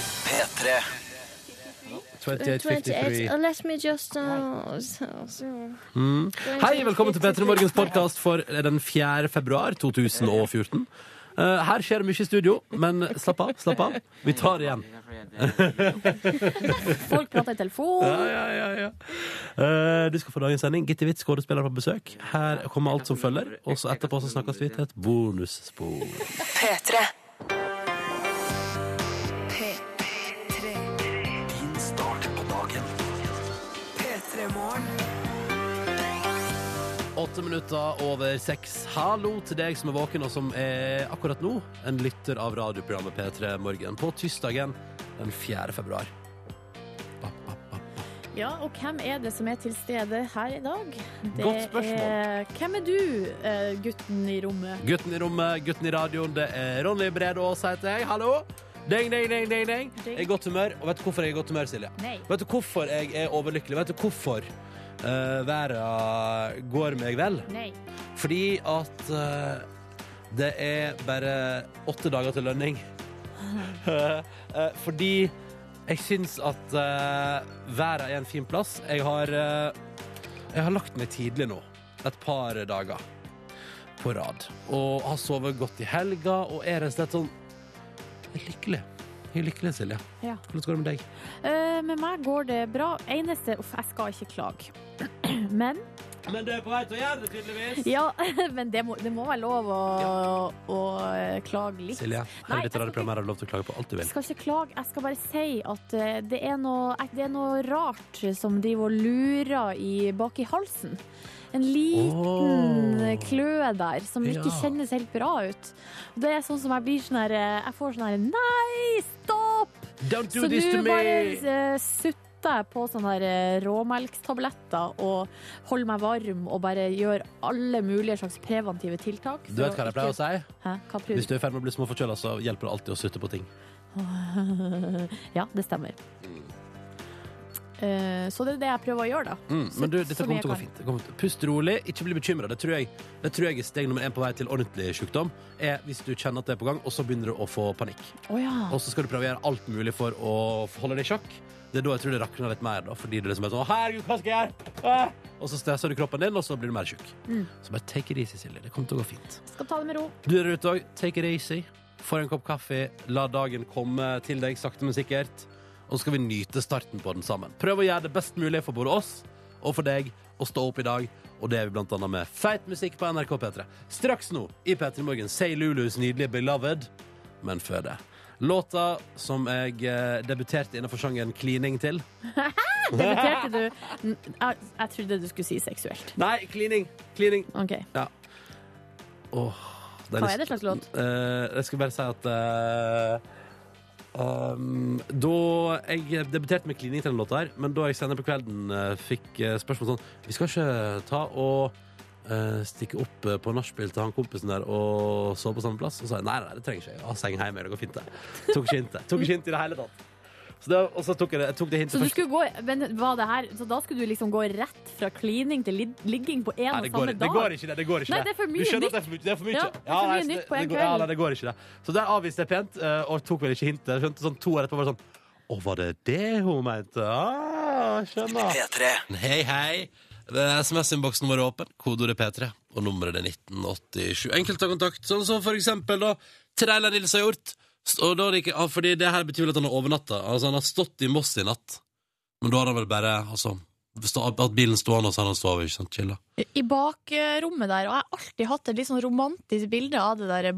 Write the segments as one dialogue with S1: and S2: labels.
S1: P3.
S2: 28, 53.
S3: Uh, let me just uh, so- so-
S2: Hmm. Hei, velkommen til P3 Morgens podkast for eh, den 4. februar 2014. Eh, Her skjer det mye i studio, men slapp av. slapp av Vi tar det igjen.
S4: Folk prater i telefon.
S2: Ja, ja, ja, ja. Eh, Du skal få dagens sending. Gitte Witt, skuespiller, på besøk. Her kommer alt som følger. Og så etterpå så snakkes vi til et bonusspor.
S5: P3.
S1: Din start på dagen.
S2: Åtte minutter over seks. Hallo til deg som er våken, og som er akkurat nå en lytter av radioprogrammet P3 Morgen på tirsdagen den 4. februar. Ba, ba, ba.
S4: Ja, og hvem er det som er til stede her i dag? Det
S2: Godt spørsmål.
S4: Er, hvem er du, eh, gutten i rommet?
S2: Gutten i rommet, gutten i radioen, det er Ronny Brede Aas, heter jeg. Hallo! Ding, ding, ding, ding, ding. Jeg er i godt humør. Og vet du hvorfor jeg er i godt humør, Silje?
S4: Nei.
S2: Vet du hvorfor jeg er overlykkelig? Vet du hvorfor uh, været går meg vel?
S4: Nei.
S2: Fordi at eh, det er bare åtte dager til lønning. Eh, eh, fordi jeg syns at uh, været er en fin plass. Jeg har, eh, jeg har lagt meg tidlig nå. Et par dager på rad. Og har sovet godt i helga og er rett og slett sånn jeg er lykkelig. Jeg er lykkelig, Silje.
S4: Ja.
S2: Hvordan går det med deg?
S4: Eh, med meg går det bra. Eneste Uff, jeg skal ikke klage. Men
S2: Men du er på vei til å gjøre det, tydeligvis.
S4: Ja, men det må, det må være lov å, å, eh, klage litt.
S2: Silje, her
S4: Nei,
S2: er
S4: jeg
S2: dette
S4: skal
S2: radioprogrammet. Her har du lov til å klage på alt du
S4: Jeg
S2: vil.
S4: skal ikke klage, jeg skal bare si at eh, det er noe, eh, det er noe rart som driver og lurer i, bak i halsen. En liten
S2: Åh.
S4: klø der som ikke
S2: Ja.
S4: kjennes helt bra ut. Og det er sånn som jeg blir sånn her eh, Jeg får sånn her Nei, stopp!
S2: Don't do
S4: Så
S2: this to
S4: nå
S2: me!
S4: bare eh, sutter jeg på sånne her eh, råmelkstabletter og holder meg varm og bare gjør alle mulige slags preventive tiltak.
S2: Du vet hva jeg pleier å si?
S4: Hæ? Hva prøver
S2: Hvis du er i ferd med å bli småforkjøla, så hjelper det alltid å sutte på ting.
S4: Ja, det stemmer.
S2: Mm.
S4: Eh, så det er det jeg prøver å gjøre, da. Så-
S2: Mm, Men du,
S4: så
S2: dette kommer
S4: mye
S2: til å gå
S4: jeg
S2: fint. Det kommer til- Pust rolig, ikke bli bekymra. Det, tror jeg- det tror jeg er steg nummer én på vei til ordentlig sykdom. Er hvis du kjenner at det er på gang, og så begynner du å få panikk.
S4: kan. Å ja.
S2: Og så skal du prøve å gjøre alt mulig for å holde det i sjakk. Det er da jeg tror det rakner litt mer, da, fordi du liksom er sånn Herregud, hva skal jeg gjøre? Æ!» Og så stresser du kroppen din, og så blir du mer tjukk. Så bare take it easy, Silje. Det kommer til å gå fint.
S4: Mm. Skal ta det med ro.
S2: Du der ute òg, take it easy. Få en kopp kaffe, la dagen komme til deg sakte, men sikkert. Og så skal vi nyte starten på den sammen. Prøv å gjøre det best mulig for både oss og for deg å stå opp i dag. Og det er vi blant annet med feit musikk på NRK P3. Straks nå i P3 Morgen, Say Lulus nydelige Beloved. Men før det. Låta som jeg eh, debuterte innenfor sjangeren klining til.
S4: Debuterte du N- jeg, jeg trodde du skulle si seksuelt.
S2: Nei, klining! Klining.
S4: OK.
S2: Åh,
S4: Hva er det slags låt?
S2: Eh, jeg skal bare si at eh, um, Da Jeg debuterte med klining til den låta her, men da jeg senere på kvelden eh, fikk eh, spørsmål sånn Vi skal ikke ta og eh, stikke opp eh, på nachspiel til han kompisen der og sove på samme plass? Og så sa jeg nei, nei, det trenger ikke jeg. Jeg har seng hjemme, det går fint, det. Tok ikke hintet. Tok ikke hintet i det hele tatt. Så det, og så tok jeg det, jeg tok det hintet
S4: Så du
S2: først.
S4: skulle gå Men var det her Så da skulle du liksom gå rett fra klining til lig- ligging på én
S2: Nei,
S4: og
S2: det går,
S4: samme
S2: det
S4: dag?
S2: går ikke, det. det går ikke
S4: Nei, det er for mye
S2: Du skjønner at
S4: nytt.
S2: det er for mye. Det er for mye.
S4: Ja, det er for mye
S2: nei,
S4: nytt på en
S2: det går, ja,
S4: kveld.
S2: nei, det går ikke, det. Så der avviste jeg pent, eh, og tok vel ikke hintet. Jeg Skjønte sånn to år etterpå var det sånn Å, var det det hun mente? Ah, skjønner.
S1: P3.
S2: Hei, hei. SMS-innboksen vår er åpen. Kodeordet P3, og nummeret er 1987. Enkelt ta kontakt, sånn som for eksempel da Treiler Nils har gjort. S- Og da, er det ikke- ah, fordi det her betyr vel at han har overnatta. Altså, han har stått i Moss i natt, men da har han vel bare altså, stå- hatt bilen stående, og så har han sovet, ikke sant? Chilla.
S4: I bakrommet der, og jeg har alltid hatt et litt sånn romantisk bilde av det der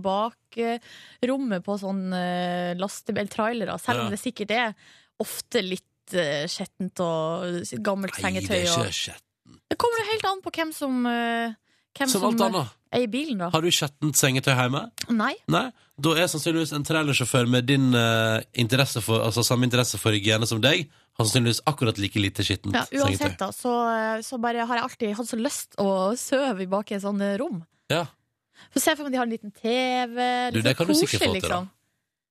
S4: bakrommet på sånn eh, lastebil, eller trailere, selv
S2: Ja.
S4: om det sikkert er ofte litt eh, skjettent og gammelt
S2: Nei, det
S4: sengetøy.
S2: er
S4: Og...
S2: ikke skjett.
S4: Det kommer jo helt an på hvem som, eh, hvem
S2: Som alt annet.
S4: er i bilen, da.
S2: Har du skjettent sengetøy hjemme?
S4: Nei.
S2: Nei. Da er sannsynligvis en trailersjåfør med din eh, interesse for, altså samme interesse for hygiene som deg, har sannsynligvis akkurat like lite skittent
S4: Ja, uansett,
S2: sengetøy.
S4: da, så, så bare har jeg alltid hatt så lyst å sove i bak i et sånt eh, rom.
S2: Ja.
S4: Få se for meg de har en liten TV. Litt
S2: Du, det
S4: sånn
S2: kan du sikkert få
S4: koselig,
S2: til, da.
S4: liksom.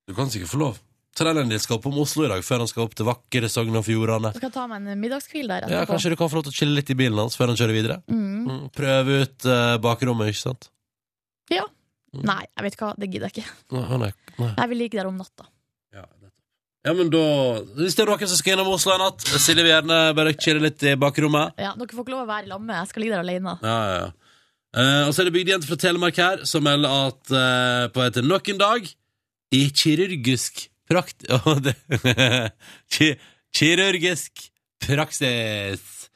S2: Du kan sikkert få lov. Traileren din skal opp om Oslo i dag, før han skal opp til vakre Sogn og Fjordane.
S4: Så kan jeg ta meg en middagskvil der
S2: Ja,
S4: etterpå.
S2: kanskje du kan få lov til å chille litt i bilen hans før han kjører videre?
S4: Mm.
S2: Mm, prøve ut eh, bakrommet, ikke sant?
S4: Nei, jeg vet ikke hva, det gidder jeg ikke.
S2: Mm. Nei, nei, nei.
S4: Jeg vil ligge der om natta.
S2: Ja, nettopp. Ja, men da Hvis det er noen som skal innom Oslo i natt, Silje vil gjerne bare chille litt i bakrommet.
S4: Ja, dere får ikke lov å være i lag med meg. Jeg skal ligge der alene.
S2: Ja, ja, ja. Eh, og så er det bygdejente fra Telemark her som melder at eh, på etter nok en dag i kirurgisk prakt... Ja, det, ki- kirurgisk praksis.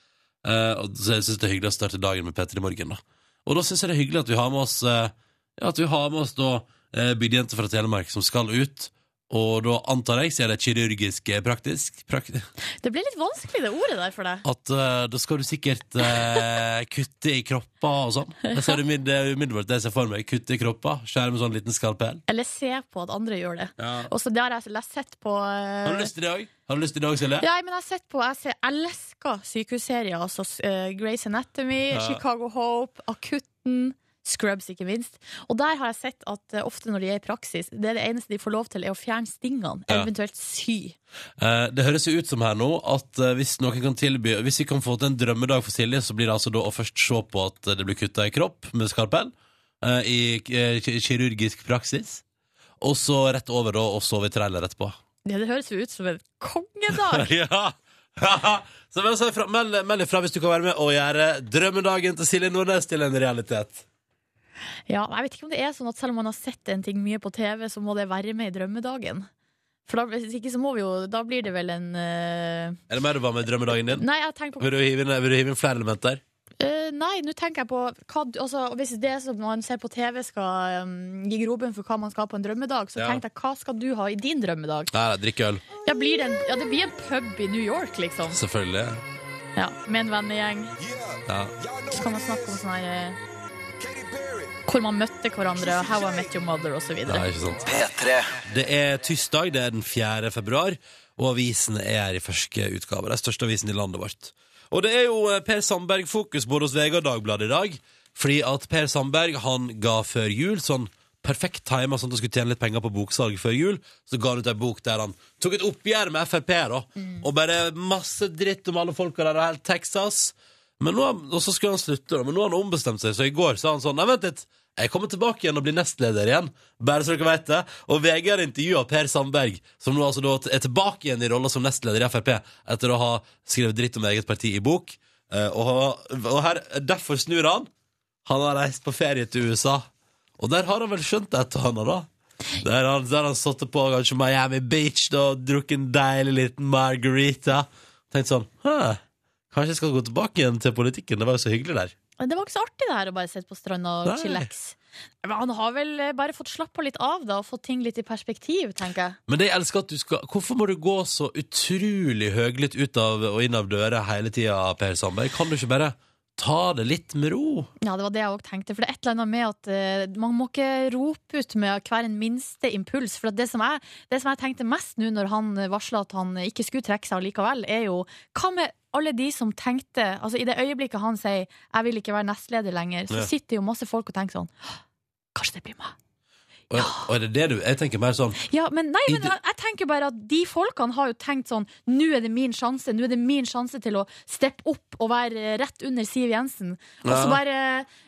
S2: Eh, og så jeg synes det er hyggelig å starte dagen med Petter i morgen, da. Og da synes jeg det er hyggelig at vi har med oss eh, Ja, at vi har med oss da uh, bygdejenter fra Telemark som skal ut. Og da antar jeg, siden det er kirurgisk eh, praktisk, praktisk
S4: Det ble litt vanskelig, det ordet der for deg.
S2: at eh, da skal du sikkert eh, kutte i kroppa og sånn. Jeg ser det umid- det er umiddelbart det jeg ser for meg. Kutte i kroppa, skjære med sånn liten skalpell.
S4: Eller se på at andre gjør det.
S2: Ja.
S4: Og så det har jeg lest- sett på eh,
S2: Har du lyst til det òg? Har du lyst til det òg, Silje?
S4: Ja, men jeg har sett på Jeg, ser, jeg elsker sykehusserier. Altså eh, Grey's Anatomy,
S2: Ja.
S4: Chicago Hope, Akutten. Scrubs, ikke minst. Og der har jeg sett at eh, ofte når de er i praksis, det er det eneste de får lov til, er å fjerne stingene,
S2: Ja.
S4: eventuelt sy.
S2: Eh, det høres jo ut som her nå at eh, hvis noen kan tilby Hvis vi kan få til en drømmedag for Silje, så blir det altså da å først se på at det blir kutta i kropp med skalpell. eh, I eh, ki- kirurgisk praksis. Og så rett over da og sove i trailer etterpå.
S4: Ja, det høres jo ut som en kongedag!
S2: ja. Så meld ifra, meld, meld ifra hvis du kan være med og gjøre drømmedagen til Silje Nordnes til en realitet.
S4: Ja, men jeg vet ikke om det er sånn at selv om man har sett en ting mye på TV, så må det være med i drømmedagen. For da, hvis ikke så må vi jo Da blir det vel en eh,
S2: Er det mer du var med i drømmedagen din?
S4: Nei, jeg tenker på
S2: Vil du hive inn, vil du hive inn flere elementer?
S4: Eh, nei, nå tenker jeg på hva, du- altså, Hvis det som man ser på TV skal um, gi grobunn for hva man skal ha på en drømmedag, så
S2: Ja.
S4: tenkte jeg hva skal du ha i din drømmedag?
S2: Nei, nei, drikke øl.
S4: Ja, blir det, en, ja, det blir en pub i New York, liksom.
S2: Selvfølgelig.
S4: Ja, Med en vennegjeng.
S2: Ja.
S4: Så kan man snakke om sånn her eh, Hvor man møtte hverandre, og How I Met Your Mother osv.
S2: Ja, ikke sant. Det er tirsdag, det er den 4. februar, og avisen er her i ferske utgave. Det er største avisen i landet vårt. Og det er jo eh, Per Sandberg-fokus både hos VG og Dagbladet i dag, fordi at Per Sandberg han ga før jul sånn perfekt timer sånn at han skulle tjene litt penger på boksalg før jul, så ga han ut en bok der han tok et oppgjør med FRP da, og bare masse dritt om alle folka der og helt Texas. Men nå, har han- og så skulle han slutte, da, men nå har han ombestemt seg, så i går sa han sånn Nei, vent litt, jeg kommer tilbake igjen og blir nestleder igjen, bare så dere vet det. Og VG har intervjua Per Sandberg, som nå altså da er tilbake igjen i rolla som nestleder i Frp, etter å ha skrevet dritt om eget parti i bok. Eh, Og, og her, derfor snur han. Han har reist på ferie til USA, og der har han vel skjønt det etter han, da. Der har han, der har han satt det på kanskje Miami Beach da, og drukket en deilig liten margarita. Tenkt sånn Hæ? Kanskje jeg skal gå tilbake igjen til politikken. Det var jo så hyggelig der.
S4: Men Det var ikke så artig det her å bare sitte på stranda
S2: Nei.
S4: og chillax. Men han har vel eh, bare fått slappa litt av da, og fått ting litt i perspektiv, tenker jeg.
S2: Men det jeg elsker at du skal Hvorfor må du gå så utrolig høglytt ut av og inn av døra hele tida, Per Sandberg? Kan du ikke bare ta det litt med ro?
S4: Ja, det var det jeg òg tenkte. For det er et eller annet med at eh, man må ikke rope ut med hver en minste impuls. For at det, som jeg, det som jeg tenkte mest nå når han varsla at han ikke skulle trekke seg likevel, er jo hva med alle de som tenkte Altså I det øyeblikket han sier 'jeg vil ikke være nestleder lenger', så
S2: Ja.
S4: sitter jo masse folk og tenker sånn Kanskje det blir meg.
S2: Og, og er det det du Jeg tenker mer sånn
S4: Ja, men nei, men
S2: I det-
S4: jeg, jeg tenker bare at de folkene har jo tenkt sånn Nå er det min sjanse, nå er det min sjanse til å steppe opp og være eh, rett under Siv Jensen. Og så
S2: Ja.
S4: bare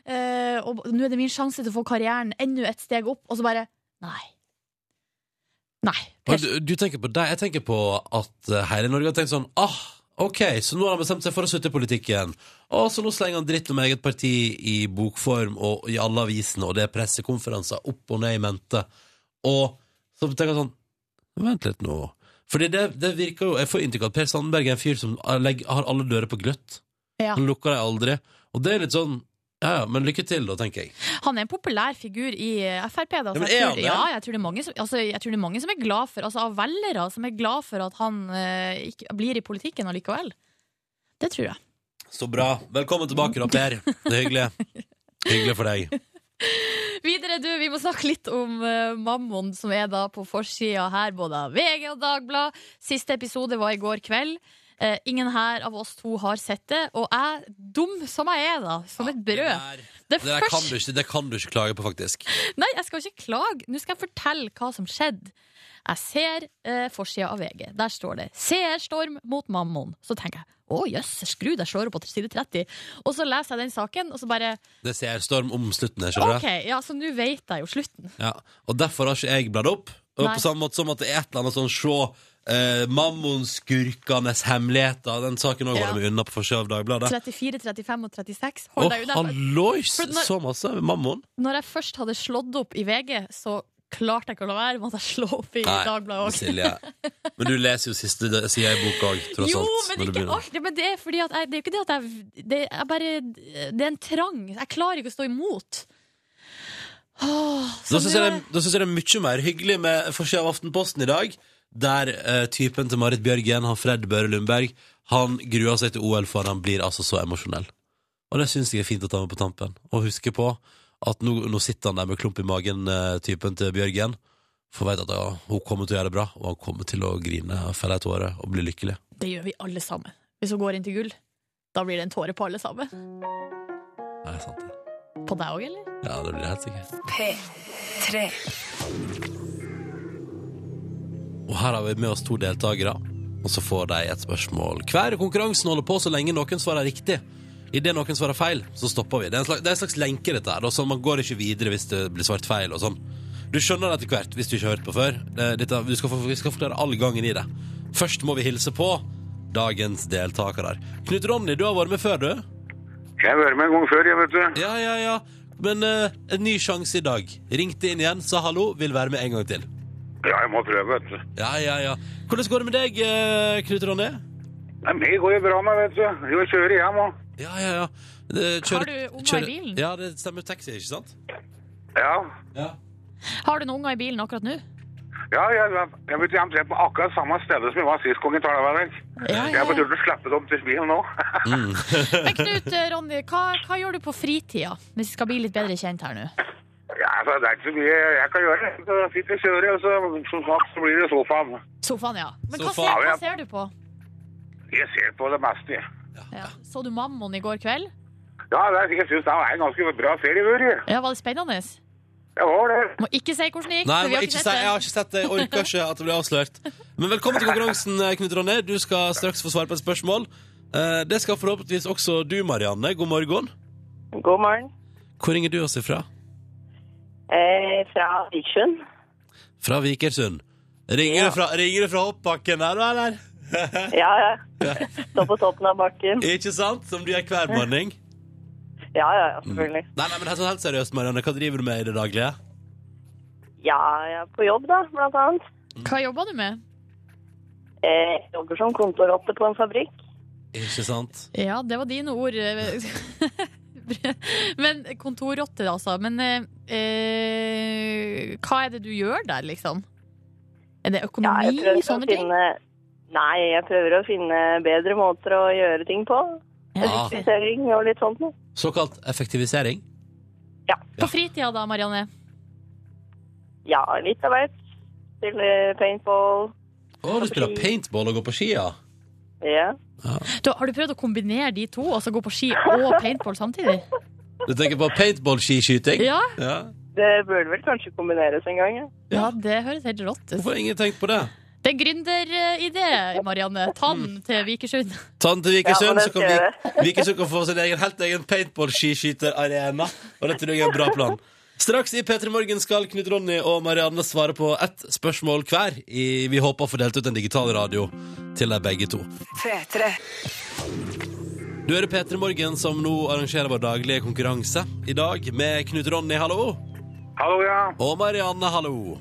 S4: eh, Og nå er det min sjanse til å få karrieren enda et steg opp, og så bare Nei. Nei.
S2: og
S4: Per,
S2: du, du tenker på deg. Jeg tenker på at eh, hele Norge har tenkt sånn Ah, OK, så nå har han bestemt seg for å slutte i politikken. Og så nå slenger han dritt om eget parti i bokform og i alle avisene, og det er pressekonferanser opp og ned i mente. Og så tenker jeg sånn Vent litt nå. Fordi det, det virker jo Jeg får inntrykk av at Per Sandberg er en fyr som legger, har alle dører på gløtt.
S4: Ja.
S2: Han lukker dem aldri. Og det er litt sånn Ja, ja, men lykke til, da, tenker jeg.
S4: han er en populær figur i eh, Frp. Da, så
S2: men
S4: jeg,
S2: er han
S4: tror,
S2: det?
S4: ja, jeg, tror det er mange som, altså, jeg tror det er mange som er glad for Altså av velgere som er glad for at han eh, ikke, blir i politikken allikevel. Det tror jeg.
S2: Så bra. Velkommen tilbake, da, Per. Det er hyggelig. Hyggelig for deg.
S4: Videre, du, vi må snakke litt om eh, Mammon, som er da på forsida her, både av VG og Dagbladet. Siste episode var i går kveld. Eh, ingen her av oss to har sett det, og jeg, dum som jeg er, da, som et brød
S2: Ah, Det der,
S4: Det
S2: det der kan, du
S4: første
S2: ikke, det kan du ikke klage på, faktisk.
S4: Nei, jeg skal ikke klage. Nå skal jeg fortelle hva som skjedde. Jeg ser eh, forsida av VG. Der står det 'Seer storm mot Mammon'. Så tenker jeg å jøss, skru deg slår opp på side 30. Og så leser jeg den saken, og så bare
S2: Det ser storm om slutten her, skjønner
S4: OK,
S2: du.
S4: ja, så nå vet jeg jo slutten.
S2: Ja. Og derfor har ikke jeg bladd opp. Og
S4: Nei.
S2: på samme måte som at det er et eller annet sånn se eh, Mammonskurkenes hemmeligheter. Den saken òg
S4: Ja.
S2: holder vi unna på forsida av Dagbladet.
S4: 34, 35 og 36.
S2: Å,
S4: Hold deg unna.
S2: hallois!
S4: For når-
S2: Så masse mammon.
S4: Når jeg først hadde slått opp i VG, så klarte jeg ikke å la være. Måtte jeg slå opp i Dagbladet også.
S2: Silje. Men du leser jo siste d- sida i boka òg, tross
S4: Jo,
S2: alt. når
S4: men
S2: du
S4: ikke
S2: begynner.
S4: alt. Ja, Men det er fordi at jeg, det er jo ikke det at jeg det er, bare, det er en trang. Jeg klarer ikke å stå imot. Åh,
S2: Da
S4: så
S2: syns
S4: nå
S2: jeg,
S4: er-
S2: det- da synes jeg det er mye mer hyggelig med forsida av Aftenposten i dag, der eh, typen til Marit Bjørgen, han Fred Børre Lundberg, han gruer seg til OL, for han blir altså så emosjonell. Og det syns jeg er fint å ta med på tampen. Og huske på at nå, nå sitter han der med klump i magen, eh, typen til Bjørgen, for veit at ja, hun kommer til å gjøre det bra, og han kommer til å grine, felle ei tåre og bli lykkelig.
S4: Det gjør vi alle sammen. Hvis hun går inn til gull, da blir det en tåre på alle sammen.
S2: Nei, sant det.
S4: På deg òg, eller?
S2: Ja, det blir det helt sikkert. Og her har vi med oss to deltakere, og så får de et spørsmål. Hver konkurransen holder på så lenge noen svarer riktig. Idet noen svarer feil, så stopper vi. Det er en slags, det er en slags lenke, dette her. da, så man går ikke videre hvis det blir svart feil og sånn. Du skjønner det etter hvert, hvis du ikke har hørt på før. Eh, Dette, du skal, få- vi skal forklare all gangen i det. Først må vi hilse på dagens deltakere. Knut Ronny, du har vært med før, du?
S6: Jeg har vært med en gang før, jeg, vet du.
S2: Ja, ja, ja. Men eh, en ny sjanse i dag. Ringte inn igjen, sa hallo, vil være med en gang til.
S6: Ja, jeg må prøve, vet du.
S2: Ja, ja, ja. Hvordan går det med deg, eh, Knut Ronny?
S6: Nei, meg går jo bra med, vet du. Jo, jeg kjører hjem òg.
S2: Ja, ja, ja. Det-
S4: Har du unger i
S2: Eh, kjører-
S4: bilen?
S2: Ja, det stemmer taxi, ikke sant?
S6: Ja.
S2: Ja.
S4: Har du noen unger i bilen akkurat nå?
S6: Ja, jeg, jeg, jeg vet, jeg er på akkurat samme stedet som jeg var sist gang jeg tar deg hver dag. Jeg har betalt å slippe dem til bilen nå.
S2: Mm.
S4: Men Knut eh, Ronny, hva, hva gjør du på fritida? Hvis vi skal bli litt bedre kjent her nå.
S6: Ja, altså, det er ikke så mye jeg kan gjøre. Så fint jeg kjører, og så som sagt så blir det sofaen.
S4: Sofaen, ja. Men hva
S2: Sofaen,
S4: ser,
S6: ja.
S4: hva ser du på?
S6: Jeg ser på det meste, jeg.
S4: Ja. Så du Mammon i går kveld?
S6: Ja, det, er- jeg syns det er en ganske bra serie, Børre.
S4: Ja, Var det spennende?
S6: Jeg var det.
S4: Må ikke si hvordan det gikk,
S2: Nei,
S4: for vi har
S2: ikke
S4: ikke
S2: si, jeg har
S4: sett det.
S2: ikke sett det. Jeg orker ikke at det blir avslørt. Men velkommen til konkurransen, eh, Knut Ronny. Du skal straks få svare på et spørsmål. Eh, Det skal forhåpentligvis også du, Marianne. God morgen.
S7: God morgen.
S2: Hvor ringer du oss ifra?
S7: Eh, fra Vitsjøen.
S2: Fra Vikersund. Ringer, du, fra, ringer du fra hoppbakken der, da, eller?
S7: Ja, ja. Står på toppen av bakken.
S2: Ikke sant? Som du gjør hver morgen.
S7: Ja, ja, ja, selvfølgelig.
S2: Nei, nei, men helt, helt seriøst, Marianne. Hva driver du med i det daglige?
S7: Ja, ja, på jobb da, blant annet.
S4: Hva jobber du med?
S7: Eh, jobber som kontorrotte på en fabrikk.
S2: Ikke sant?
S4: Ja, det var dine ord. eh. Men kontorrotter, altså. Men eh, eh, hva er det du gjør der, liksom? Er det
S7: Ja,
S4: økonomi?
S7: jeg prøver å
S4: sånne ting?
S7: finne... Nei, jeg prøver å finne bedre måter å gjøre ting på.
S2: Ja.
S7: Effektivisering og litt sånt noe.
S2: Såkalt effektivisering.
S4: På fritida da, Marianne?
S7: Ja, litt av hvert. Stille paintball.
S2: Å, du spiller paintball og går på ski, ja.
S7: Ja.
S4: Du, har du prøvd å kombinere de to, altså gå på ski og paintball samtidig?
S2: Du tenker på paintball-skiskyting?
S4: Ja,
S2: Ja.
S7: Det burde vel kanskje kombineres en gang, ja.
S4: ja det høres helt rått ut.
S2: Hvorfor har ingen tenkt på det?
S4: Det er gründeridé, Marianne. Ta
S2: Mm.
S4: den til Vikersund.
S2: Ta den til
S7: Ja,
S2: Vikersund,
S7: men det
S2: så kan
S7: skal jeg
S2: Vi- Vikersund kan få sin egen, helt egen paintball-skiskytterarena. Og det tror jeg er en bra plan. Straks i P3 Morgen skal Knut Ronny og Marianne svare på ett spørsmål hver. I, vi håper å få delt ut en digital radio til deg begge to. Du hører P3 Morgen, som nå arrangerer vår daglige konkurranse. I dag med Knut Ronny, hallo,
S6: Hallo, ja.
S2: og Marianne, hallo.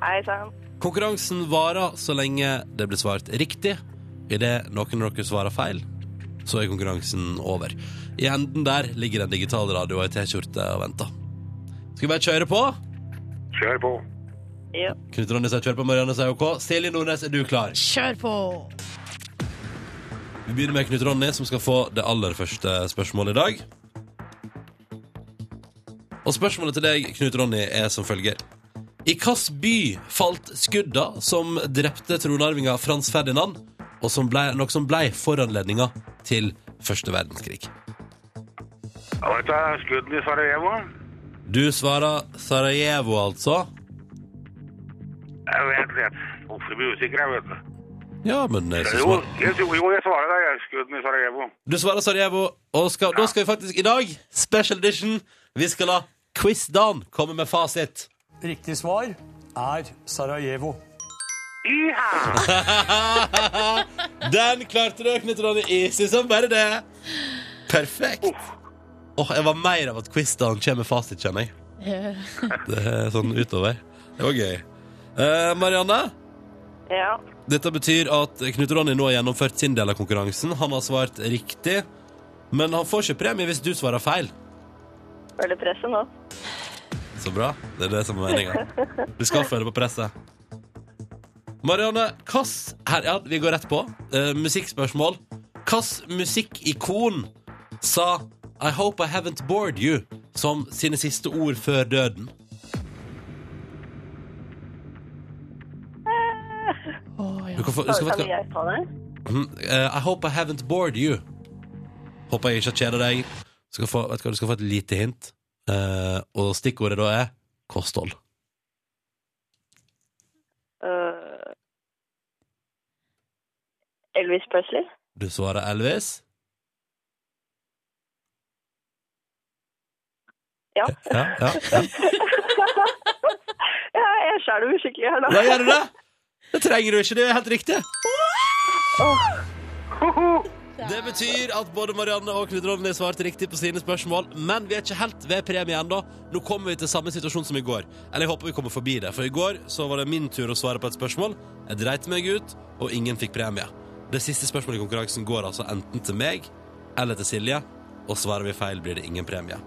S7: Hei, sann.
S2: Konkurransen varer så lenge det blir svart riktig. Idet noen av dere svarer feil, så er konkurransen over. I enden der ligger en digital radio og ei T-skjorte og venter. Skal vi bare kjøre på?
S6: Kjør på.
S7: Ja.
S2: Knut Ronny sier kjør på, Marianne sier OK. Silje Nordnes, er du klar?
S4: Kjør på!
S2: Vi begynner med Knut Ronny, som skal få det aller første spørsmålet i dag. Og spørsmålet til deg, Knut Ronny, er som følger. I hvilken by falt skudda som drepte tronarvinga Frans Ferdinand, og som ble, noe som ble foranledninga til første verdenskrig?
S6: Ja, vet du, skuddene i Sarajevo.
S2: Du svarer Sarajevo, altså.
S6: Jeg vet det. Hvorfor blir jeg usikker, jeg, vet du.
S2: Ja, men eh, så
S6: Jo,
S2: svar-
S6: jeg, jo, jeg svarer deg, jeg. Skuddene i Sarajevo.
S2: Du svarer Sarajevo, og skal, da skal vi faktisk i dag, special edition, vi skal la Quiz Dan komme med fasit.
S8: Riktig svar er Sarajevo.
S5: Iha!
S2: Den klarte du, Knut Ronny. Easy som bare det. Perfekt. Åh, Jeg var mer av at quizene kommer med fasit, kjenner jeg.
S4: Eh.
S2: Det er sånn utover. Det var gøy. Eh, Marianne,
S7: Ja.
S2: dette betyr at Knut Ronny nå har gjennomført sin del av konkurransen. Han har svart riktig, men han får ikke premie hvis du svarer feil.
S7: Føler presset nå.
S2: Så bra. Det er det som er meninga. Du skal føle på presset. Marianne, hvilket her- ja, Vi går rett på. Eh, musikkspørsmål. Hvilket musikkikon sa 'I hope I haven't bored you' som sine siste ord før døden? Du kan få, du skal få-
S7: Kan jeg ta det?
S2: Mhm. Eh, I hope I haven't bored you. Håper jeg ikke har kjeda deg. Du skal, få, vet du, hva, du skal få et lite hint, Eh, og stikkordet da er kosthold.
S7: Øh, Elvis Presley?
S2: Du svarer Elvis.
S7: Ja.
S2: Ja, ja, ja.
S7: ja jeg skjelver skikkelig her nå.
S2: ja gjør du det? Det trenger du ikke, det er helt riktig. Det betyr at både Marianne og Knut Ronny svarte riktig på sine spørsmål, men vi er ikke helt ved premie ennå. Nå kommer vi til samme situasjon som i går. Eller jeg håper vi kommer forbi det, for i går så var det min tur å svare på et spørsmål. Jeg dreit meg ut, og ingen fikk premie. Det siste spørsmålet i konkurransen går altså enten til meg eller til Silje, og svarer vi feil, blir det ingen premie.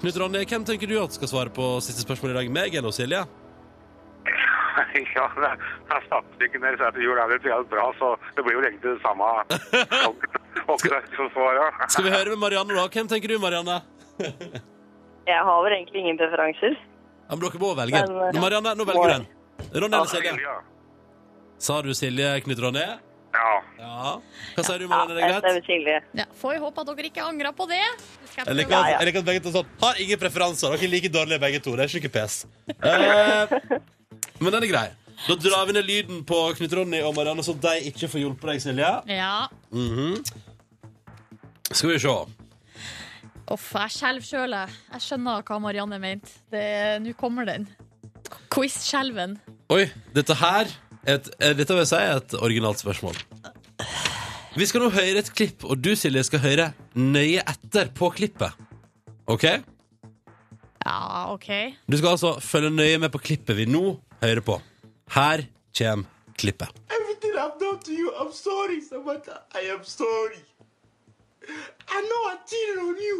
S2: Knut Ronny, hvem tenker du at skal svare på siste spørsmål i dag? Meg eller Silje?
S5: ja, det er statistikken deres er til jul er litt helt bra, så det blir jo egentlig det samme. Og det er som svarer.
S2: Skal vi høre med Marianne da? Hvem tenker du, Marianne?
S7: Jeg har vel egentlig ingen preferanser.
S2: Ja, men dere må velge.
S7: Men, eh,
S2: Nå, Marianne, nå velger du en.
S7: Marianne.
S2: Ronny eller Silje? Sa du Silje, Knut Ronny?
S5: Ja.
S2: Ja. Hva sier du,
S7: Ja,
S2: Marianne?
S7: jeg
S2: Er det greit?
S7: stemmer Silje.
S4: Ja, får jo håpe at dere ikke angrer på det. Det skal jeg
S2: Jeg liker,
S4: prøve.
S2: at, jeg liker at begge to er sånn Har ingen preferanser. Dere er like dårlige begge to. Det er ikke noe pes. Eh, men den er grei. Da drar vi ned lyden på Knut Ronny og Marianne, så de ikke får hjulpet deg, Silje.
S4: Ja.
S2: Mhm. Skal vi se.
S4: Uff, jeg skjelver sjøl, jeg. Jeg skjønner hva Marianne mente. Det- Nå kommer den. Quiz-skjelven.
S2: Oi, dette her er et, eh, Dette vil jeg si er et originalt spørsmål. Vi skal nå høre et klipp, og du, Silje, skal høre nøye etter på klippet. OK?
S4: Ja, OK.
S2: Du skal altså følge nøye med på klippet vi nå hører på. Her kommer klippet.
S9: Everything I've done to you, I'm sorry, Samantha. I am sorry. I know I cheated on you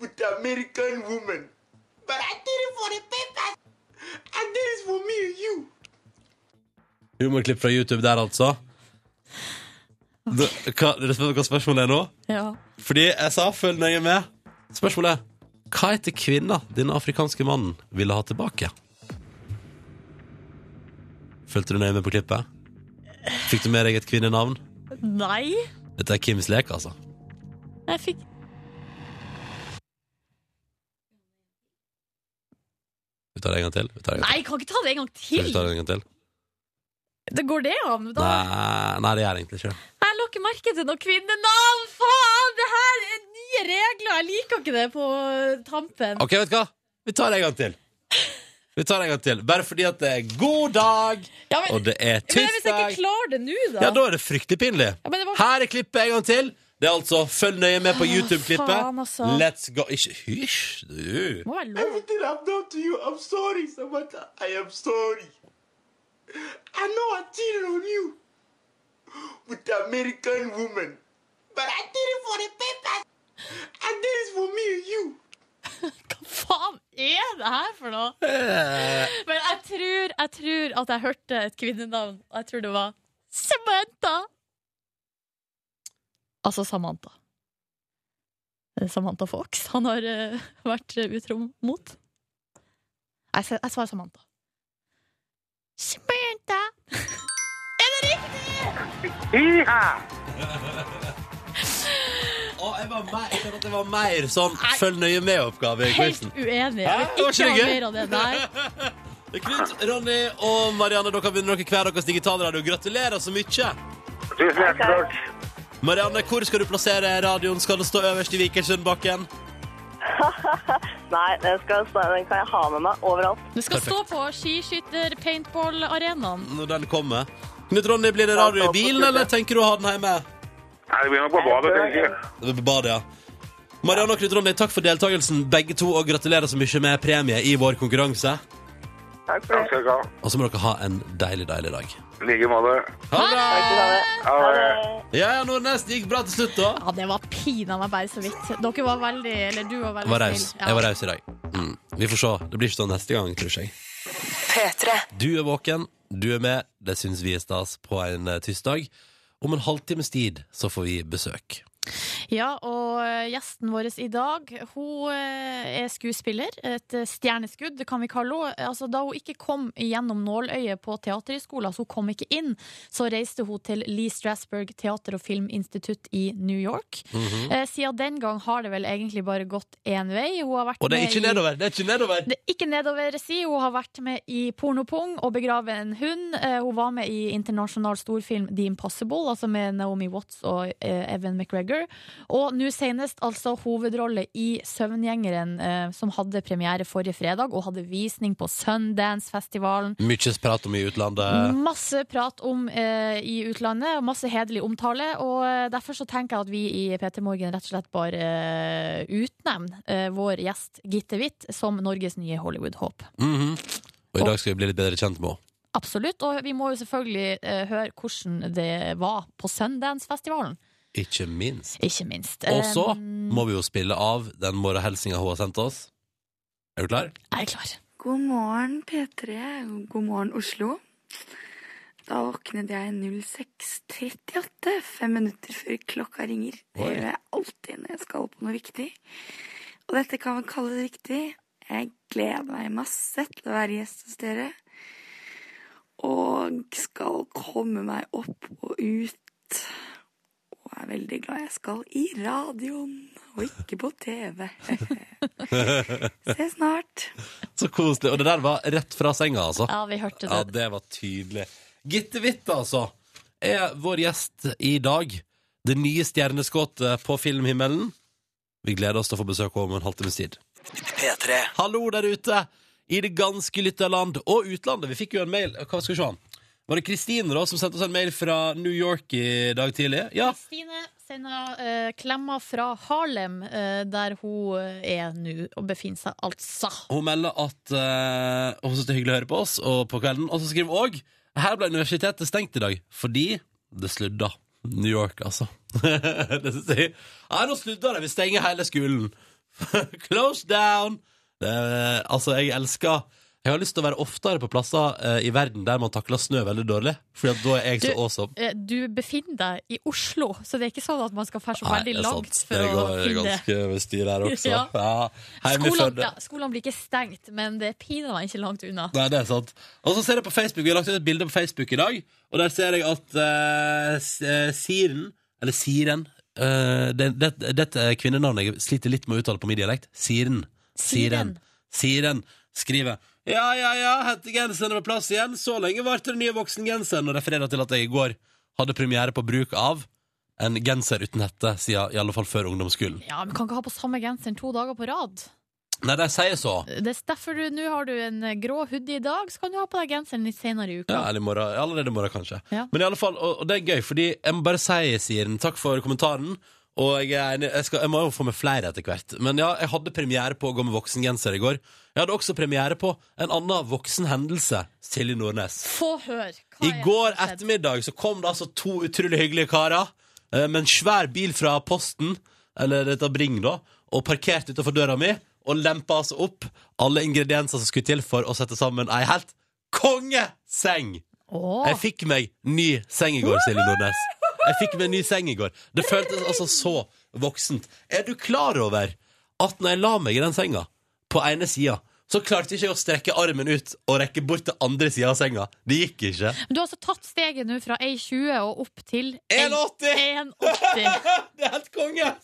S9: with the American woman, but I did it for the papers. I did it for me and you.
S2: Humorklipp fra YouTube der, altså. Det- Hva, dere spør hva spørsmålet er nå?
S4: Ja.
S2: Fordi jeg sa følg nøye med. Spørsmålet er hva heter kvinna denne afrikanske mannen ville ha tilbake? Fulgte du nøye med på klippet? Fikk du med deg et kvinnenavn?
S4: Nei.
S2: Dette er Kims lek, altså.
S4: Jeg fikk
S2: Vi tar det en gang til. Vi tar det en gang
S4: Nei, jeg kan ikke ta det en gang
S2: til. Vi
S4: til!
S2: tar det en gang til.
S4: Det går det an? Da
S2: Nei, nei, det gjør jeg egentlig ikke.
S4: Jeg la ikke merke til noe kvinnenavn! Faen! Det her er nye regler! Jeg liker ikke det på tampen.
S2: OK, vet du hva? Vi tar det en gang til. Vi tar det en gang til. Bare fordi at det er god dag,
S4: Ja, men,
S2: og det er
S4: men hvis jeg ikke
S2: tirsdag.
S4: klarer det nå, da?
S2: Ja, da er det fryktelig pinlig.
S4: Ja, men det var...
S2: Her er klippet en gang til. Det er altså Følg nøye med på
S4: faen,
S2: YouTube-klippet.
S4: altså.
S2: Let's go Ikke hysj, du.
S4: Må være lov.
S9: Everything I've done to you, I'm sorry, Samantha. I am sorry. I know I cheated on you with the American woman, but I did it for the papers. I did it for me and you.
S4: Hva faen er det her for noe?
S2: Eh,
S4: Men jeg tror, jeg tror at jeg hørte et kvinnenavn, og jeg tror det var Samantha. Altså Samantha. Det er Samantha Fox han har eh, vært eh, utro mot. Jeg, s- jeg svarer Samantha. Samantha!
S5: Iha!
S2: Å, jeg var mer, jeg føler at jeg var mer sånn følg nøye med-oppgave i quizen.
S4: Helt uenig.
S2: Hæ?
S4: Jeg
S2: Det var
S4: vil
S2: ikke
S4: ikke ha
S2: gøy?
S4: mer av det der.
S2: Knut, Ronny og Marianne, dere har vunnet dere hver deres digitalradio. Gratulerer så mye!
S5: Tusen hjertelig takk.
S2: Marianne, hvor skal du plassere radioen? Skal det stå øverst i Vikersundbakken?
S7: Nei, den, skal, den kan jeg ha med meg overalt.
S4: Det skal stå på skiskytter-paintball-arenaen.
S2: Når den kommer. Knut Ronny, blir det radio i bilen, eller tenker du å ha den hjemme?
S5: Nei, det blir nok på badet. tenker jeg.
S2: Det blir badet, ja. Marianne og Knut Ronny, takk for deltakelsen, begge to, og gratulerer så mye med premie i vår konkurranse.
S7: Takk for
S5: Takk
S7: det.
S5: skal du ha.
S2: Og så må dere ha en deilig, deilig dag.
S5: I like måte.
S2: Ha det! bra!
S5: Ha det.
S2: Ja, ja, Nordnes, det gikk bra til slutt, da.
S4: Ja, det var pinadø meg bare så vidt. Dere var veldig Eller du var veldig
S2: Jeg var raus.
S4: snill. Ja.
S2: Jeg var raus i dag. Mm. Vi får se. Det blir ikke sånn neste gang, tror jeg. Du er våken, du er med. Det syns vi er stas på en eh, tirsdag. Om en halvtimes tid så får vi besøk.
S4: Ja, og eh, gjesten vår i dag, hun eh, er skuespiller. Et eh, stjerneskudd, det kan vi kalle henne. Altså, da hun ikke kom gjennom nåløyet på Teaterhøgskolen, så hun kom ikke inn, så reiste hun til Lee Strasberg teater- og filminstitutt i New York. Eh, Siden den gang har det vel egentlig bare gått én vei. Hun har vært
S2: Og det er
S4: med
S2: ikke
S4: i-
S2: nedover! Det er ikke nedover!
S4: Det er ikke nedover si. Hun har vært med i Pornopung og begrave en hund. Eh, Hun var med i internasjonal storfilm The Impossible, altså med Naomi Watts og eh, Evan McGregor. Og nå senest altså hovedrolle i Søvngjengeren, eh, som hadde premiere forrige fredag og hadde visning på Sundance-festivalen.
S2: Mye prat om i utlandet.
S4: Masse prat om eh, i utlandet, og masse hederlig omtale. Og eh, derfor så tenker jeg at vi i P3 Morgen rett og slett bare eh, utnevner eh, vår gjest Gitte Witt som Norges nye Hollywood-håp.
S2: Mhm. Og i dag skal vi bli litt bedre kjent med henne.
S4: Absolutt. Og vi må jo selvfølgelig eh, høre hvordan det var på Sundance-festivalen,
S2: Ikke minst.
S4: ikke minst.
S2: Og så
S4: Um,
S2: må vi jo spille av den morgenhilsinga hun har sendt oss. Er du klar?
S4: Jeg er klar.
S10: God morgen, P3. God morgen, Oslo. Da våknet jeg 06.38, fem minutter før klokka ringer. Det
S2: Oi.
S10: gjør jeg alltid når jeg skal på noe viktig. Og dette kan vel kalles viktig. Jeg gleder meg masse til å være gjest hos dere. Og skal komme meg opp og ut. Og er veldig glad jeg skal i radioen, og ikke på TV. Se snart.
S2: Så koselig. Og det der var rett fra senga, altså.
S4: Ja, vi hørte
S2: Ja,
S4: det.
S2: det var tydelig. Gitte Witt, altså, er vår gjest i dag. Det nye stjerneskuddet på filmhimmelen. Vi gleder oss til å få besøk om en halvtimes tid.
S11: P3.
S2: Hallo der ute i det ganske lytta land og utlandet. Vi fikk jo en mail. Hva skal vi se? Var det Kristine da som sendte oss en mail fra New York i dag tidlig? Ja.
S4: Kristine sender eh, klemmer fra Harlem, eh, der hun eh, er nå og befinner seg, altså.
S2: Hun melder at eh, hun syns det er hyggelig å høre på oss og på kvelden. Og så skriver hun òg her ble universitetet stengt i dag fordi det sludda. New York, altså. det syns jeg. Nei, nå sludda det. Vi stenger hele skolen. Close down! Det, er- altså, jeg elsker Jeg har lyst til å være oftere på plasser eh, i verden der man takler snø veldig dårlig, Fordi at da er jeg så
S4: Du-
S2: awesome.
S4: Eh, Du befinner deg i Oslo, så det er ikke sånn at man skal fære så
S2: Nei,
S4: veldig
S2: det er sant.
S4: langt for
S2: det
S4: å
S2: går
S4: finne det.
S2: ganske styr her også. Ja.
S4: Ja.
S2: Hjemme i Førde.
S4: Skolene, ja, skolene blir ikke stengt, men det er pinadø ikke langt unna.
S2: Nei, det er sant. Og så ser jeg på Facebook, Vi har lagt ut et bilde på Facebook i dag, og der ser jeg at eh, s- eh, Siren Eller Siren eh, det, det, Dette er kvinnenavnet jeg sliter litt med å uttale på min dialekt. Siren. Siren. Siren skriver Ja, ja, ja, hettegenseren er på plass igjen. Så lenge varte den nye voksengenseren. Og refererer til at jeg i går hadde premiere på bruk av en genser uten hette, siden i alle fall før ungdomsskolen.
S4: Ja, men Kan ikke ha på samme genseren to dager på rad.
S2: Nei, de sier så.
S4: Det er derfor du, Nå har du en eh, grå hoodie i dag, så kan du ha på deg genseren litt senere i uka.
S2: Ja, eller i morgen. Allerede i morgen, kanskje.
S4: Ja.
S2: Men i alle fall, og, og det er gøy, fordi jeg må bare si, Siren, takk for kommentaren. Og jeg, er enig, jeg, skal, jeg må jo få med flere etter hvert. Men ja, jeg hadde premiere på å gå med voksengenser i går. Jeg hadde også premiere på en annen voksen hendelse. Silje Nordnes.
S4: Få høre! hva
S2: I
S4: er det
S2: går
S4: som har skjedd?
S2: ettermiddag så kom det altså to utrolig hyggelige karer eh, med en svær bil fra Posten, eller dette Bring, da, og parkerte utenfor døra mi og lempa altså opp alle ingredienser som skulle til for å sette sammen ei helt kongeseng!
S4: Åh.
S2: Jeg fikk meg ny seng i går, Silje Nordnes. Jeg fikk meg ny seng i går. Det føltes altså så voksent. Er du klar over at når jeg la meg i den senga, på ene sida, så klarte ikke jeg å strekke armen ut og rekke bort til andre sida av senga. Det gikk ikke.
S4: Du har altså tatt steget nå fra 1,20 og opp til
S2: 1,80!
S4: 1,80.
S2: Det er helt konge!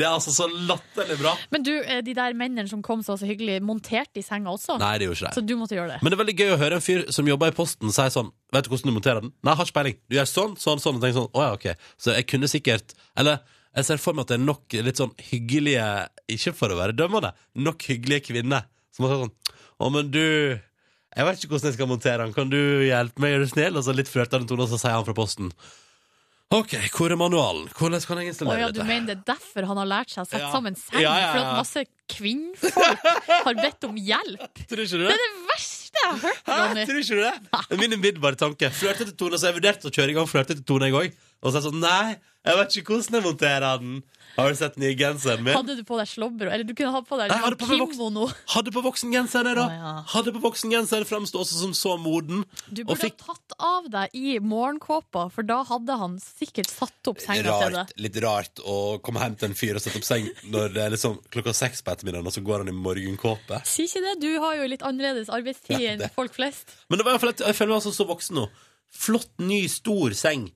S2: Det er altså så latterlig bra.
S4: Men du, eh, de der mennene som kom så, så hyggelig, monterte de senga også?
S2: Nei, det er jo ikke
S4: Så
S2: det.
S4: du måtte gjøre det?
S2: Men det er veldig gøy å høre en fyr som jobber i Posten, si sånn Vet du hvordan du monterer den? Nei, jeg har ikke peiling. Du gjør sånn, sånn, sånn. Og tenker sånn, å ja, ok. Så jeg kunne sikkert Eller Jeg ser for meg at det er nok litt sånn hyggelige Ikke for å være dømmende, nok hyggelige kvinner som har sagt sånn Å, men du Jeg vet ikke hvordan jeg skal montere den. Kan du hjelpe meg? Er du snill? Og så litt flørtende tone, og så sier han fra posten. OK, hvor er manualen? Hvordan kan jeg
S4: Å
S2: installere
S4: ja, du
S2: dette?
S4: mener det er derfor han har lært seg å sette
S2: Ja.
S4: sammen seng?
S2: Ja, ja, ja.
S4: For at masse kvinnfolk har bedt om hjelp?
S2: Tror ikke du
S4: Det
S2: det?
S4: er det verste jeg har hørt,
S2: Hæ,
S4: Ronny!
S2: tror ikke du det? Det er Min umiddelbare tanke. Flørtete tone, så jeg vurderte å kjøre i gang flørtete tone en gang. Og så er jeg sånn, nei, jeg vet ikke hvordan jeg monterer den. Har du sett den nye genseren min?
S4: Hadde du på deg slåbro? Eller du kunne ha på deg
S2: Nei, jeg hadde på meg
S4: kimono.
S2: Hadde på voksengenser det da.
S4: Å, ja.
S2: Hadde på voksengenser fremstå også som så moden.
S4: Du
S2: Og
S4: burde
S2: fikk-
S4: ha tatt av deg i morgenkåpa, for da hadde han sikkert satt opp senga til
S2: Rart,
S4: deg.
S2: litt rart å komme hjem til en fyr og sette opp seng når det er liksom klokka seks på ettermiddagen, og så går han i morgenkåpe.
S4: Si ikke det, du har jo litt annerledes arbeidstid
S2: Ja,
S4: enn
S2: det.
S4: folk flest.
S2: Men det var i hvert fall at jeg føler meg altså så voksen nå. Flott, ny, stor seng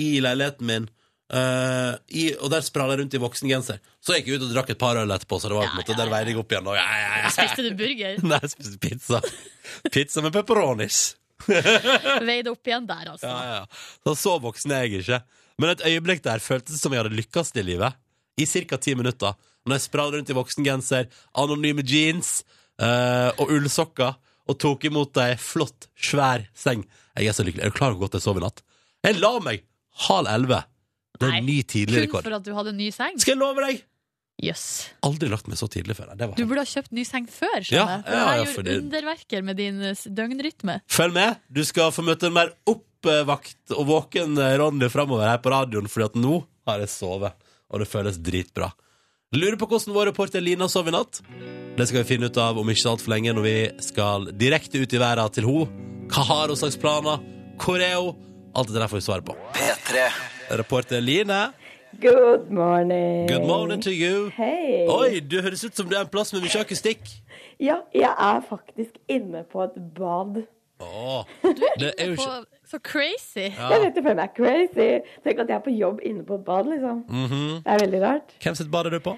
S2: i leiligheten min. Eh, i, og der spraler jeg rundt i voksengenser. Så gikk jeg ut og drakk et par øl etterpå, så det var på en måte, der veide jeg opp igjen. Og, ja, ja, ja.
S4: Spiste du burger?
S2: Nei, jeg spiste pizza. Pizza med pepperonis.
S4: Veide opp igjen der, altså.
S2: Ja, ja. Så, så voksen er jeg ikke. Men et øyeblikk der føltes det som jeg hadde lykkes i livet. I ca. ti minutter. Når jeg sprang rundt i voksengenser, anonyme jeans eh, og ullsokker og tok imot ei flott, svær seng. Jeg er så lykkelig. Er du klar over hvor godt jeg sov i natt? Jeg la meg halv elleve. Det er
S4: Nei,
S2: en ny tidlig
S4: Kun
S2: rekord.
S4: for at du hadde ny seng?
S2: Skal jeg love deg?
S4: Jøss.
S2: Aldri lagt meg så tidlig før. Det var
S4: Du burde ha kjøpt ny seng før,
S2: Ja,
S4: skjønner
S2: ja,
S4: jeg. For det her
S2: ja,
S4: gjorde
S2: for det-
S4: underverker med din eh, døgnrytme.
S2: Følg med. Du skal få møte en mer oppvakt og våken eh, Ronny framover her på radioen, fordi at nå har jeg sovet, og det føles dritbra. Lurer på hvordan vår reporter Lina sov i natt? Det skal vi finne ut av om ikke så altfor lenge, når vi skal direkte ut i verden til henne. Hva har hun slags planer? Hvor er hun? Alt dette der får vi svar på.
S12: P3.
S2: Reporter Line,
S13: Good morning.
S2: good morning to you.
S13: Hei.
S2: Oi, du høres ut som du er en plass med mye akustikk.
S13: Ja, jeg er faktisk inne på et bad.
S2: Åh, det er jo
S4: På,
S2: ikke
S4: så crazy!
S13: Jeg vet det føler meg crazy. Tenk at jeg er på jobb inne på et bad, liksom. Det er veldig rart.
S2: Mhm. Hvem sitt bad er du på?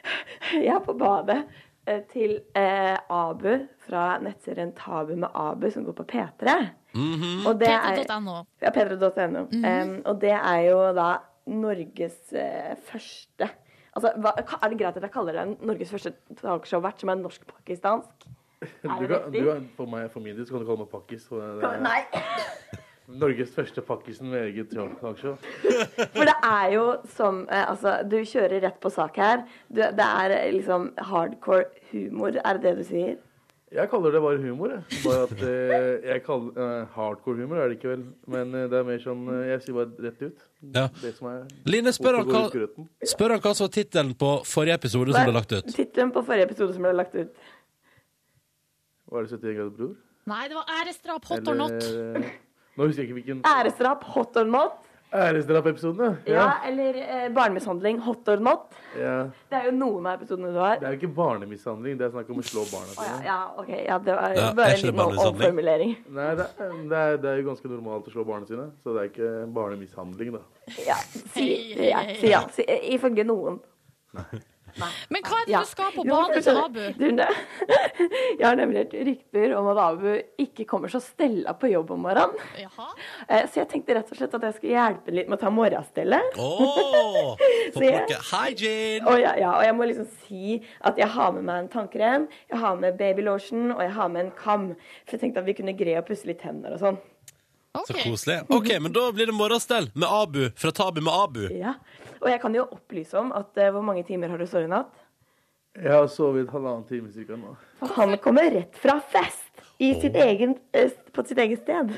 S13: Jeg er på badet eh, til eh, Abu fra nettserien Tabu med Abu, som går på P3.
S2: Mhm.
S13: Og det er
S4: Peter.no.
S13: Ja, Pedro.no.
S4: Mhm.
S13: Em, og det er jo da Norges eh, første Altså, hva, Er det greit at jeg kaller det Norges første talkshow-vert som er norsk-pakistansk?
S14: Du
S13: Er det
S14: kan,
S13: riktig?
S14: du kan, for, meg, for min del så kan du kalle meg pakkis. og det er
S13: Nei!
S14: Norges første pakkisen med eget talkshow.
S13: For det er jo som eh, Altså, du kjører rett på sak her. Du, det er eh, liksom hardcore humor, er det det du sier?
S14: Jeg kaller det bare humor. Jeg. Bare at eh, jeg kaller, eh, Hardcore humor er det ikke vel, men eh, det er mer sånn eh, Jeg sier bare rett ut.
S2: Ja.
S14: Det som er
S2: Line, spør
S14: Hvorfor
S2: han
S14: går
S2: hva
S14: ut grøten?
S2: Spør han hva som var tittelen på forrige episode som ble lagt ut.
S13: Tittelen på forrige episode som ble lagt ut.
S14: Var det 71 grader bror?
S4: Nei, det var æresdrap, hot or not.
S14: Eller, eh, Nå husker jeg ikke hvilken
S13: Æresdrap, hot or not.
S14: Æresdrap-episoden,
S13: Ja, eller eh, barnemishandling, hot or not.
S14: ja.
S13: Det er jo noen av episodene du har.
S14: Det er jo ikke barnemishandling, det er snakk om å slå barna
S13: Å ja,
S14: sine.
S13: ja, ok. Ja, det var
S2: Ja,
S13: bare
S2: er
S13: en
S2: ikke det
S13: liten
S2: barnemishandling?
S13: omformulering.
S14: Nei, det er, det, er, det er jo ganske normalt å slå barna sine, så det er ikke barnemishandling, da.
S13: Ja, si, ja, si ja. Si, eh, ifølge noen.
S4: Men hva er det
S13: Ja.
S4: du skal på
S13: Jo, altså,
S4: badet til Abu?
S13: Du, ne- jeg har nemlig hørt rykter om at Abu ikke kommer så stella på jobb om morgenen.
S4: Jaha.
S13: Eh, Så jeg tenkte rett og slett at jeg skulle hjelpe litt med å ta morgenstellet.
S2: Åh, Få
S13: Se.
S2: plukke hygiene!
S13: Og, ja, ja, og jeg må liksom si at jeg har med meg en tannkrem, jeg har med babylotion og jeg har med en kam. For jeg tenkte at vi kunne greie å pusse litt tenner og sånn.
S2: Så
S4: Ok.
S2: koselig. OK, men da blir det morgenstell med Abu. Fra Tabu med Abu.
S13: Ja. Og jeg kan jo opplyse om at eh, hvor mange timer har du sovet i natt?
S14: Jeg har sovet halvannen time cirka nå.
S13: For han kommer rett fra fest i sitt egen, eh, på sitt eget sted.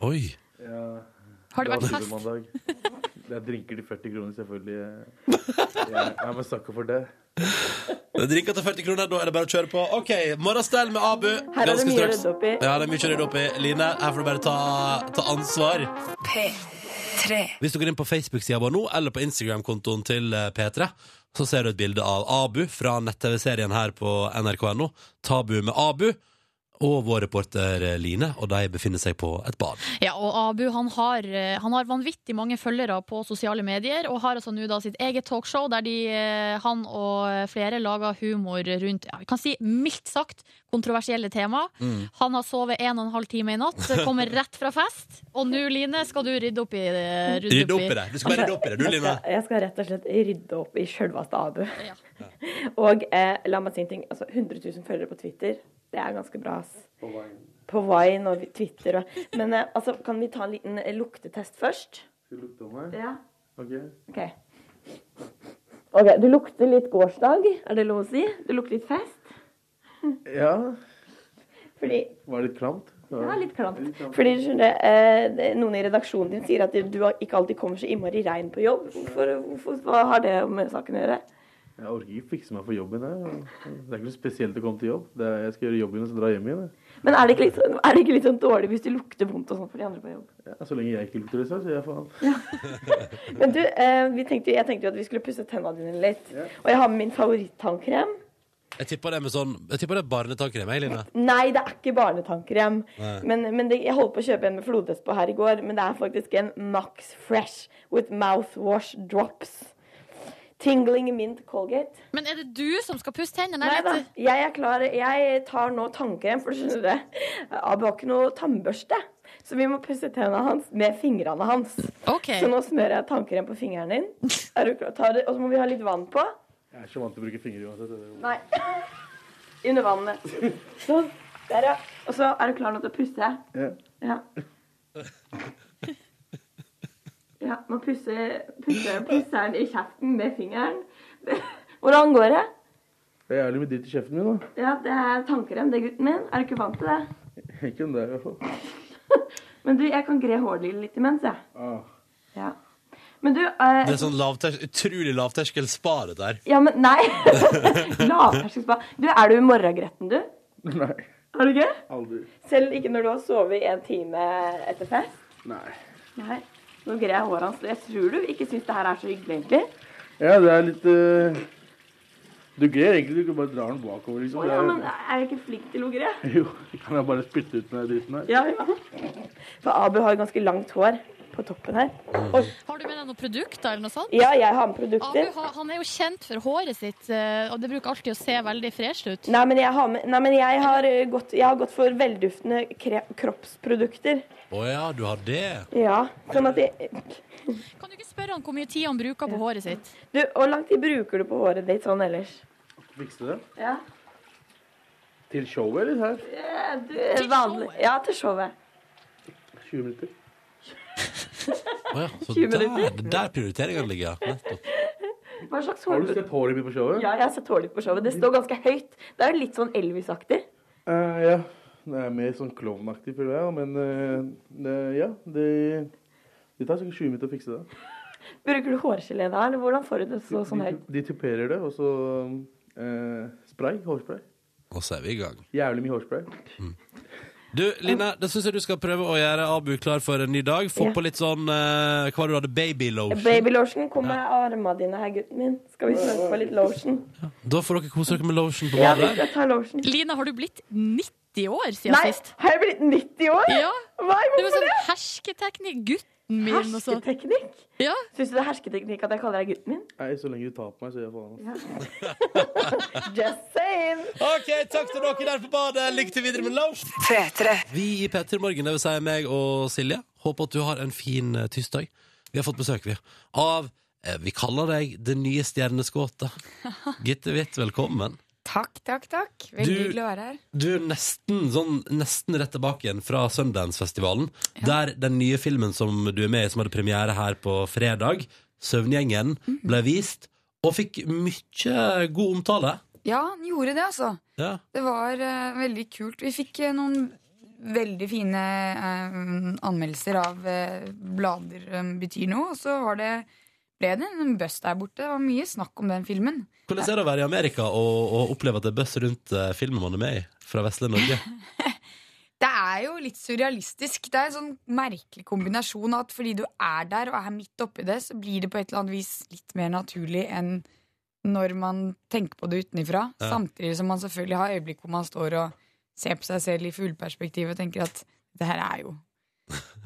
S2: Oi.
S14: Ja,
S4: Har det
S14: da
S4: vært
S14: var
S4: fest?
S14: supermandag. Det er drinker til 40 kroner, selvfølgelig. Jeg er med snakka for det.
S2: Det er Drinker til 40 kroner, da er det bare å kjøre på. OK, morgenstell med Abu.
S13: Her er det
S2: Ganske
S13: mye å
S2: straks.
S13: rydde opp i.
S2: Ja, det er mye å rydde opp i, Line. Her får du bare ta, ta ansvar.
S15: P3.
S2: Hvis du går inn på Facebook-sida vår nå, eller på Instagram-kontoen til eh, P3, så ser du et bilde av Abu fra nett-TV-serien her på nrk.no. Tabu med Abu. og vår reporter eh, Line, og de befinner seg på et bad.
S4: Ja, og Abu han har, eh, han har vanvittig mange følgere på sosiale medier, og har altså nå da sitt eget talkshow der de, eh, han og flere lager humor rundt ja, vi kan si mildt sagt kontroversielle tema.
S16: Mm.
S4: Han har sovet en og en halv time i natt, kommer rett fra fest, og nå, Line, skal du rydde opp i
S13: Eh,
S2: Rydde opp i det. Du skal bare rydde opp i det, du, Line.
S13: Altså, Jeg skal rett og slett rydde opp i sjølveste Abu. Og eh, la meg si en ting. Altså, 100 000 følgere på Twitter, det er ganske bra. ass. På Vine og Twitter og Men eh, altså, kan vi ta en liten eh, luktetest først?
S14: Skal du lukte om meg?
S13: Ja.
S14: Ok.
S13: OK. Ok, Du lukter litt gårsdag, er det lov å si? Du lukter litt fest?
S14: Ja.
S13: Fordi
S14: Var det litt klamt?
S13: Ja, litt klamt. Fordi du skjønner, eh, det- noen i redaksjonen din sier at du ikke alltid kommer så innmari rein på jobb. Hvorfor, hvorfor, hva har det med saken å gjøre?
S14: Jeg orker ikke fikse meg for jobben. Jeg. Det er ikke noe spesielt å komme til jobb. Det er, jeg skal gjøre jobben og så dra hjem igjen. jeg.
S13: Men er det ikke litt, sånn- er det ikke litt sånn dårlig hvis du lukter vondt og sånn for de andre på jobb?
S14: Ja, så lenge jeg ikke lukter det, så sier jeg faen.
S13: Men du, eh, vi tenkte, jeg tenkte jo at vi skulle pusse tennene dine litt. Og jeg har med min favorittannkrem.
S2: Jeg tipper det med sånn Jeg tipper det er barnetannkrem, jeg, Line.
S13: Nei, det er ikke barnetannkrem.
S2: Nei.
S13: Men, men det, jeg holdt på å kjøpe en med flodhest på her i går, men det er faktisk en Max Fresh with mouthwash drops. Tingling mint Colgate.
S4: Altså, Men er det du som skal pusse tennene?
S13: Nei
S4: eller?
S13: da, jeg er klar. Jeg tar nå tannkrem, for skjønner du det. Abu har ikke noe tannbørste, så vi må pusse tennene hans med fingrene hans.
S4: Ok.
S13: Så nå smører jeg tannkrem på fingeren din. Er du klar? Tar det, og så må vi ha litt vann på.
S14: Jeg er ikke vant til å bruke fingre uansett.
S13: Nei. Under vannet. Sånn. Der, ja. Og så er du klar nå til å pusse.
S14: Ja.
S13: Ja. Ja, man pusser, pusser, pusser den i kjeften med fingeren. Hvordan går det?
S14: Det er jævlig mye dritt i kjeften min, da.
S13: Ja, det er tannkrem, det, gutten min. Er du ikke vant til det?
S14: Ikke om det, i hvert fall.
S13: Men du, jeg kan gre hårlillen litt imens, jeg.
S14: Ah.
S13: Ja. Men du eh,
S2: Det er sånn lavters utrolig lavterskel spa, det der.
S13: Ja, men nei. Lavterskelspa. Du, er du morgengretten, du?
S14: Nei.
S13: Er du ikke?
S14: Aldri.
S13: Selv ikke når du har sovet i en time etter fest?
S14: Nei.
S13: Nei. Nå grer jeg håret hans. Jeg tror du ikke syns det her er så hyggelig, egentlig.
S14: Ja, det er litt eh, Du greier egentlig, du kan bare dra den bakover, liksom.
S13: Å ja, men
S14: Det
S13: er jeg ikke flink til å gre?
S14: er- Jo, kan jeg bare spytte ut den der dritten her?
S13: Ja, ja. For Abu har jo ganske langt hår på toppen her.
S2: Mm.
S13: Oi.
S4: Har du med deg noen produkter eller noe sånt?
S13: Ja, jeg har med produkter.
S4: Abu, han- han er jo kjent for håret sitt, eh, og det bruker alltid å se veldig fresh ut.
S13: Nei, men jeg har, med, nei, men jeg har, eh, gått, jeg har gått for velduftende kre kroppsprodukter.
S2: Å ja, du har det.
S13: Ja, sånn at jeg
S4: Kan du ikke spørre han hvor mye tid han bruker på håret sitt?
S13: Du, Hvor lang tid bruker du på håret ditt sånn ellers?
S14: Fikse det?
S13: Ja,
S14: Til showet, eller her?
S13: Eh, du, vanlig. Ja, til showet.
S14: 20 minutter.
S2: Å ja, så
S13: 20
S2: der,
S13: minutter.
S2: der prioriteringene ligger. Nettopp.
S13: Hva slags
S14: Har
S13: hår
S14: du sett håret mitt på
S13: Ja,
S14: showet?
S13: jeg har sett håret ditt på showet. Det står ganske høyt. Det er jo litt sånn Elvis-aktig.
S14: Eh, ja. Det er mer sånn klovnaktig, føler jeg. Men eh, det, ja, det, det tar sikkert 20 minutter å fikse det.
S13: Bruker du hårgelé da, eller hvordan får du det så, sånn høyt?
S14: De tuperer det, og så eh, spray. Hårspray.
S2: Og så er vi i gang. Mm.
S14: Jævlig mye hårspray.
S2: Du, Line, det syns jeg du skal prøve å gjøre Abu klar for en ny dag. Få
S13: Ja.
S2: på litt sånn eh, Hva var det du hadde? Babylotion?
S13: Babylotion, kom med armene dine her, gutten min. Skal vi smøre på litt lotion?
S2: Da får dere kose dere med lotion på
S13: Ja, vi
S2: badet.
S13: skal ta lotion.
S4: Lina, har du blitt 90 år siden
S13: Nei,
S4: sist?
S13: har jeg blitt 90 år?
S4: Ja.
S13: Hva,
S4: Det var
S13: hvorfor det?
S4: sånn hersketeknikk. Gutten min og så-
S13: Hersketeknikk?
S4: Ja.
S13: Syns du det er hersketeknikk at jeg kaller deg gutten min?
S14: Nei, så lenge du tar på meg, så gjør jeg faen. altså.
S13: Just saying.
S2: OK, takk til dere der på badet. Lykke til videre med lotion. Vi i P3 Morgen, det vil si meg og Silje, håper at du har en fin eh, tirsdag. Vi har fått besøk, vi, av eh, Vi kaller deg det nye stjerneskuddet. Gitte Witt, velkommen.
S10: Takk, takk, takk. Veldig
S2: Du-
S10: hyggelig å være her.
S2: Du er nesten, sånn, nesten rett tilbake igjen fra Sundance-festivalen, der den nye filmen som du er med i, som hadde premiere her på fredag, Søvngjengen, ble vist, og fikk mye god omtale.
S10: Ja, han gjorde det, altså.
S2: Ja.
S10: Det var eh, veldig kult. Vi fikk eh, noen veldig fine eh, anmeldelser av eh, blader um, betyr noe, og så var det, ble det en buss der borte. Det var mye snakk om den filmen.
S2: Hvordan er det å være i Amerika og, og oppleve at det er buzz rundt eh, filmen man er med i, fra Vestlige Norge?
S10: Det er jo litt surrealistisk. Det er en sånn merkelig kombinasjon at fordi du er der og er midt oppi det, så blir det på et eller annet vis litt mer naturlig enn når man tenker på det utenifra.
S16: Ja.
S10: Samtidig som man selvfølgelig har øyeblikk hvor man står og ser på seg selv i fugleperspektiv og tenker at det her er jo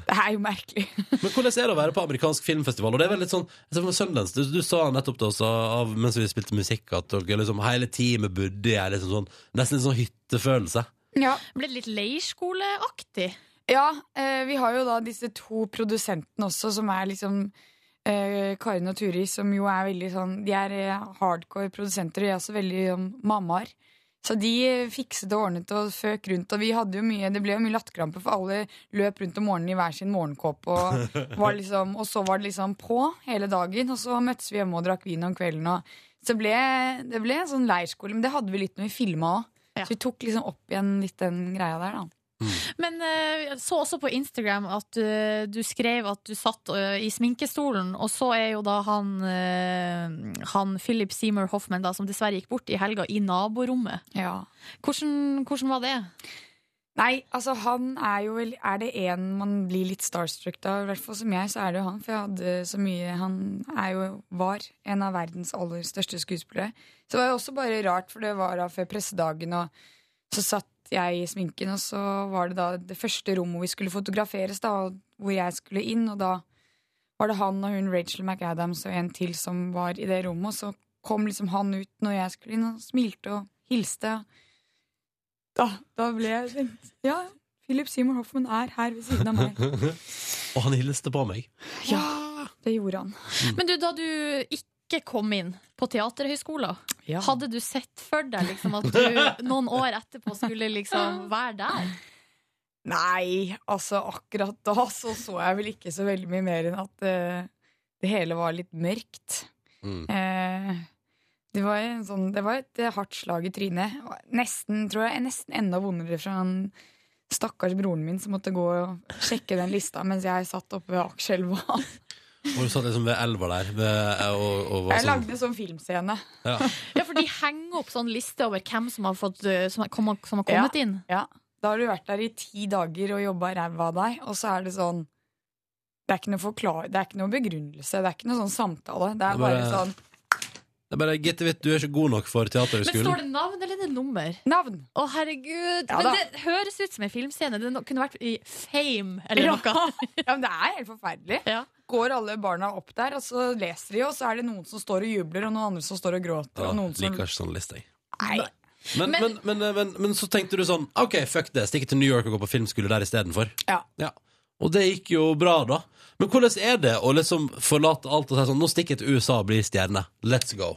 S10: Det her er jo merkelig.
S2: Men hvordan er det å være på amerikansk filmfestival? Og det er vel litt sånn, jeg ser for meg Sundance, du, du sa nettopp det også av, mens vi spilte musikk, at dere liksom hele teamet bodde i en liksom sånn, nesten en sånn hyttefølelse.
S10: Ja.
S4: Ble det litt leirskoleaktig?
S10: Ja, eh, vi har jo da disse to produsentene også, som er liksom eh, Karin og Turi, som jo er veldig sånn De er eh, hardcore produsenter, og de er også veldig um, mammaer. Så de eh, fikset og ordnet og føk rundt, og vi hadde jo mye Det ble jo mye latterkrampe, for alle løp rundt om morgenen i hver sin morgenkåpe, og, var liksom, og så var det liksom på hele dagen, og så møttes vi hjemme og drakk vin om kvelden, og så det ble, det ble en sånn leirskole, men det hadde vi litt når vi filma òg. Så vi tok liksom opp igjen litt den greia der, da.
S4: Men eh, jeg så også på Instagram at eh, du skrev at du satt eh, i sminkestolen, og så er jo da han, eh, han Philip Seymour Hoffman, da, som dessverre gikk bort i helga, i naborommet. Hvordan, hvordan var det?
S10: Nei, altså han er jo vel- Er det en man blir litt starstruck av, i hvert fall som jeg, så er det jo han. For jeg hadde så mye Han er jo var en av verdens aller største skuespillere. Så det var jo også bare rart, for det var da før pressedagen, og så satt jeg i sminken, og så var det da det første rommet hvor vi skulle fotograferes, da, og hvor jeg skulle inn, og da var det han og hun Rachel McAdams og en til som var i det rommet, og så kom liksom han ut når jeg skulle inn, og smilte og hilste. og da, da ble jeg tenkt, Ja, Philip Seymour Hoffman er her ved siden av meg.
S2: og han hilste på meg.
S10: Ja, det gjorde han.
S4: Mm. Men du, da du ikke kom inn på Teaterhøgskolen,
S10: Ja.
S4: hadde du sett for deg liksom, at du noen år etterpå skulle liksom være der?
S10: Nei, altså akkurat da så så jeg vel ikke så veldig mye mer enn at eh, det hele var litt mørkt. Eh, det var, en sånn, det var et eh, hardt slag i trynet. Og Nesten, tror jeg, nesten enda vondere fra han stakkars broren min som måtte gå og sjekke den lista mens jeg satt oppe ved Akerselva.
S2: Og du satt liksom ved elva der, ved, og, og var
S10: Jeg
S2: sånn...
S10: lagde en sånn filmscene.
S2: Ja.
S4: Ja, for de henger opp sånn liste over hvem som har, fått, eh, som har, kom, som har kommet
S10: ja,
S4: inn.
S10: Ja. Da har du vært der i ti dager og jobba ræva av deg, og så er det sånn Det er ikke noe, forklar- det er ikke noe begrunnelse, det er ikke noe sånn samtale. Det
S2: Det er
S10: er bare,
S2: bare-
S10: sånn
S2: Det er bare, Gitte Witt, du er ikke god nok for
S4: Men står det
S2: teaterhøgskolen.
S4: navn eller er det nummer?
S10: Navn.
S4: Å, herregud.
S10: Ja, da.
S4: Men det høres ut som en filmscene. Det no- kunne vært i Fame eller
S10: Ja.
S4: noe.
S10: Ja, men det er helt forferdelig. Går alle barna opp der, og så leser de, og så er det noen som står og jubler, og noen andre som står og gråter,
S2: Ja,
S10: og noen som
S2: liker ikke sånn liste, jeg.
S10: Nei.
S2: Men, men, men, eh, men, men, så tenkte du sånn, ok, fuck det, stikke til New York og gå på filmskole der i stedet for.
S10: Ja.
S2: Og det gikk jo bra da. Men hvordan er det å liksom forlate alt og si sånn, nå stikker jeg til USA og blir stjerne. Let's go.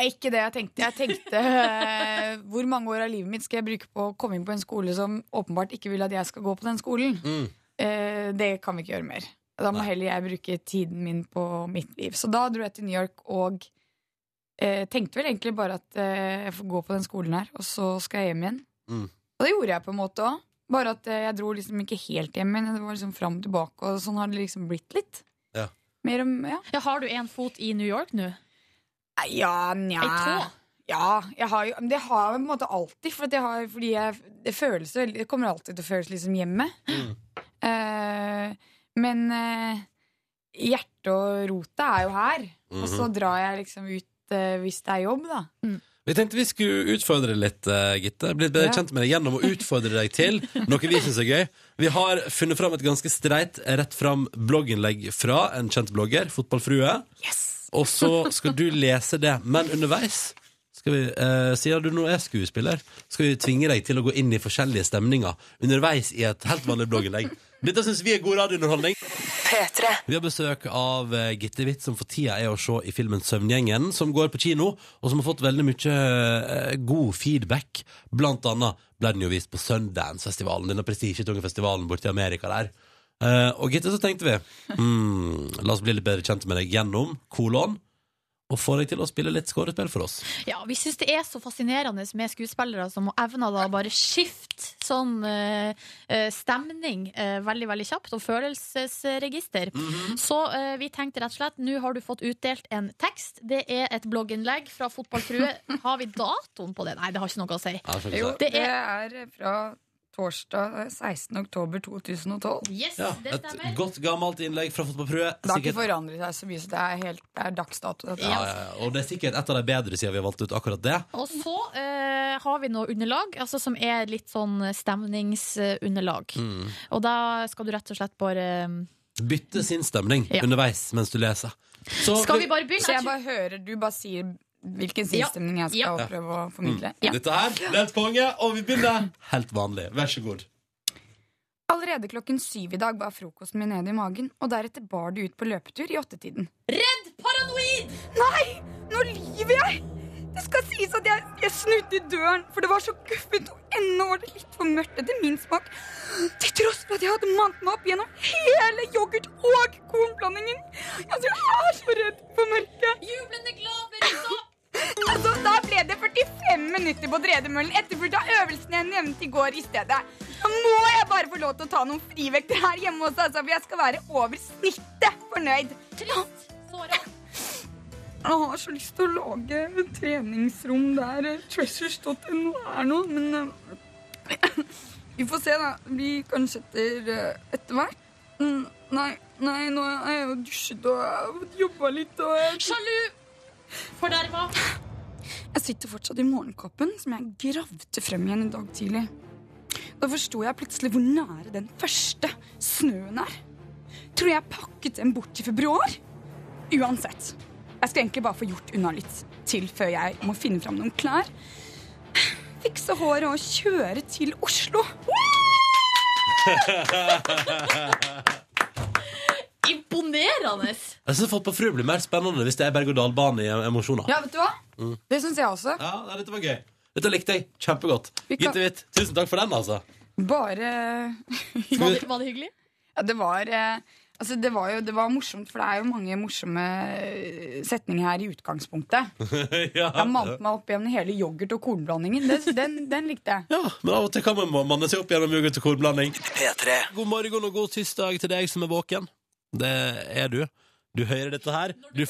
S10: Nei, Ikke det jeg tenkte. Jeg tenkte eh, hvor mange år av livet mitt skal jeg bruke på å komme inn på en skole som åpenbart ikke vil at jeg skal gå på den skolen?
S2: Mm.
S10: Eh, det kan vi ikke gjøre mer. Da må heller jeg bruke tiden min på mitt liv. Så da dro jeg til New York og eh, tenkte vel egentlig bare at eh, jeg får gå på den skolen her, og så skal jeg hjem igjen.
S2: Mm.
S10: Og det gjorde jeg på en måte òg. Bare at eh, jeg dro liksom ikke helt hjem igjen. Det var liksom fram og tilbake, og sånn har det liksom blitt litt.
S2: Ja.
S10: Mer om, ja.
S4: Ja, har du en fot i New York nå?
S10: Nei, Ja, nja
S4: Ei tå?
S10: Ja, jeg har jo, men det har jeg på en måte alltid. For at jeg har, fordi jeg, det, føles, veldig- det kommer alltid til å føles liksom hjemme.
S2: Mm.
S10: Eh, men eh, hjertet og rota er jo her. Og så
S2: Mhm.
S10: drar jeg liksom ut eh, hvis det er jobb, da.
S2: Vi tenkte vi skulle utfordre deg litt, eh, Gitte. Blitt bedre
S10: Ja.
S2: kjent med deg gjennom å utfordre deg til noe vi syns er gøy. Vi har funnet fram et ganske streit rett fram blogginnlegg fra en kjent blogger, Fotballfrue. Og så skal du lese det. Men underveis, skal vi, eh, siden du nå er skuespiller, skal vi tvinge deg til å gå inn i forskjellige stemninger underveis i et helt vanlig blogginnlegg. Dette syns vi er god radiounderholdning. Vi har besøk av eh, Gitte Witt, som for tida er å se i filmen Søvngjengen, som går på kino, og som har fått veldig mye eh, god feedback. Blant annet ble den jo vist på Sundance-festivalen, denne prestisjetunge festivalen borte i Amerika der. Eh, og Gitte, så tenkte vi hmm, La oss bli litt bedre kjent med deg gjennom kolon, og få deg til å spille litt skårespill for oss.
S4: Ja, vi syns det er så fascinerende med skuespillere som evner da å bare skifte sånn eh, eh, stemning eh, veldig, veldig kjapt, og følelsesregister. Så eh, vi tenkte rett og slett, nå har du fått utdelt en tekst. Det er et blogginnlegg fra Fotballfrue. Har vi datoen på det? Nei, det har ikke noe å si.
S10: Jo, det
S4: Det er
S10: er fra torsdag eh, 16. oktober 2012.
S2: Ja, et godt gammelt innlegg fra Fotballprue.
S10: Det har ikke
S2: Sikkert-
S10: forandret seg så mye, så det er, helt, det er dagsdato. Dette.
S2: Ja, ja, ja. Og det er sikkert et av de bedre siden vi har valgt ut akkurat det.
S5: Og så eh, har vi noe underlag, altså som er litt sånn stemningsunderlag.
S2: Mm.
S5: Og da skal du rett og slett bare eh,
S2: Bytte sinnsstemning
S5: Ja.
S2: underveis mens du leser. Så,
S5: Skal vi bare begynne?
S10: Så jeg bare hører, du bare sier hvilken sinnsstemning jeg skal
S2: Ja.
S10: prøve å formidle.
S2: Mm. Dette her, det er et konge, og vi begynner helt vanlig. Vær så god.
S10: Allerede klokken syv i dag var frokosten min nede i magen, og deretter bar det ut på løpetur i åttetiden. Redd paranoid! Nei! Nå lyver jeg! Det skal sies at jeg, jeg snudde i døren, for det var så guffent, og ennå var det litt for mørkt etter min smak. Til tross for at jeg hadde mant meg opp gjennom hele yoghurt- og kornblandingen. Altså, jeg er så redd for mørket. Jublende glad Altså, da ble det 45 minutter på tredemøllen etterfulgt av øvelsen jeg nevnte i går i stedet. Nå må jeg bare få lov til å ta noen frivekter her hjemme også, altså, for jeg skal være over snittet fornøyd. Trist, såra. Jeg har så lyst til å lage et treningsrom der eh, treasures.no er noe, men eh, Vi får se, da. Det blir kanskje etter, eh, etter hvert. Mm, Nei, nei, nå har jeg jo dusjet og jeg har fått jobba litt og Sjalu! Forderva. Jeg sitter fortsatt i morgenkåpen som jeg gravde frem igjen i dag tidlig. Da forsto jeg plutselig hvor nære den første snøen er. Tror jeg pakket den bort i februar? Uansett. Jeg skal egentlig bare få gjort unna litt til før jeg må finne fram noen klær. Fikse håret og kjøre til Oslo.
S5: Imponerende!
S2: Jeg syns Fotball Frue blir mer spennende hvis det er berg-og-dal-bane i emosjoner.
S10: Ja, vet du hva?
S2: Mm.
S10: Det syns jeg også.
S2: Ja, nei, dette var gøy. Dette likte jeg kjempegodt.
S10: Vi kan-
S2: Gitte Hvitt, tusen takk for den, altså.
S10: Bare
S2: Var det-
S10: hyggelig? Ja, det var eh, Altså, det var jo det var morsomt, for det er jo mange morsomme eh, setninger her i utgangspunktet.
S2: ja.
S10: Jeg malte meg opp gjennom hele yoghurt- og kornblandingen. Den, den, den likte jeg.
S2: Men av og til kan man må manne seg opp gjennom yoghurt og kornblanding. God morgen og god tirsdag til deg som er våken. Det er du. Du hører dette her. Du,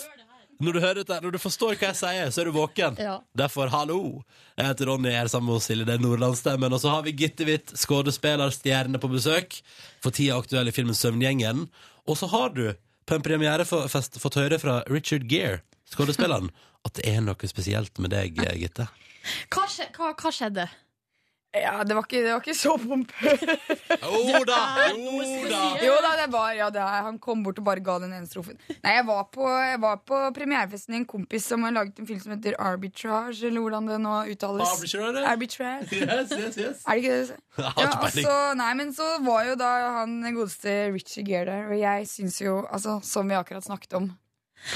S2: når du hører dette, her, når du forstår hva jeg sier, så er du våken.
S5: Ja.
S2: Derfor, hallo! Jeg heter Ronny, jeg er sammen med oss Silje, det er Nordlandsstemmen. Og så har vi Gitte Hvitt, skuespillerstjerne, på besøk. For tida aktuell i filmen Søvngjengen. Og så har du, på en premierefest, fått høre fra Richard Gere, skuespilleren, at det er noe spesielt med deg, eh, Gitte.
S5: Hva, skje, hva, hva skjedde?
S10: Ja, det var ikke, det var ikke så pompøst.
S2: Jo da!
S10: Jo da! Jo da, det var, ja, det er, Han kom bort og bare ga den ene strofen. Nei, jeg var på, jeg var på premierefesten i en kompis som har laget en film som heter Arbitrage, eller hvordan det nå uttales.
S2: Arbitrage?
S10: Arbitrage.
S2: Yes, yes, yes.
S10: Er det ikke det du sier?
S2: Jeg har
S10: Ja,
S2: ikke peiling.
S10: altså, nei, men så var jo da han godeste Richie Gere der, og jeg syns jo, altså, som vi akkurat snakket om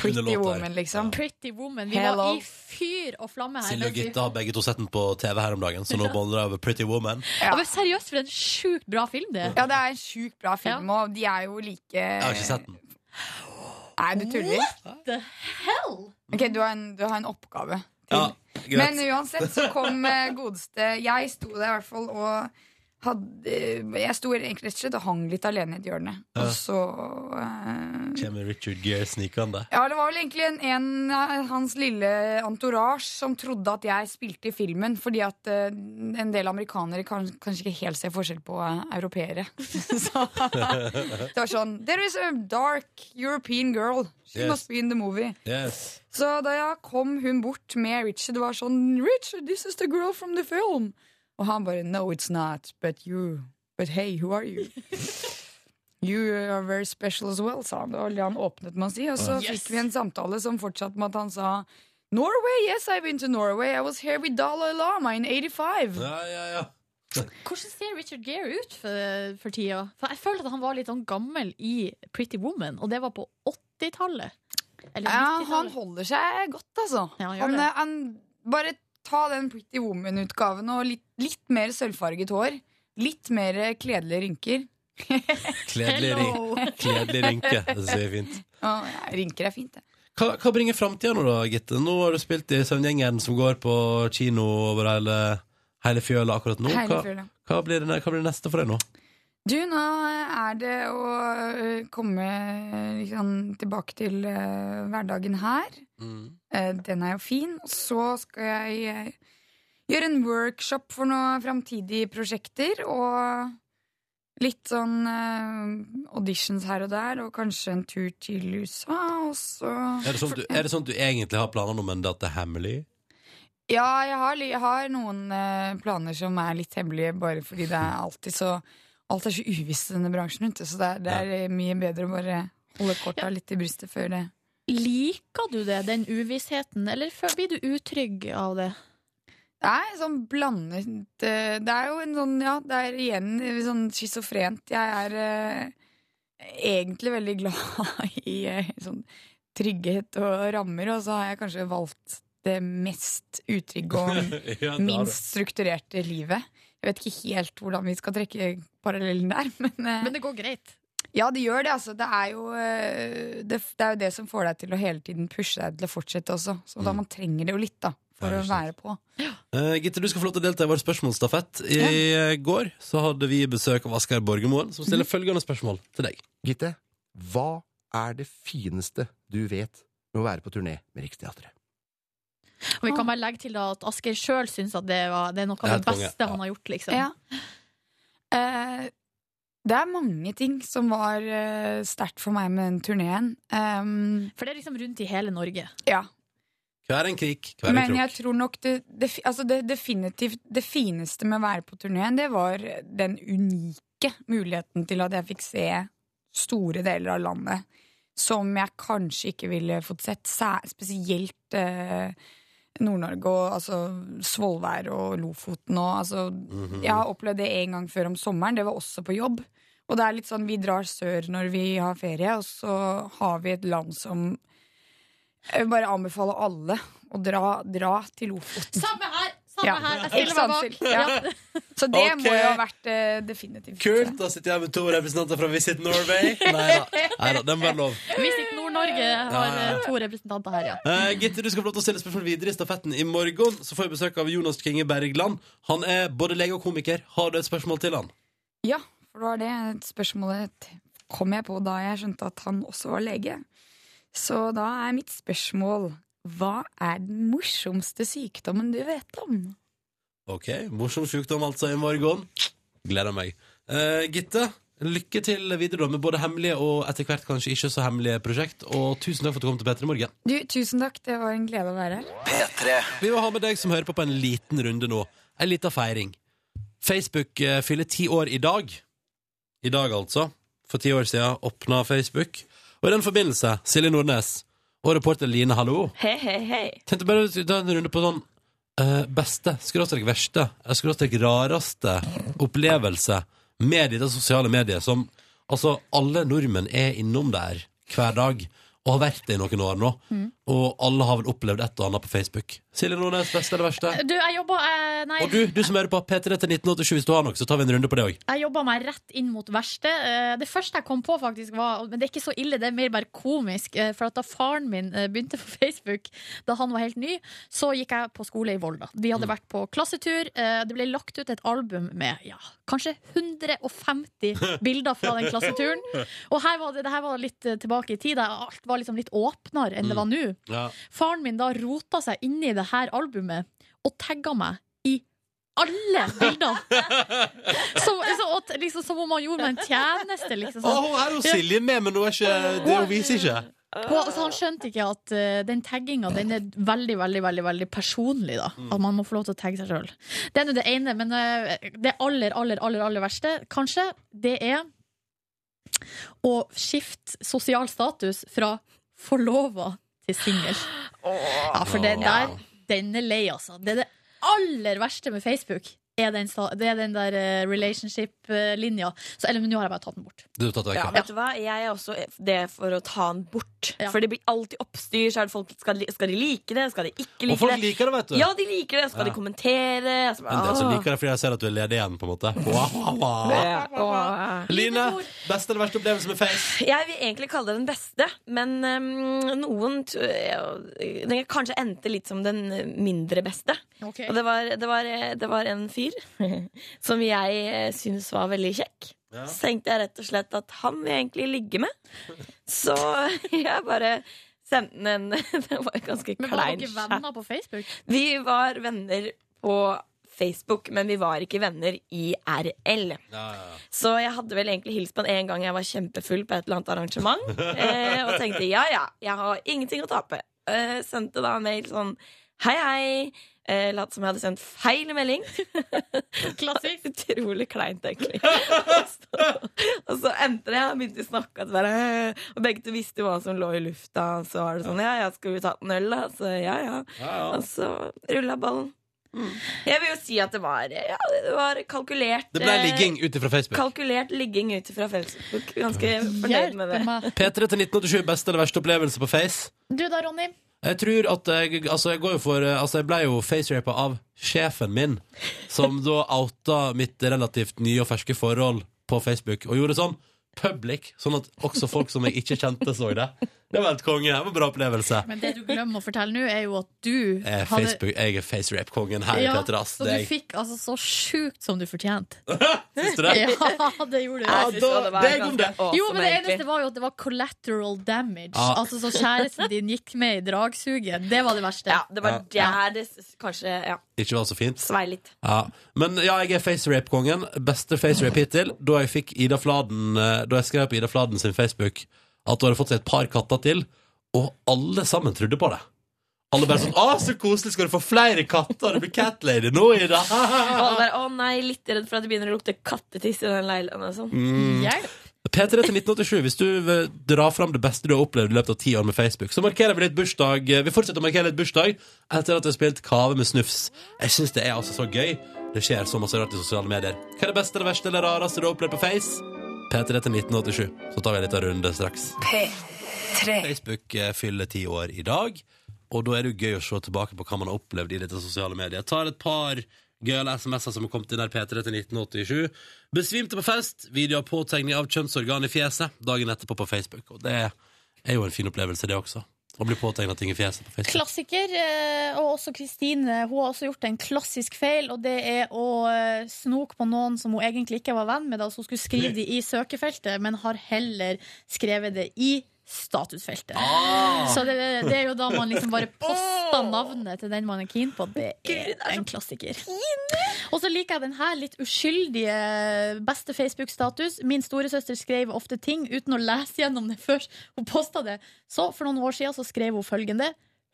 S10: Pretty
S2: låta her.
S10: Woman, liksom.
S5: Pretty Woman. Vi
S10: Hello.
S5: var i fyr og flamme her.
S2: Silje og
S5: mens vi-
S2: Gitte har begge to sett den på TV her om dagen, så nå boller jeg over Pretty Woman.
S5: Ja. men seriøst, for en sjukt bra film, det.
S10: Ja, det er en sjukt bra film, og de er jo like
S2: Jeg har ikke sett den.
S10: Nei, du tuller.
S5: What the hell?
S10: Ok, du har en, du har en oppgave.
S2: Ja,
S10: Eh, Men uansett så kom eh, godeste Jeg sto der i hvert fall og hadde Jeg sto egentlig rett og slett og hang litt alene i et hjørne. Og så eh,
S2: Kommer Richard Gere snikende?
S10: Ja, det var vel egentlig en, en av hans lille entourage som trodde at jeg spilte i filmen, fordi at eh, en del amerikanere kan, kanskje ikke helt ser forskjell på eh, europeere. så det var sånn There is a dark European girl. She
S2: Yes.
S10: must be in the movie.
S2: Yes.
S10: Så da jeg kom hun bort med Richard, det var sånn Richard, this is the girl from the film. Og han bare No, it's not, but you But hey, who are you? You are very special as well, sa han. Det var det han åpnet med å si. Og så
S5: Yes.
S10: fikk vi en samtale som fortsatte med at han sa Norway, yes, I've been to Norway. I was here with Dalai Lama in 85.
S2: Ja, ja, ja.
S5: Hvordan ser Richard Gere ut for, for tida? For jeg føler at han var litt sånn gammel i Pretty Woman, og det var på 80-tallet. Eller
S10: Ja,
S5: 90-tallet.
S10: han holder seg godt, altså.
S5: han gjør
S10: han,
S5: det.
S10: eh, han, bare ta den Pretty Woman-utgaven og litt, litt mer sølvfarget hår. Litt mer eh, kledelige rynker.
S2: Kledelig,
S10: Hello.
S2: rin Kledelig rynke. Det ser fint.
S10: Ja, ja, rynker er fint, det.
S2: Hva, hva bringer framtida nå, da, Gitte? Nå har du spilt i Søvngjengen, som går på kino over hele, hele fjøla akkurat nå.
S10: Hele
S2: Hva,
S10: fjøla.
S2: hva, blir det, hva blir det neste for deg nå?
S10: Du, nå er det å eh, komme eh, liksom, tilbake til
S2: Mm.
S10: eh, hverdagen her. Eh, den er jo fin. Og så skal jeg eh, gjør en workshop for noen framtidige prosjekter. Og litt sånn eh, auditions her og der, og kanskje en tur til USA, og så
S2: Er det sånn at du, er det sånn at du egentlig har planer nå, men det at det er hemmelig?
S10: Ja, jeg har, li- jeg har noen eh, planer som er litt hemmelige, bare fordi det er alltid så Alt er så uvisst i denne bransjen, vet du, så det er, det er eh, mye bedre å bare holde korta litt i brystet før det
S4: Liker du det, den uvissheten, eller fø- blir du utrygg av det?
S10: Det er sånn blandet eh, Det er jo en sånn, ja, det er igjen eh, sånn schizofrent. Jeg er eh, egentlig veldig glad i eh, sånn trygghet og rammer, og så har jeg kanskje valgt det mest utrygge og
S4: Ja, det har du.
S10: minst strukturerte livet. Jeg vet ikke helt hvordan vi skal trekke parallellen der, men eh,
S4: Men det går greit.
S10: ja, det gjør det. altså. Det er, jo, eh, det, det er jo det som får deg til å hele tiden pushe deg til å fortsette også. Så
S4: Mm.
S10: da man trenger det jo litt, da, for å være på.
S2: Eh, Gitte, du skal få lov til å delta i vår spørsmålsstafett. I eh, går så hadde vi besøk av Asgeir Borgermoen, som
S10: Mhm.
S2: stiller følgende spørsmål til deg.
S17: Gitte, hva er det fineste du vet med å være på turné med Riksteatret?
S4: Og vi kan bare legge til da at Asgeir sjøl syns at det, var, det er noe
S17: Det er
S4: av
S17: helt
S4: det
S17: konge,
S4: beste han har gjort, liksom.
S10: Ja. Eh, det er mange ting som var eh, sterkt for meg med den turneen. Ehm,
S4: for det er liksom rundt i hele Norge?
S10: Ja.
S2: Hver en krik, hver en
S10: Men
S2: krok.
S10: jeg tror nok det, det, fi- altså det definitivt det fineste med å være på turneen, det var den unike muligheten til at jeg fikk se store deler av landet som jeg kanskje ikke ville fått sett, sær- spesielt eh, Nord-Norge og altså, Svolvær og Lofoten og altså Jeg har opplevd det en gang før om sommeren, det var også på jobb. Og det er litt sånn, vi drar sør når vi har ferie, og så har vi et land som Jeg vil bare anbefale alle å dra, dra til Lofoten.
S4: Samme her! Samme
S10: Ja.
S4: her!
S10: Ikke
S4: Jeg stiller meg
S10: sant,
S4: bak.
S10: Sil? Ja. Så det
S2: Ok.
S10: må jo ha vært eh, definitivt.
S2: Kult! Da sitter jeg med to representanter fra Visit Norway. Nei da, Nei da, den var lov.
S4: Visit Nord-Norge har
S2: Ja, ja, ja.
S4: eh, to representanter her, ja.
S2: Eh, Gitte, du skal få lov til å stille spørsmål videre i stafetten. I morgen så får vi besøk av Jonas Kinge Bergland. Han er både lege og komiker. Har du et spørsmål til han?
S10: Ja, for det var det spørsmålet kom jeg på da jeg skjønte at han også var lege. Så da er mitt spørsmål hva er den morsomste sykdommen du vet om?
S2: Ok, morsom sjukdom altså i morgen. Gleder meg. Eh, Gitte, lykke til videre da med både hemmelige og etter hvert kanskje ikke så hemmelige prosjekt. Og tusen takk for at du kom til Petter i morgen.
S10: Du, tusen takk, det var en glede å være her.
S2: Vi vil ha med deg som hører på på en liten runde nå. En liten feiring. Facebook eh, fyller ti år i dag. I dag, altså. For ti år siden åpna Facebook. Og i den forbindelse, Silje Nordnes og reporter Line, hallo.
S18: Hei, hei, hei.
S2: Tenkte bare å ta en runde på sånn eh, beste, skråstrek verste, eh, skråstrek rareste opplevelse med dette sosiale mediet som altså alle nordmenn er innom der hver dag og har vært det i noen år nå.
S4: Mm.
S2: Og alle har vel opplevd et og annet på Facebook. Silje Nordnes, beste eller verste?
S4: Du, jeg jobba eh, Nei.
S2: Og du, du som hører på P3 til 1987, hvis du har noe, så tar vi en runde på det òg.
S4: Jeg jobba meg rett inn mot verste. Eh, Det første jeg kom på, faktisk var Men det er ikke så ille, det er mer bare komisk. eh, For at da faren min eh, begynte på Facebook, da han var helt ny, så gikk jeg på skole i Volda. Vi hadde
S17: Mm.
S4: vært på klassetur. eh, Det ble lagt ut et album med ja, kanskje 150 bilder fra den klasseturen. Og her var det, det her var litt eh, tilbake i tid. da Alt var liksom litt åpnere enn det var nå.
S2: Ja.
S4: Faren min da rota seg inn i det her albumet og tagga meg i alle bildene! Som, så, og, t- liksom, som om han gjorde meg en tjeneste, liksom.
S2: Å, her er jo Silje med, men hun, er ikke, det, hun viser ikke.
S4: Og, så altså, han skjønte ikke at eh, den tagginga den er veldig veldig, veldig, veldig personlig. da At man må få lov til å tagge seg sjøl. Det er nå det ene, men eh, det aller, aller, aller, aller verste, kanskje, det er å skifte sosial status fra forlova til singel. Ja, for det der, den er lei, altså. Det er det aller verste med Facebook. Er den, sta- det er den der eh, relationship-linja. Så- Eller men nå har jeg bare tatt den bort.
S2: Du tatt
S4: vekk,
S13: ja,
S4: ja.
S13: vet du hva? Jeg er også det for å ta den bort. For det blir alltid oppstyr. Så er det folk, skal, de- skal de like det? Skal de ikke like
S2: Og folk
S13: det?
S2: liker det, vet du.
S13: Ja, de liker det. Skal
S2: Ja.
S13: de kommentere? Så bare,
S2: Men det er så
S13: «Åh».
S2: liker det fordi jeg ser at du er ledig igjen, på en måte. Wow,
S13: Ja.
S2: Line, beste eller verste opplevelse med face?
S13: Jeg vil egentlig kalle det den beste, men øhm, noen t- øh, Den kanskje endte litt som den mindre beste.
S4: Ok.
S13: Og det var, det, var, eh, det var en fyr som jeg eh, syntes var veldig kjekk.
S4: Ja.
S13: Så tenkte jeg rett og slett at han vil jeg egentlig ligge med. Så jeg bare sendte den en Det var en ganske
S4: Men var
S13: klein
S4: dere
S13: chat.
S4: venner på Facebook?
S13: Vi var venner på på Facebook, men vi var ikke venner IRL. Så jeg hadde vel egentlig hilst på han en gang jeg var kjempefull på et eller annet arrangement. Eh, og tenkte ja, ja, jeg har ingenting å tape. Eh, sendte da en mail sånn hei, hei. Eh, Latt som jeg hadde sendt feil melding. Klassisk. Utrolig kleint, egentlig. og, så, og så endte det, og begynte å snakke. at Bare, «Øh», og begge to visste jo hva som lå i lufta. Og så var det sånn ja, ja, skal vi ta en øl, da? Så ja, ja.
S3: Ja, ja.
S13: Og så rulla ballen. Jeg vil jo si at det var, ja, det var kalkulert
S2: Det ble
S13: eh,
S2: ligging ut ifra Facebook.
S13: Kalkulert ligging ut fra Facebook. Ganske fornøyd med det.
S2: P3 til 1987, beste eller verste opplevelse på Face?
S4: Du da, Ronny?
S2: Jeg tror at jeg, altså jeg, går jo for, altså jeg ble jo facerapa av sjefen min, som da outa mitt relativt nye og ferske forhold på Facebook, og gjorde sånn public, sånn at også folk som jeg ikke kjente, så det. Det var helt konge. Det var en bra opplevelse.
S4: Men det du glemmer å fortelle nå, er jo at du
S2: Jeg er,
S4: hadde-
S2: Facebook, jeg er facerap-kongen Eh, her i
S4: Ja,
S2: Petter Ass. Det
S4: Og du
S2: er jeg.
S4: fikk altså så sjukt som du fortjente.
S2: Syns du det?
S4: Ja, det gjorde du.
S2: Ja, Jeg synes da- også det var deg om ganske det. awesome,
S4: Jo, men det
S2: egentlig.
S4: eneste var jo at det var collateral damage.
S2: Ja.
S4: Altså så kjæresten din gikk med i dragsuget. Det var det verste. Ja,
S2: det var Ja. der
S13: det kanskje ja.
S2: Ikke var så fint.
S13: Svei litt.
S2: Ja. Men ja, jeg er facerape-kongen. Beste facerape hittil. Da jeg fikk Ida Fladen eh, Da jeg skrev på Ida Fladen sin Facebook at hun hadde fått seg et par katter til, og alle sammen trodde på det. Alle bare sånn 'Å, så koselig! Skal du få flere katter? Du blir cat lady nå, Ida!'
S13: Og alle bare, å nei, litt redd for at det begynner å lukte kattetiss i den leiligheten. og sånn.
S2: Mm.
S13: Hjelp.
S2: P3 til 1987, hvis du vil dra fram det beste du har opplevd i løpet av ti år med Facebook, så markerer vi litt bursdag. Vi fortsetter å markere litt bursdag etter at vi har spilt Kave med snufs. Jeg syns det er altså så gøy. Det skjer så masse rart i sosiale medier. Hva er det beste, det verste eller rareste du har opplevd på Face? P3 til 1987. Så tar vi en liten runde straks.
S10: P3.
S2: Facebook eh, fyller ti år i dag, og da er det jo gøy å se tilbake på hva man har opplevd i dette sosiale mediet. Jeg tar et par gøyale SMS-er som har kommet inn her, P3 til 1987. Besvimte på fest, video av påtegning av kjønnsorgan i fjeset, dagen etterpå på Facebook. Og det er jo en fin opplevelse, det også. Å bli påtegna ting i fjeset på Facebook.
S4: Klassiker, eh, og også Kristine Hun har også gjort en klassisk feil, og det er å eh, snoke på noen som hun egentlig ikke var venn med. Altså, hun skulle skrive det i søkefeltet, men har heller skrevet det i statusfeltet. Så det, det er jo da man liksom bare poster navnet til den man er keen på. Det er en klassiker. Og så liker jeg den her litt uskyldige beste Facebook-status. Min storesøster skrev ofte ting uten å lese gjennom det før hun posta det. Så for noen år siden så skrev hun følgende.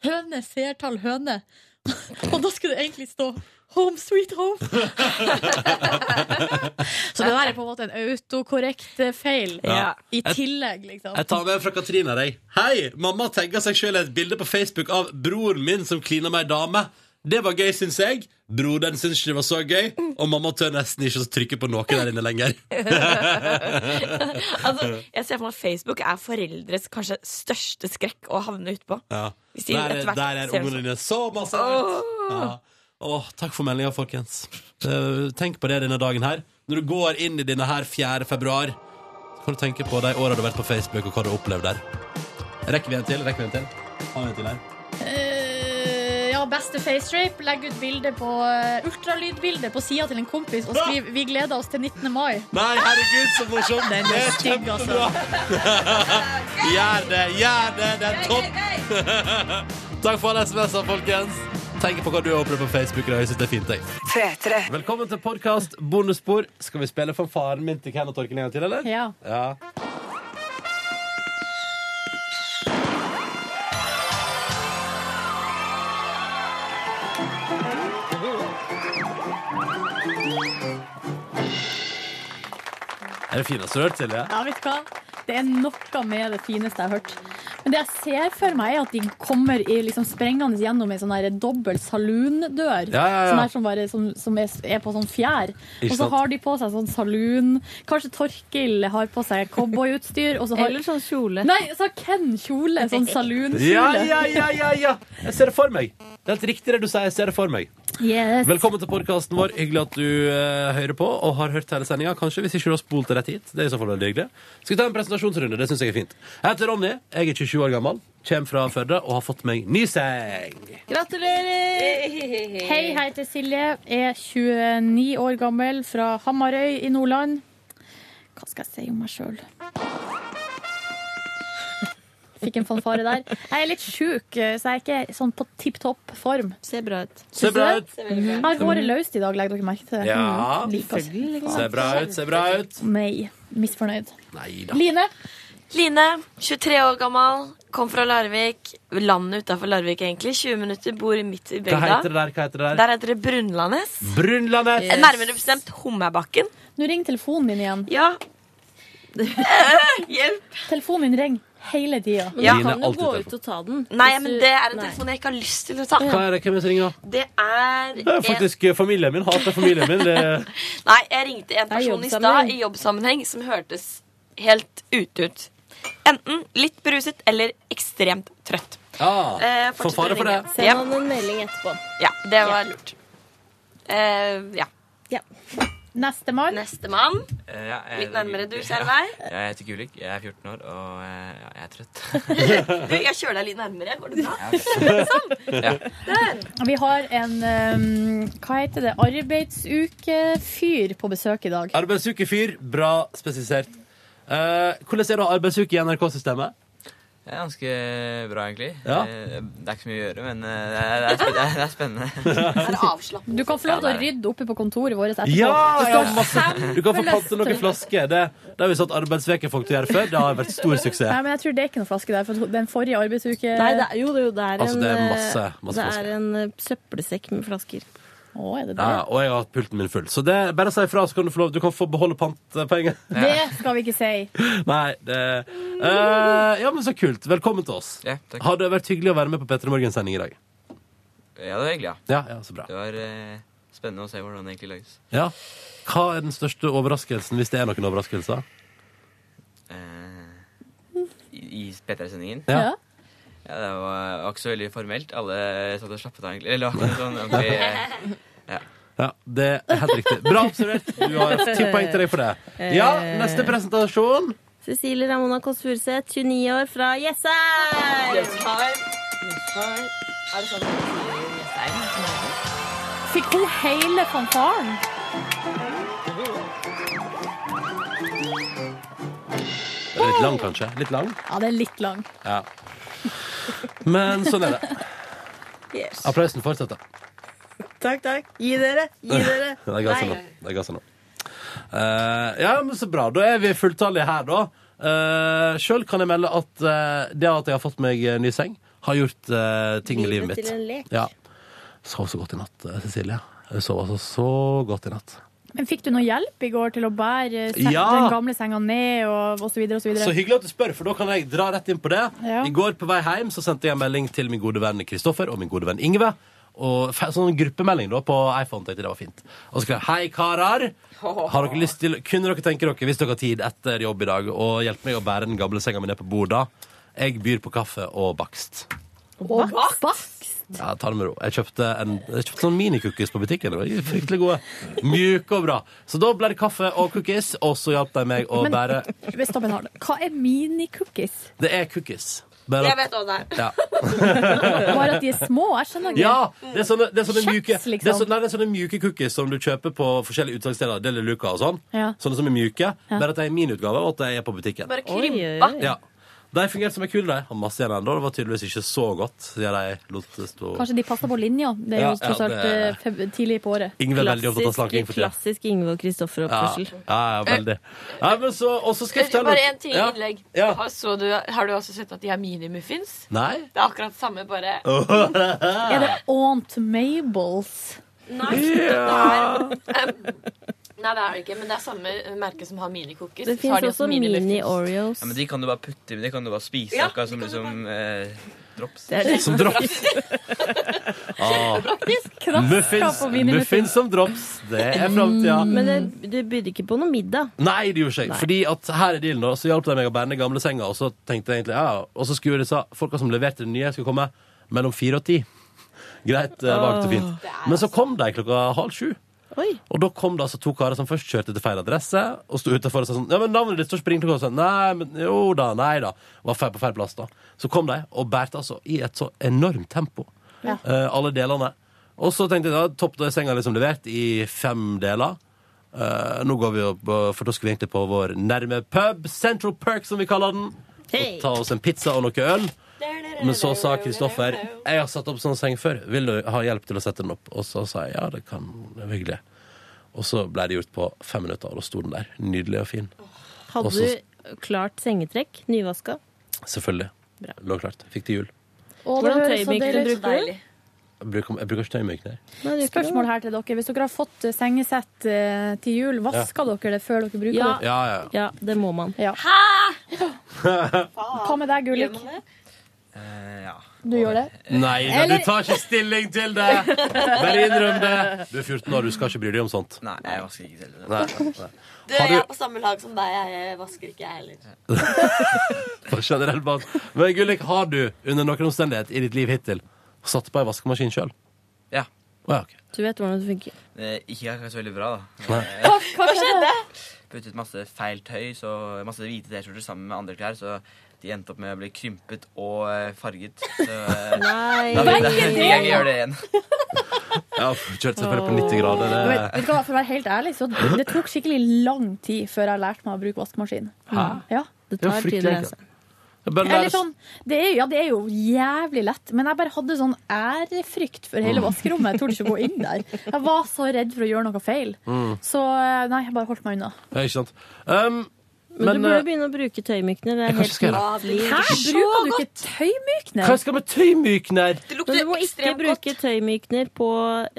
S4: Høne, seertall, høne. Og da skulle det egentlig stå Home sweet home. så det der er på en måte en autokorrekt eh, feil
S2: Ja.
S4: i
S2: Et-
S4: tillegg, liksom.
S2: Jeg tar med fra Katrine deg. Hei! Mamma tagga seg sjøl et bilde på Facebook av broren min som klina med ei dame. Det var gøy, syns jeg. Broderen syns ikke det var så gøy, og mamma tør nesten ikke å trykke på noe der inne lenger.
S13: Altså, jeg ser for meg at Facebook er foreldres kanskje største skrekk å havne utpå.
S2: ja.
S13: Hvis de
S2: Der,
S13: etter
S2: er-
S13: hvert
S2: der er
S13: ser
S2: ungene
S13: det
S2: dine så masse
S13: Åh.
S2: ut. Ja. Åh, takk for meldinga, folkens. Eh, tenk på det denne dagen her. Når du går inn i denne her 4. februar, så kan du tenke på de åra du har vært på Facebook, og hva du har opplevd der. Rekker vi en til? Rekker vi en til? Har vi en til her?
S4: Eh, ja, beste facerape. Legg ut bilde på eh, ultralydbilde på sida til en kompis og skriv 'Vi gleder oss til 19. mai'.
S2: Nei, herregud, så morsomt!
S4: Den er stygg, altså.
S2: Gjør det, gjør det! Det er topp! Takk for alle SMS-er, folkens. Tenk på hva du har opplevd på Facebook. i dag. Jeg synes det er fint, jeg. Velkommen til podkast Bondespor. Skal vi spille fanfaren min til Ken og Torken en gang til, eller?
S4: Ja.
S2: Er det fineste du har hørt, Silje?
S4: Ja, vet du hva? Det er noe med det fineste jeg har hørt. Men det jeg ser for meg, er at de kommer i, liksom, sprengende gjennom ei sånn her dobbel saloondør.
S3: Ja, ja, ja.
S4: Sånn her som, bare, som, som er, er på sånn fjær.
S3: Ikke
S4: Og så
S3: sant?
S4: har de på seg sånn saloon. Kanskje Torkil har på seg cowboyutstyr. og så har-
S3: Eller sånn kjole.
S4: Nei, så har Ken kjole. Sånn saloonkjole.
S2: Ja, ja, ja, ja, ja. Jeg ser det for meg. Det er helt riktig det du sier. Jeg ser det for meg.
S4: Yes.
S2: Velkommen til podkasten vår. Hyggelig at du eh, hører på og har hørt hele sendinga. Kanskje hvis ikke du har spolt det rett hit. Det er i så fall veldig hyggelig. Skal vi ta en presentasjonsrunde? Det syns jeg er fint. Jeg heter Ronny. Jeg er 27 år gammel. Kjem fra Førde og har fått meg ny seng.
S4: Gratulerer! Hei, jeg heter Silje. Er 29 år gammel fra Hamarøy i Nordland. Hva skal jeg si om meg sjøl? Fikk en fanfare der. Jeg er litt sjuk, så jeg er ikke sånn på tipp topp form.
S5: Ser bra ut.
S4: Ser bra ut. Mm-hmm.
S5: Ser
S4: Jeg
S5: veldig bra ut.
S4: har håret løst i dag, legger dere merke til det?
S2: Ja.
S4: Mm, liker oss.
S2: Ser bra ut, ser bra ut.
S4: Nei. Misfornøyd.
S2: Neida.
S4: Line?
S19: Line, 23 år gammel, kom fra Larvik. Landet utafor Larvik, egentlig. 20 minutter, bor midt i
S2: Hva
S19: bygda.
S2: heter det der? Hva heter det der? Mm.
S19: Der heter det Brunlandes.
S2: Brunlandet!
S19: Eh, Nærmere bestemt Hummerbakken.
S4: Nå ringer telefonen din igjen.
S19: Ja.
S4: Telefonen din ringer hele tida.
S2: Men du Line, kan jo alltid gå
S19: ut og ta den. Nei, men det er en telefon jeg ikke har lyst til å ta.
S2: Hva er det? Hvem er det som ringer nå?
S19: Det er
S2: Det er faktisk eh, familien min. Hater familien min. Det...
S19: en... Nei, jeg ringte en
S2: Det er
S19: person i
S2: jobbsammenheng.
S19: stad i jobbsammenheng som hørtes helt ute ut. Enten litt beruset eller ekstremt trøtt. Eh, fortsett
S2: får
S19: å
S2: fare Ah,
S19: ringe.
S2: for det.
S3: Send
S19: Ja.
S3: han en melding etterpå.
S19: Ja, det var lurt. Eh, ja.
S4: Nestemann.
S19: Nestemann.
S20: Eh, ja, jeg-
S19: Litt nærmere du, kjære meg.
S20: Ja, jeg heter Gulik, jeg er 14 år, og eh, ja, jeg er trøtt.
S19: Du, jeg kjører deg litt nærmere. Går det bra? sånn.
S20: Ja.
S4: Vi har en um, hva heter det, arbeidsukefyr på besøk i dag.
S2: Arbeidsukefyr. Bra spesifisert. Eh, hvordan er det å ha arbeidsuke i NRK-systemet?
S20: Det er ganske bra, egentlig.
S2: Ja.
S20: Eh, Det er ikke så mye å gjøre, men eh, det er, det er spen- det er- det er spennende.
S19: Er det avslappende?
S4: Du kan få lov til å rydde oppe på kontoret vårt etterpå.
S2: Ja, ja,
S4: Det står
S2: masse.
S4: kjempe-
S2: Du kan få pante noen flasker. Det, det har vi satt arbeidsvekefolk til å gjøre før. Det har vært stor
S4: Nei,
S2: suksess.
S4: men jeg tror det er ikke noen flaske der, for den forrige arbeidsuke
S3: Nei, det er, jo, det er jo det er
S2: Altså, det er
S3: en, eh,
S2: masse- masse
S3: det
S2: flasker.
S3: er en eh, søppelsekk med flasker.
S4: Å, er det
S2: Ja, og jeg har hatt pulten min full. Så det, bare si ifra, så kan du få lov Du kan få beholde pantpenger.
S4: Det skal vi ikke si.
S2: Nei, det eh, Ja, men så kult. Velkommen til oss. har det vært hyggelig å være med på Petter Morgens sending i dag?
S20: Ja, det var hyggelig, ja.
S2: Ja, ja, så bra.
S20: Det var eh, spennende å se hvordan det egentlig lages.
S2: Ja. Hva er den største overraskelsen, hvis det er noen overraskelser?
S20: Eh, I, i P3-sendingen.
S2: Ja. Ja.
S20: Ja, det var, var ikke så veldig formelt. Alle satt og slappet av, egentlig. Eller det var ikke noe sånn ordentlig eh, ja.
S2: Ja, det er helt riktig. Bra observert. Du har ti poeng til deg for det. Ja, neste presentasjon.
S3: Eh. Cecilie Ramona Kåss Furuseth, 29 år, fra Jessheim.
S19: Er det sånn
S4: Fikk hun hele fanfaren?
S2: Det er litt lang, kanskje. Litt lang?
S4: Ja, det er litt lang.
S2: Ja. Men sånn er det. Applausen fortsetter.
S3: Takk, takk. Gi dere. Gi dere.
S2: Det ga seg nå. Det ga seg nå. Eh, ja, men så bra. Da er vi fulltallige her, da. Uh, Sjøl kan jeg melde at eh, det at jeg har fått meg eh, ny seng, har gjort eh, ting med
S3: Livet
S2: livet mitt.
S3: til en lek.
S2: Ja. Sov så godt i natt, eh, Cecilie. Jeg sov altså så godt i natt.
S4: Men fikk du noe hjelp i går til å bære se-
S2: Ja.
S4: den gamle senga ned og, og så videre og så videre?
S2: Så hyggelig at du spør, for da kan jeg dra rett inn på det.
S4: Ja.
S2: I går på vei hjem så sendte jeg en melding til min gode venn Kristoffer og min gode venn Ingve. Og fe- sånn gruppemelding da på iPhone. tenkte jeg det var fint. Og så skrev jeg, Hei, karer. Har dere lyst til, kunne dere tenke dere, hvis dere har tid etter jobb i dag, å hjelpe meg å bære den gamle senga mi ned på bordet? Jeg byr på kaffe og bakst.
S4: Og bakst.
S2: Ja, ta det med ro. Jeg kjøpte, en, jeg kjøpte sånn minikookies på butikken. Det var fryktelig gode. Mjuke og bra. Så da ble det kaffe og cookies, og så hjalp de meg å
S4: Men-
S2: bære
S4: Ved stoppen har det. Hva er minicookies?
S2: Det er cookies.
S4: Jeg vet hva det
S2: Ja.
S4: Bare at de er små? Jeg skjønner ikke.
S2: Ja, det er sånne, det er sånne
S4: Kjeks,
S2: mjuke
S4: liksom.
S2: det er, så, nei, det er sånne mjuke cookies som du kjøper på forskjellige utsalgssteder. Deli Luca og sånn.
S4: Ja.
S2: Sånne som er mjuke. Bare at de er i min utgave, og at de er på butikken.
S19: Bare krympa. Oi, oi, oi.
S2: Ja. De fungerte som en kule, de. Har masse igjen ennå. Det var tydeligvis ikke så godt, siden de lot det stå
S4: Kanskje de passer på linja? Det er
S2: Ja,
S4: jo tross
S2: ja,
S4: alt
S2: det-
S4: eh, feb- tidlig på året.
S2: Ingve er veldig opptatt av slanking for tida.
S3: Klassisk Ingve og Kristoffer-oppførsel.
S2: Ja, ja, ja, veldig. Ja, men så, og så skal jeg fortelle
S13: Eh, Bare en ting i
S2: Ja.
S13: innlegg.
S2: Ja.
S13: Har, så du, har du også sett at de har minimuffins?
S2: Nei.
S13: Det er akkurat samme, bare
S4: Er det Aunt Mabels?
S13: Nei,
S2: Ja.
S13: det er, nei, det er det ikke. Men det er samme merke som har minicookies.
S3: Det
S13: så har
S3: finnes
S13: de
S3: også
S13: minimuffins.
S3: mini-Oreos.
S20: ja, men de kan du bare putte i, de kan du bare spise,
S13: Ja,
S20: akkurat som liksom eh, drops.
S3: Det er det.
S2: Som drops. Ah. Muffins, muffins som drops. Det er framtida.
S3: Mm,
S4: Mm.
S3: Men det, du bydde ikke på noe middag.
S2: Nei, det gjorde ikke jeg. Fordi at her er dealen, da. Så hjalp de meg å bære ned gamle senga, og så tenkte jeg egentlig ja, Og så skulle disse folka som leverte det nye, skulle komme mellom fire og ti. Greit, eh, vagt og fint. Men så kom de klokka halv sju. Og da kom det altså to karer som først kjørte til feil adresse, og sto utenfor og sa sånn Ja, men navnet ditt står ikke på ringeklokka. Og sånn, Nei, men jo da, nei da. Var feil på feil plass, da. Så kom de og bærte altså i et så enormt tempo
S21: Ja.
S2: eh, alle delene. Og så tenkte jeg da, topp, da er senga liksom levert i fem deler. Eh, nå går vi opp, eh, for da skal vi egentlig på vår nærme pub, Central Perk, som vi kaller den. og ta oss en pizza og noe øl. Men så sa Kristoffer Jeg har satt opp sånn seng før, vil du ha hjelp til å sette den opp? Og så sa jeg ja, det kan det er hyggelig. Og så ble det gjort på fem minutter, og da sto den der. Nydelig og fin. Og
S3: Hadde
S2: så-
S3: du klart sengetrekk? Nyvaska?
S2: Selvfølgelig.
S3: Bra.
S2: Lå klart. Fikk til jul.
S3: Hvordan
S4: det
S3: tøymykne
S4: høres så deilig ut.
S3: bruker du?
S2: Jeg bruker, jeg bruker ikke tøymykner.
S4: Spørsmål her til dere. Hvis dere har fått eh, sengesett eh, til jul, vasker dere det før dere bruker
S2: Ja.
S4: det?
S2: Ja, ja, ja.
S3: det må man.
S4: Hva med deg, Gulik?
S2: Eh,
S4: Du gjør det?
S2: Nei, da,
S4: Eller-
S2: du tar ikke stilling til det! Bare innrøm det! Du er 14 år, du skal ikke bry deg om sånt.
S20: Nei, jeg vasker ikke selv.
S2: Nei, nei.
S13: Du,
S2: Har
S13: jeg er
S2: du
S13: på samme lag som deg. Jeg vasker ikke, jeg heller.
S2: på generell bas Men Gullik, har du under noen omstendighet i ditt liv hittil satt på ei vaskemaskin sjøl?
S20: Ja.
S2: Å ja, ok.
S3: Du vet hvordan det funker.
S20: Eh, Ikke akkurat så veldig bra, da.
S2: Nei.
S20: Eh,
S3: Hva skjedde?
S20: Puttet masse feil tøy, så masse hvite T-skjorter sammen med andre klær, så de endte opp med å bli krympet og eh, farget. Så, eh,
S3: Nei.
S20: Da vil jeg
S4: Begge
S20: ikke engang
S4: deler.
S20: gjøre det igjen.
S2: Ja, kjørte selvfølgelig på 90 grader.
S4: Men Vet, vet
S2: Det.
S4: du hva, For å være helt ærlig, så det tok skikkelig lang tid før jeg lærte meg å bruke vaskemaskin.
S2: Hæ?
S4: Ja.
S3: Det
S2: tar Ja, fryktelig tid å lære seg. Jeg bare
S4: Eller
S2: lærer-
S4: sånn, det er, jo- ja, det er jo jævlig lett, men jeg bare hadde sånn ærefrykt for hele
S2: Mm.
S4: vaskerommet. Jeg torde ikke å gå inn der. Jeg var så redd for å gjøre noe feil.
S2: Mm.
S4: Så eh, nei, jeg bare holdt meg unna.
S2: Ja, ikke sant. Um,
S3: Men,
S2: men
S3: du burde
S2: eh,
S3: begynne å bruke tøymykner. Det
S2: jeg
S3: er
S2: kanskje
S3: helt
S2: skal gjøre
S3: nytt
S2: det.
S3: liv.
S4: Hæ? Bruker du ikke tøymykner?
S2: hva skal jeg med tøymykner?
S3: Men du må ikke bruke tøymykner på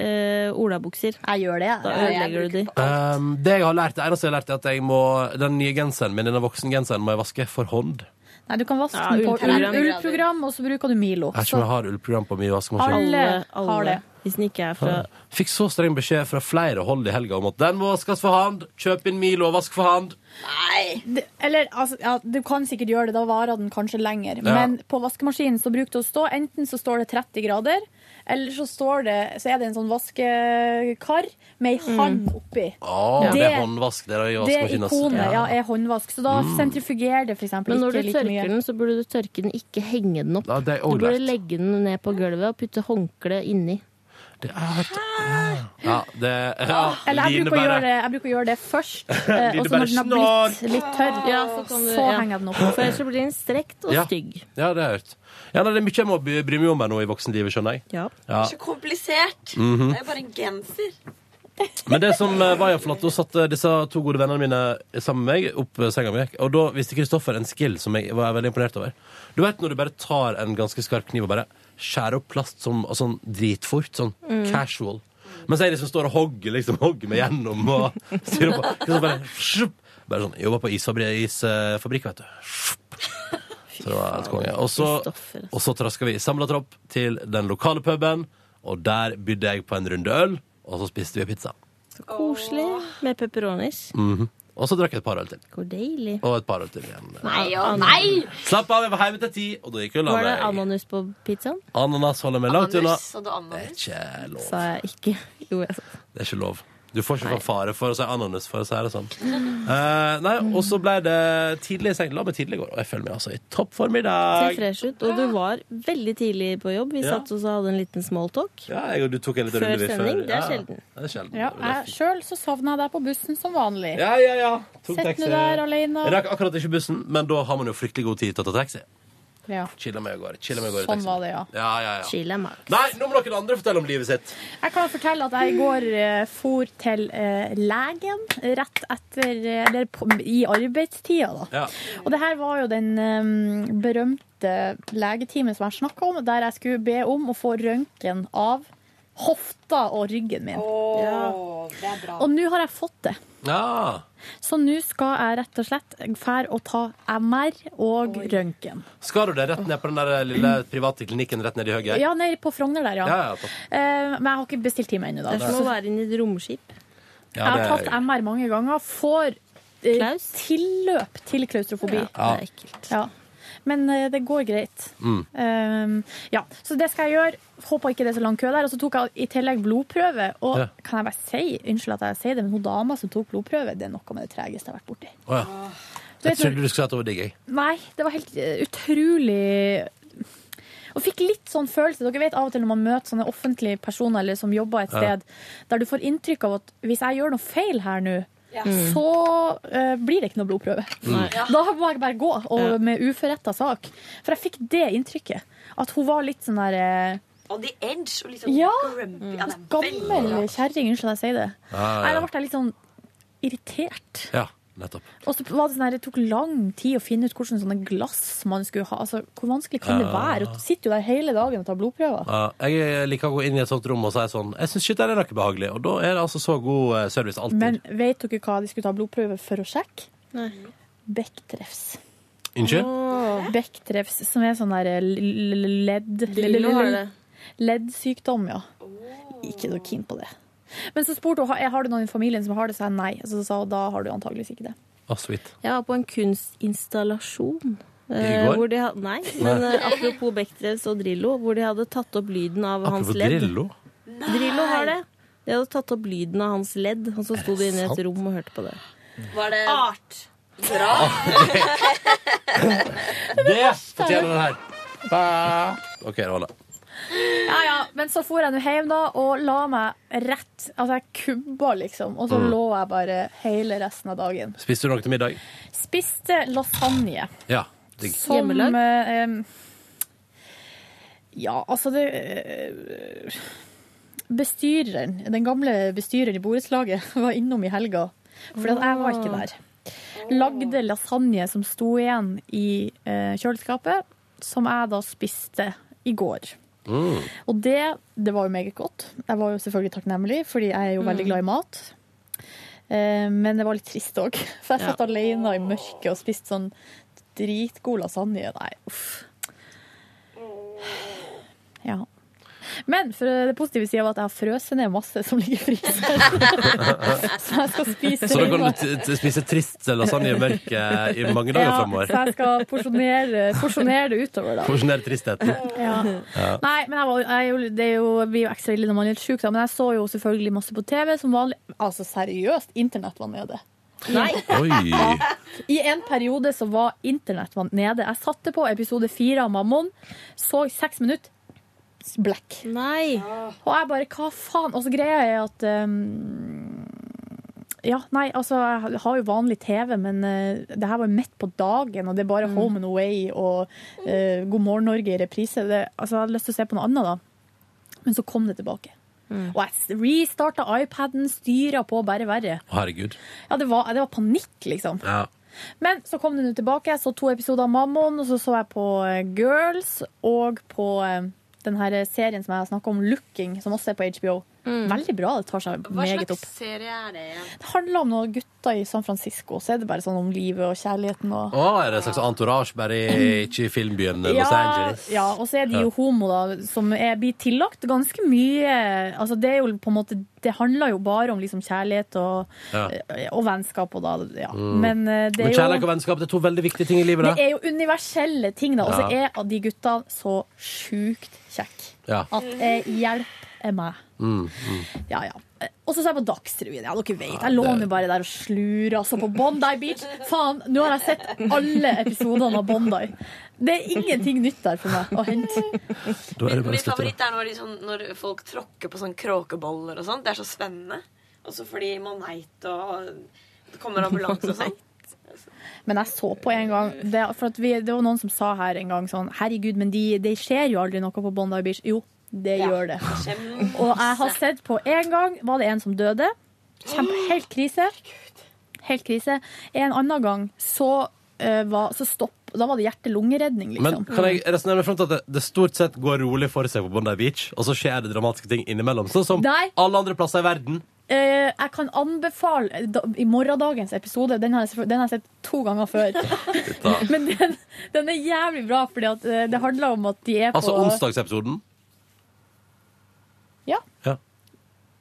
S3: eh, olabukser.
S4: Jeg gjør det.
S3: Da
S4: Ja, jeg
S3: ødelegger du de.
S2: Um, det jeg har lært, det eneste jeg har lært, er at jeg må, den nye genseren min, denne voksengenseren, må jeg vaske for hånd.
S4: Nei, du kan vaske
S3: Ja,
S4: den på
S3: ullprogram.
S4: ullprogram, og så bruker du Milo.
S2: Jeg tror
S4: Så
S2: jeg har ullprogram på min vaskemaskin.
S4: alle har
S3: alle.
S4: det.
S3: Hvis den ikke er fra
S2: Fikk så streng beskjed fra flere hold i helga om at den må vaskes for hand. Kjøp inn Milo og vask for hand.
S4: Det, eller, altså, ja, du kan sikkert gjøre det, da varer den kanskje lenger.
S2: Ja.
S4: Men på vaskemaskinen så bruker det å stå Enten så står det 30 grader, eller så, står det, så er det en sånn vaskekar med
S3: Mm.
S4: ei hand oppi.
S2: Å, det, er håndvask. Det er i
S4: det
S2: vaskemaskinen. altså. ass.
S4: ikonet ja, er håndvask, så da
S2: Mm.
S4: sentrifugerer det f.eks.
S3: Men når du
S4: ikke like
S3: tørker
S4: mye.
S3: den, så burde du tørke den, ikke henge den opp.
S2: Ja, det er
S3: du
S2: også
S3: burde
S2: lett.
S3: legge den ned på gulvet og putte håndkle inni.
S2: Det er helt... Ja, det ja,
S4: Eller jeg
S2: Line
S4: bruker, å gjøre
S2: bare-
S4: det, jeg bruker å gjøre det først, eh,
S2: Line
S4: og så
S2: bare
S4: når den har blitt litt tørr, så, henger jeg den opp.
S3: For ellers så blir den strekt og
S2: Ja.
S3: stygg.
S2: Ja, det har jeg hørt. Ja, nei, det er mye jeg må bry bry meg om her nå i voksenlivet, skjønner jeg.
S3: Ja.
S2: Ja.
S13: Så komplisert.
S2: Mhm.
S13: Det er jo bare en genser.
S2: Men det som eh, var iallfall at da satt eh, disse to gode vennene mine sammen med meg opp eh, senga mi, og da viste Kristoffer en skill som jeg var veldig imponert over. Du vet når du bare tar en ganske skarp kniv og bare skjærer opp plast som, og sånn dritfort, sånn
S21: Mm.
S2: casual. Mens jeg liksom står og hogger liksom, hogger meg gjennom og styrer på. Kristoffer bare, shup, bare sånn, jobber på isfabrikk, isfabrikk vet du. Shup. Så det var helt konge. Og så, og så traska vi samla tropp til den lokale puben, og der bydde jeg på en runde øl, og så spiste vi pizza.
S3: Så koselig med pepperonis.
S2: Mhm. Og så drakk jeg et par øl til.
S3: Hvor deilig.
S2: Og et par øl til igjen.
S3: Nei
S13: og nei!
S2: Slapp av, jeg var hjemme til ti, og da gikk øla
S3: Var det
S2: meg.
S3: ananas på pizzaen?
S2: Ananas holder meg langt unna.
S13: Ananas, og du
S2: Det er
S13: ananas.
S2: ikke lov.
S3: Sa jeg ikke. Jo, jeg sa
S2: Det er ikke lov. Du får ikke fanfare for å si ananas, for å si det sånn. Eh, nei, og så ble det tidlig i seng. La meg tidlig i går, og jeg føler meg altså i toppform i
S3: Ser
S2: dag.
S3: fresh ut. Og du var veldig tidlig på jobb. Vi
S2: Ja.
S3: satt også og hadde en liten smalltalk.
S2: Ja, jeg og du tok en liten
S3: Før
S2: runde vi før.
S3: sending, det er
S2: Ja,
S3: sjelden.
S2: Det er sjelden.
S4: Ja, jeg Sjøl så savna jeg deg på bussen som vanlig.
S2: Ja, ja, ja. Tok
S4: Sitter
S2: taxi.
S4: du der alene?
S2: Jeg rakk akkurat ikke bussen, men da har man jo fryktelig god tid til å ta taxi.
S4: Ja.
S2: Chilla meg og går. Chilla meg og går i
S4: Sånn
S2: taxi.
S4: var det, ja.
S2: Ja, ja, ja.
S3: Chilla meg.
S2: Nei, nå må noen andre fortelle om livet sitt.
S4: Jeg kan fortelle at jeg i går eh, for til eh, legen rett etter eh, Eller på, i arbeidstida, da.
S2: Ja.
S4: Og det her var jo den eh, berømte legetimen som jeg snakka om, der jeg skulle be om å få røntgen av hofta og ryggen min.
S13: det er bra.
S4: Og nå har jeg fått det.
S2: Ja.
S4: Så nå skal jeg rett og slett fære og ta MR og røntgen.
S2: Skal du det rett ned på den der lille private klinikken rett ned i høyre?
S4: Ja, nede på Frogner der, ja.
S2: Ja, ja, topp.
S4: Eh, men jeg har ikke bestilt time ennå, da.
S2: Det er som å
S3: være inne i et romskip.
S2: Ja,
S4: jeg
S2: det
S4: har
S2: er-
S4: tatt MR mange ganger. Får eh, tilløp til klaustrofobi.
S2: Ja. Det er
S4: Ja. Men eh, det går greit.
S2: Mm.
S4: Um, ja, så det skal jeg gjøre. Håper ikke det er så lang kø der. Og så tok jeg i tillegg blodprøve. Og
S2: Ja.
S4: kan jeg bare si, unnskyld at jeg sier det, men hun dama som tok blodprøve, det er noe med det tregeste jeg har vært borti.
S2: Å ja. Jeg
S4: Du vet når-
S2: trodde du skulle hatt over digg, jeg.
S4: Nei, det var helt eh, utrolig Og fikk litt sånn følelse Dere vet av og til når man møter sånne offentlige personer Eller som jobber et
S2: Ja.
S4: sted Der du får inntrykk av at hvis jeg gjør noe feil her nå Ja. så eh, blir det ikke noe blodprøve.
S2: Mm.
S3: Nei.
S4: Da må jeg bare gå og, med uforretta sak. For jeg fikk det inntrykket. At hun var litt sånn der eh,
S19: On the edge og
S13: liksom
S19: litt sånn
S4: Ja!
S19: grumpy. Ja, det er veldig
S4: Gammel
S19: rart.
S4: kjerring, unnskyld at jeg sier det.
S2: Ja, ja, ja.
S4: Nei, Da ble jeg litt sånn irritert.
S2: Ja, nettopp.
S4: Og så var det sånn her, det tok lang tid å finne ut hvordan sånne glass man skulle ha. Altså, Hvor vanskelig kan det
S2: Ja.
S4: være? Og Du sitter jo der hele dagen og tar blodprøver.
S2: Ja, jeg liker å gå inn i et sånt rom og si sånn Jeg syns ikke det er noe behagelig. Og da er det altså så god eh, service alltid.
S4: Men vet dere hva de skulle ta blodprøve for å sjekke? Bekktrefs.
S2: Unnskyld?
S4: Bekktrefs, som er sånn der l- l- ledd...
S3: Dillo har det.
S4: Leddsykdom, ja. Ikke noe keen på det. Men så spurte hun «Ha- har du noen i familien som har det, så sa jeg nei. Så sa hun da har du antageligvis ikke det.
S2: Å, sweet.
S3: Jeg var på en kunstinstallasjon.
S2: I
S3: eh,
S2: går?
S3: Hvor de ha- nei, men
S2: Nei.
S3: eh, apropos Bechdrevs og Drillo, hvor de hadde tatt opp lyden av hans
S2: Apropos
S3: ledd.
S2: Drillo.
S3: Drillo har det. De hadde tatt opp lyden av hans ledd. Han så sto de inne i et rom og hørte på det.
S13: Var det Art. Bra.
S2: Det fortjener den her. Ba. OK, det var det.
S4: Ja, ja, Men så for jeg nå hjem da, og la meg rett Altså, jeg kubba, liksom. Og så
S2: Mm.
S4: lå jeg bare hele resten av dagen.
S2: Spiste du noe til middag?
S4: Spiste lasagne.
S2: Ja. Digg.
S4: Som, eh, em, ja, altså det eh, Bestyreren, den gamle bestyreren i borettslaget, var innom i helga. For at jeg var ikke der. Lagde lasagne som sto igjen i eh, kjøleskapet, som jeg da spiste i går.
S2: Mm.
S4: Og det, det var jo meget godt. Jeg var jo selvfølgelig takknemlig, fordi jeg er jo veldig glad i mat. Eh, Men det var litt trist òg, for jeg
S3: Ja.
S4: satt alene i mørket og spiste sånn dritgod lasagne. Nei, uff. Ja. Men for eh, det positive sida var at jeg har frøset ned masse som ligger i fryseren. Så jeg skal spise
S2: Så da kan du t
S4: hjemme.
S2: t spise trist lasagne i mørket i mange dager
S4: ja,
S2: framover.
S4: Så jeg skal porsjonere, porsjonere det utover, da.
S2: Porsjonere tristheten.
S4: Ja.
S2: Ja.
S4: Nei, men jeg var, jeg, er jo- det er jo, blir jo ekstra ille når man er litt sjuk, da. Men jeg så jo selvfølgelig masse på TV som vanlig. Altså seriøst, internett var nede.
S3: Nei.
S2: Oi.
S4: Ja. I en periode så var internett var nede. Jeg satte på episode fire av Mammon, så i seks minutter black.
S3: Nei.
S4: Og jeg bare hva faen? Og så greia er at um, ja, nei, altså, Jeg har jo vanlig TV, men eh, det her var jo midt på dagen, og det er bare Home and Away og eh, God morgen Norge i reprise. Det, altså, Jeg hadde lyst til å se på noe annet, da. Men så kom det tilbake. Og jeg restarta iPaden, styra på, bare verre.
S2: Å, herregud.
S4: Ja, det var, det var panikk, liksom.
S2: Ja.
S4: Men så kom den jo tilbake. Jeg så to episoder av Mammon, og så så jeg på eh, Girls og på eh, den her serien som jeg har snakka om, Looking, som også er på HBO. Veldig bra. Det tar seg
S13: Mm. Hva
S4: meget
S13: slags
S4: opp.
S13: serie er det igjen?
S4: Det handler om noen gutter i San Francisco, så er det bare sånn om livet og kjærligheten og
S2: Å, er det en slags entourage, bare i- ikke i filmbyen Los
S4: ja,
S2: Angeles?
S4: ja, og så er de jo
S2: Ja.
S4: homo, da, som er, blir tillagt ganske mye Altså, det er jo på en måte Det handler jo bare om liksom kjærlighet og,
S2: Ja.
S4: og vennskap og da, ja.
S2: Mm.
S4: Men eh, det
S2: Men
S4: er jo
S2: kjærlighet og vennskap det er to veldig viktige ting i livet.
S4: Det
S2: da.
S4: er jo universelle ting, da. Og så
S2: Ja.
S4: er de gutta så sjukt kjekke
S2: Ja.
S4: at eh, hjelp er meg.
S2: Mm, mm.
S4: Ja, ja. Eh, Og så så jeg på Dagsrevyen. Ja, dere vet, jeg lå nå bare der og slura. Så på Bondi Beach. Faen, nå har jeg sett alle episodene av Bondi. Det er ingenting nytt der for meg å hente.
S2: Da er det bare å
S13: Min
S2: slutte. da.
S13: favoritt er når, de sånn, når folk tråkker på sånn kråkeboller og sånn. Det er så spennende. Og så får de moneit og det kommer ambulanse og sånn.
S4: Men jeg så på en gang det, For at vi, det var noen som sa her en gang sånn Herregud, men de- det skjer jo aldri noe på Bondi Beach. Jo, det gjør det. Og jeg har sett på en gang var det en som døde. Kjempe, helt krise. Helt krise. En annen gang så eh, var så stopp. Da var det hjerte-lungeredning, liksom.
S2: Men kan jeg resonnere meg frem til at det, det stort sett går rolig for seg på Bondi Beach, og så skjer det dramatiske ting innimellom? Sånn som
S4: Nei.
S2: alle andre plasser i verden.
S4: Eh, jeg kan anbefale da, i morgendagens episode Den har jeg, selvfø- den har jeg sett to ganger før. Men den, den er jævlig bra, fordi at, eh, det handler om at de er
S2: Altså
S4: på
S2: onsdagsepisoden.
S4: Ja.
S2: Ja.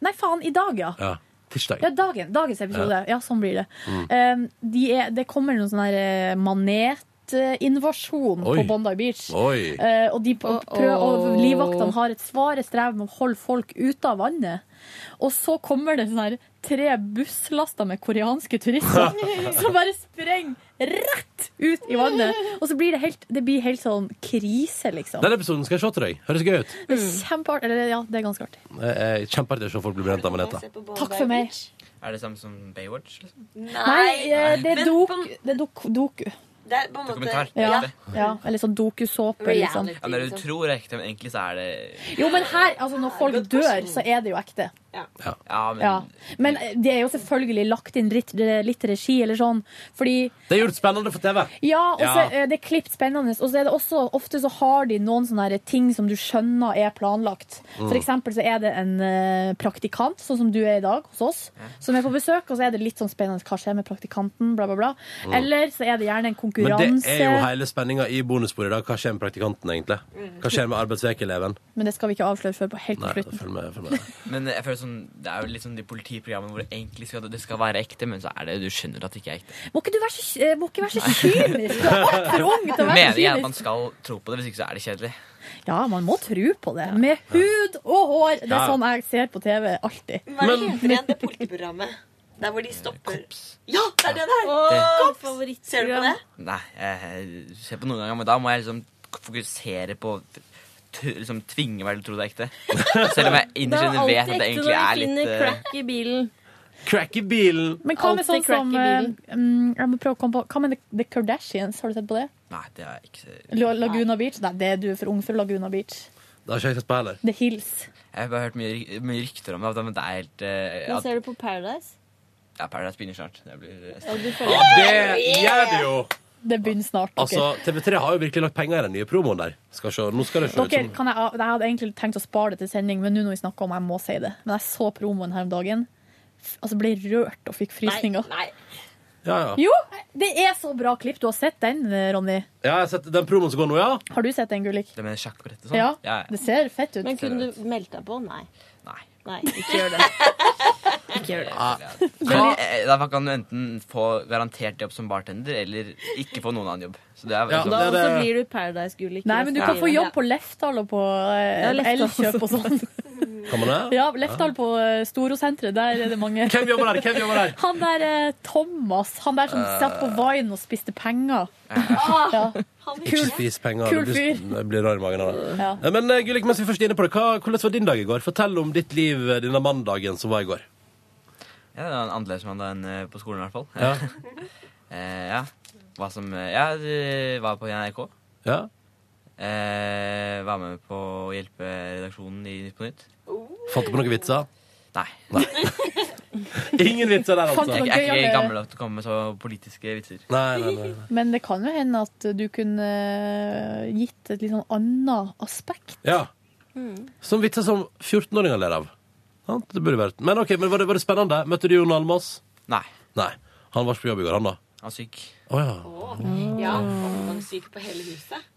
S4: Nei, faen, i dag, ja.
S2: Ja. Tirsdag.
S4: Ja, dagen, dagens episode.
S2: Ja.
S4: Ja, sånn blir det.
S2: Mm.
S4: Eh, de er, det kommer noen sånn her eh, manetinvasjon på
S2: Oi.
S4: Bondi Beach.
S2: Oi.
S4: Eh, og, de p- prøver, og livvaktene har et svare strev med å holde folk ute av vannet. Og så kommer det sånn her tre busslaster med koreanske turister som bare sprenger rett ut i vannet. Og så blir det helt, det blir helt sånn krise, liksom.
S2: Den episoden skal jeg se til deg. Høres gøy ut.
S4: Det er kjempeartig. Eller ja, det er ganske artig.
S2: Det er Kjempeartig å se folk bli brent av maneter.
S4: Takk for meg.
S20: Er det samme som Baywatch? Liksom?
S4: Nei, eh, det er
S13: men
S4: dok,
S13: på-
S4: det er dok, doku.
S13: Det er på en måte
S20: Dokumentar.
S4: Ja,
S20: det.
S4: ja, eller sånn dokusåpe. Liksom.
S20: Ja, men du tror det er ekte, men egentlig så er det
S4: Jo, men her, altså, når folk dør, så er det jo ekte.
S20: Ja, ja men
S4: Ja. Men det er jo selvfølgelig lagt inn litt, litt regi eller sånn, fordi
S2: Det er gjort spennende for TV.
S4: Ja, og så
S2: Ja.
S4: er det klippt spennende. Og så er det også, ofte så har de noen sånne her ting som du skjønner er planlagt.
S21: Mm.
S4: For eksempel så er det en eh, praktikant, sånn som du er i dag hos oss, som er på besøk, og så er det litt sånn spennende hva skjer med praktikanten, bla, bla, bla.
S2: Mm.
S4: Eller så er det gjerne
S2: Men det
S4: en konkurranse.
S2: er jo hele spenninga i bonussporet i dag. Hva skjer med praktikanten, egentlig? Hva skjer med arbeidsukeeleven?
S4: Men det skal vi ikke avsløre før på helt
S2: Nei,
S4: på slutten.
S2: følg med. Følg med.
S20: Men jeg føler sånn, det er jo litt sånn de politiprogrammene hvor det egentlig skal, det skal være ekte, men så er det, du skjønner at det ikke er ekte.
S4: Må ikke du være så, eh, må ikke være så kynisk! Du er altfor ung til å være
S20: Mener
S4: så
S20: jeg at man
S2: altså.
S4: kynisk.
S20: skal tro på det, hvis ikke så er det kjedelig.
S4: Ja, man må tro på det. Med hud og hår. Det er
S20: Ja.
S4: sånn jeg ser på TV alltid.
S13: Hva heter igjen det politiprogrammet? Der hvor
S20: Eh,
S13: de stopper Ja, det er det der!
S20: Det-
S13: Kops! Ser du på det?
S20: Nei, jeg ser på noen ganger, men da må jeg liksom fokusere på t liksom tvinge meg til å tro det er ekte. Selv om jeg innerst inne vet at det egentlig er litt
S3: finner
S20: eh,
S3: crack i bilen.
S2: Crack i bilen!
S4: Men hva med sånn
S3: Alltid crack
S4: som
S3: i bilen.
S4: eh, mm, Jeg må prøve å komme på Hva med The, The Kardashians? Har du sett på det?
S20: Nei, det er ikke så-
S4: La- Laguna Beach? Nei, det er du for ung for Laguna Beach.
S2: Det har ikke jeg sett på heller.
S4: The Hills.
S20: Jeg har bare hørt mye, ry- mye rykter om det, at- men det er helt eh,
S3: Nå
S20: at,
S3: ser du på Paradise.
S20: ja, Paradise begynner snart. Det blir eh,
S3: Ja, du
S2: Ja, det Eh, gjør det jo!
S4: Det begynner snart. dere.
S2: Altså, TV3 har jo virkelig lagt penger i den nye promoen der. Skal se, nå skal det se ut
S4: Dere,
S2: som
S4: kan jeg, av- jeg hadde egentlig tenkt å spare det til sending, men nå når vi snakker om jeg må si det. Men jeg så promoen her om dagen. F- Altså ble rørt og fikk frysninger.
S2: Ja, ja.
S4: Jo, det er så bra klipp. Du har sett den, Ronny.
S2: Ja, jeg har sett den promoen som går nå, ja.
S4: Har du sett den, Gullik?
S20: Det med sjakkbrettet og sånn?
S4: Ja,
S20: Ja, ja.
S4: det ser fett ut.
S3: Men kunne du meldt deg på? Nei.
S20: Nei.
S3: ikke gjør det. Ikke gjør
S20: Ja.
S3: det.
S20: Men, eh, da kan du enten få garantert jobb som bartender, eller ikke få noen annen jobb. Så det er, liksom-
S3: Da
S20: så-
S3: også blir du Paradise-gullik.
S4: Nei, men du
S20: Ja.
S4: kan få jobb på Lefdal og på eh,
S3: Ja, Lefdal
S4: Elkjøp og sånn.
S2: Kan man det?
S4: Ja, Lefdal på eh, Storosenteret, der er det mange.
S2: Hvem jobber der? Hvem jobber der?
S4: Han der eh, Thomas, han der som
S2: Eh.
S4: satt på Vine og spiste penger.
S3: Ah.
S4: Ja.
S2: Ikke spis penger.
S4: Kul
S2: du blir-
S4: fyr.
S2: det blir rar i magen av det.
S4: Ja.
S2: Eh, Men eh, Gullik, mens vi først er inne på det, hva, hvordan var din dag i går? Fortell om ditt liv eh, denne mandagen som var i går.
S20: Ja, det var en annerledes mandag enn eh, på skolen i hvert fall.
S2: Ja.
S20: eh, ja. Hva som eh, Ja, det var på NRK.
S2: Ja.
S20: Eh, var med på å hjelpe redaksjonen i Nytt på Nytt.
S2: Fant du på noen vitser?
S20: Nei.
S2: Ingen vitser der, altså.
S4: Fant du
S20: Jeg
S4: noe
S20: jeg er
S4: gøy å
S20: ikke
S4: gjøre?
S20: gammel nok til å komme med så politiske vitser.
S2: Nei, nei, nei, nei.
S4: Men det kan jo hende at du kunne eh, gitt et litt sånn annet aspekt.
S2: Ja.
S3: Mm.
S2: Som vitser som 14-åringer ler av. Sant? Det burde vært. Men ok, men var det, var det spennende? Møtte du Jon Almaas?
S20: Nei.
S2: Nei. Han var ikke på jobb i går, han da?
S20: Han er syk.
S2: Å ja.
S13: Ja, omgangssyk på hele huset.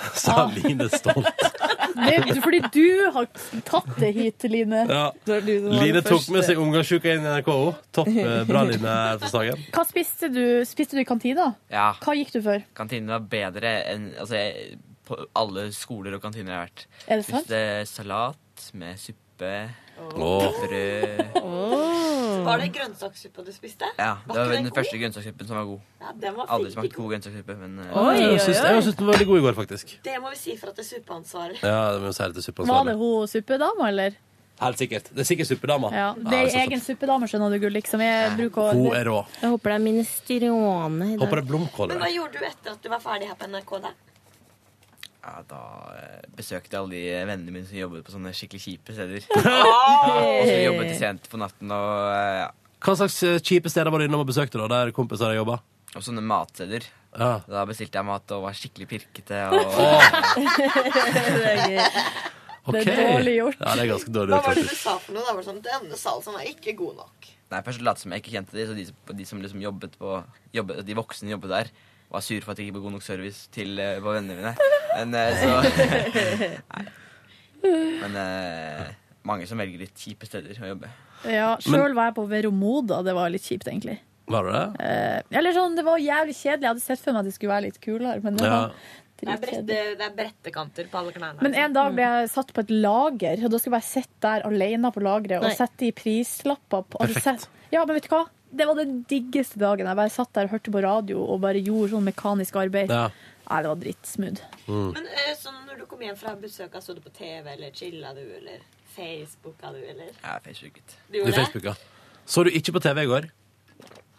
S4: Ah.
S2: Sa Line stolt.
S4: Det er jo fordi du har tatt det hit, Line.
S2: Ja.
S4: Det var du som var
S2: Line
S4: den
S2: tok med
S4: første.
S2: seg omgangssjuka inn i NRK òg. Topp eh, bra, Line her for saken.
S4: Hva spiste du? Spiste du i kantina?
S20: Ja.
S4: Hva gikk du for?
S20: Kantinen var bedre enn altså, jeg- på alle skoler og kantiner jeg har vært.
S4: Er det sant?
S20: Spiste salat med suppe,
S2: Åh.
S20: brød
S13: Var det grønnsakssuppe du spiste?
S20: Eh, Ja, det var
S13: ikke
S20: den
S13: god?
S20: første grønnsakssuppen som var god.
S13: Ja, den var
S20: Aldri
S13: fint
S20: smakt god grønnsakssuppe, men eh,
S2: Ja, Jeg syns jeg syns den var veldig god i går, faktisk.
S13: Det må vi si for at det er suppeansvarlig.
S2: Ja, det må jeg si det til
S4: Var det
S2: suppeansvarlig.
S4: hun suppedama, eller?
S2: Helt sikkert. Det er sikkert suppedama.
S4: Ja, det
S2: Ja,
S4: er
S2: så flott.
S4: egen suppedame, skjønner du, Gullik, som jeg bruker å
S2: Hun er rå.
S3: Jeg håper det er minestrione i
S2: Håper det
S3: dag.
S2: er blomkål. i
S13: Men
S2: det.
S13: hva gjorde du etter at du var ferdig her på NRK da?
S20: ja, da eh, besøkte jeg alle de vennene mine som jobbet på sånne skikkelig kjipe steder.
S13: Åh!
S20: Og som jobbet til sent på natten og eh, ja.
S2: Hva slags eh, kjipe steder var du innom og besøkte, da, der kompiser jobba?
S20: Og sånne matsteder.
S2: Ja.
S20: Da bestilte jeg mat og var skikkelig pirkete. Og,
S4: det er gøy. Det er dårlig gjort.
S2: Ja, det er ganske dårlig
S13: Hva
S2: gjort,
S13: var det du
S2: faktisk.
S13: sa for noe? Da var det sånn Denne salsen var ikke god nok.
S20: Nei, Først lot jeg som jeg ikke kjente de, så de, som- de som liksom jobbet på jobbet, De voksne jobbet der, var sur for at jeg ikke ble god nok service til eh, på vennene mine. Men eh, så Nei. Men eh, mange som velger litt kjipe steder å jobbe.
S4: Ja, Sjøl var jeg på Veromoda. Det var litt kjipt, egentlig.
S2: Var det det?
S4: Eh, eller sånn, Det var jævlig kjedelig. Jeg hadde sett for meg at det skulle være litt kulere. Men det
S2: Ja.
S4: var
S13: Det er, brette,
S4: dritkjedelig.
S13: det er brettekanter på alle knærne.
S4: Men en dag ble jeg satt på et lager, og da skulle jeg bare sitte der alene på lageret og
S13: Nei.
S4: sette de prislapper på altså,
S13: Perfekt.
S4: sett- Ja, men vet du hva? Det var den diggeste dagen. Jeg bare satt der og hørte på radio og bare gjorde sånn mekanisk arbeid.
S2: Ja.
S4: Nei, det var drittsmooth.
S2: Mm.
S13: Men eh, sånn når du kom hjem fra besøka, så du på TV, eller chilla du, eller Facebooka du, eller?
S20: Jeg er Facebooket.
S13: Du gjorde det?
S2: Facebooka. Så du ikke på TV i går?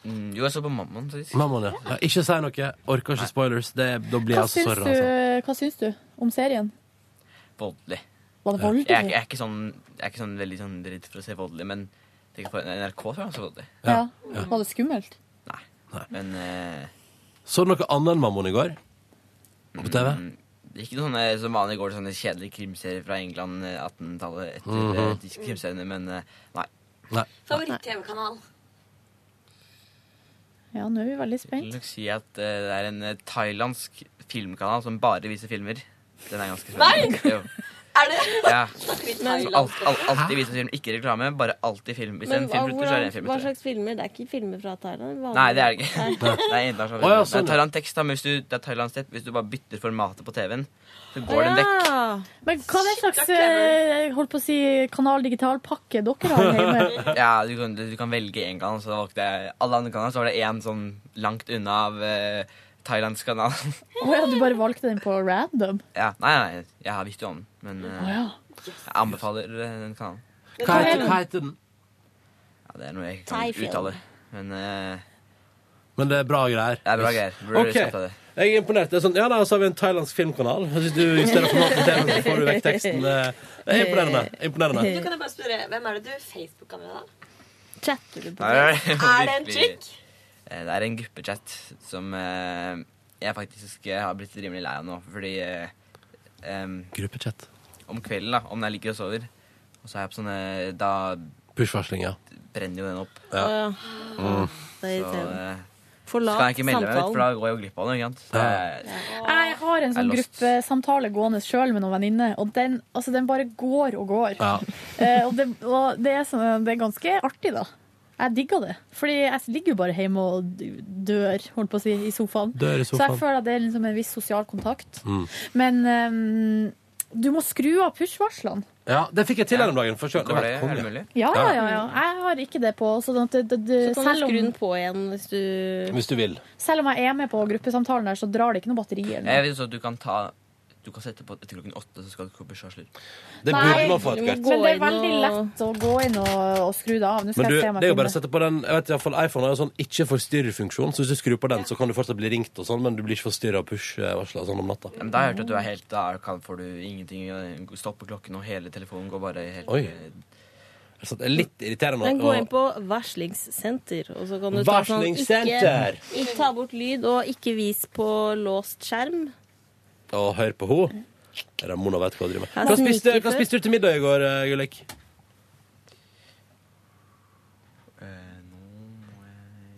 S20: Mm, jo, jeg så på Mammon. sist.
S2: Mammaen, ja. ja. Ikke si noe. Orker ikke spoilers. Det, da blir
S4: Hva
S2: jeg så
S4: syns,
S2: sorry.
S4: du,
S2: Altså.
S4: hva syns du om serien?
S20: Voldelig.
S4: Var det
S20: Ja.
S4: voldelig?
S20: Jeg, er ikke- jeg, er ikke sånn, jeg er ikke sånn veldig sånn redd for å se voldelig, men tenk på NRK tror jeg er så voldelig.
S4: Ja. Var det skummelt?
S20: Men eh,
S2: Så du noe annet enn Mammon i går? På TV?
S20: Mm. ikke noe sånne som vanlig går det sånne kjedelige krimserier fra England eh, 1800-tallet etter
S2: Mhm.
S20: eh, disse krimseriene, men eh, nei.
S13: Favoritt-TV-kanal?
S4: Ja, nå er vi veldig
S20: Jeg vil
S4: spent.
S20: nok si at eh, det er en eh, thailandsk filmkanal som bare viser filmer. Den er ganske
S13: Nei!
S20: spennende. Jo.
S13: Er det
S20: Ja.
S13: Snakker vi
S20: Så
S13: thailandsk
S20: alt, alt,
S13: også?
S20: alltid viser film, ikke reklame, bare alltid film. Hvis
S3: Men
S20: en film slutter, så er det en film.
S3: hva
S20: etter det.
S3: slags filmer? Det er ikke filmer fra Thailand? vanlig.
S20: Nei, det er det ikke.
S3: Nei.
S20: Det er
S2: Å,
S20: internasjonal film.
S2: ja,
S20: Det
S2: sånn,
S20: er
S2: ja.
S20: thailandtekst, da, men hvis du, det er thailandstep, hvis du bare bytter formatet på TV-en, så går den vekk.
S4: Men hva er det slags eh, holdt på å si, kanal digital-pakke dere har hjemme?
S20: Ja, du kan, du kan velge én kanal, så da valgte jeg alle andre kanaler. Så var det én sånn langt unna av eh, thailandsk kanal.
S4: Å ja, du bare valgte den på random?
S20: ja, nei, nei, jeg visste jo om den, men eh,
S4: Å ja.
S20: jeg anbefaler eh, den kanalen.
S2: Hva heter- hva heter den?
S20: Ja, det er noe jeg kan
S2: Thai film.
S20: ikke uttale, men eh,
S2: Men det er bra greier.
S20: Det er bra greier. Burde
S2: Ok.
S20: sagt av det.
S2: Jeg er imponert. Det er sånn, ja, da, så har vi en thailandsk filmkanal. Hvis du justerer formatet på TV, så får du vekk teksten. Eh, Det er imponerende. imponerende.
S13: Du kan jo bare spørre, Hvem er det du Facebooka med, da?
S3: Chatter du
S20: Nei,
S13: Er det en
S20: virkelig-
S13: chick?
S20: Eh, Det er en gruppechat som eh, jeg faktisk eh, har blitt rimelig lei av nå, fordi eh, em,
S2: Gruppechat.
S20: Om kvelden, da, om jeg ligger og sover, og så er jeg på sånne Da
S2: Push-varsling, ja.
S20: brenner jo den opp.
S2: Ja.
S3: Å, ja. Mm. Det er
S20: Så
S3: irriterende.
S20: eh,
S3: Forlat
S20: så kan jeg ikke melde meg ut,
S3: samtalen.
S20: for da går jeg jo glipp av noe. ikke sant? Så jeg-
S4: Jeg har en
S20: Jeg er
S4: sånn
S20: lost.
S4: gruppesamtale gående sjøl med noen venninner, og den, altså, den bare går og går.
S2: Ja.
S4: Eh, og det, og det, er sånn, det er ganske artig, da. Jeg digger det. Fordi jeg ligger jo bare hjemme og dør, holdt på å si, i sofaen.
S2: Dør i
S4: Så
S2: sofaen.
S4: jeg føler at det er liksom en viss sosial kontakt.
S2: Mm.
S4: Men ehm, du må skru av push-varslene.
S2: ja, det fikk jeg til her om dagen. For selv-
S20: Går
S2: var
S20: det?
S2: konge.
S20: Er det mulig?
S4: Ja, ja, ja, ja. Jeg har ikke det på. Sånn at det, det, det,
S3: Så kan du
S4: selv om-
S3: skru den på igjen hvis du
S2: Hvis du vil.
S4: Selv om jeg er med på gruppesamtalen der, så drar det ikke noe batteri. Eller noe.
S20: Jeg vet også at du kan ta Du kan sette på etter klokken åtte, så skal du ikke på bursdagslutt.
S4: Nei, Men det er veldig lett å gå inn og, og skru det av. Nå skal
S2: Men du,
S4: jeg se om jeg
S2: det er jo bare å
S4: finner-
S2: sette på den Jeg vet i hvert fall iPhone har jo sånn ikke forstyrr-funksjon, så hvis du skrur på den, så kan du fortsatt bli ringt og sånn, men du blir ikke forstyrra av push-varsler sånn om natta.
S20: Men da har jeg hørt at du er helt Da kan- får du ingenting. Stopper klokken, og hele telefonen går bare helt
S2: Oi.
S20: eh,
S2: Så det er litt irriterende.
S3: Men
S2: å-
S3: gå inn på varslingssenter, og så kan du ta sånn
S2: Varslingssenter!
S3: ikke, ikke ta bort lyd, og ikke vis på låst skjerm.
S2: Og hør på henne. Ramona vet hva hun driver med.
S3: Jeg
S2: Hva spiste,
S3: sniker
S2: hva
S3: før.
S2: spiste du til middag i går, eh, Gullek?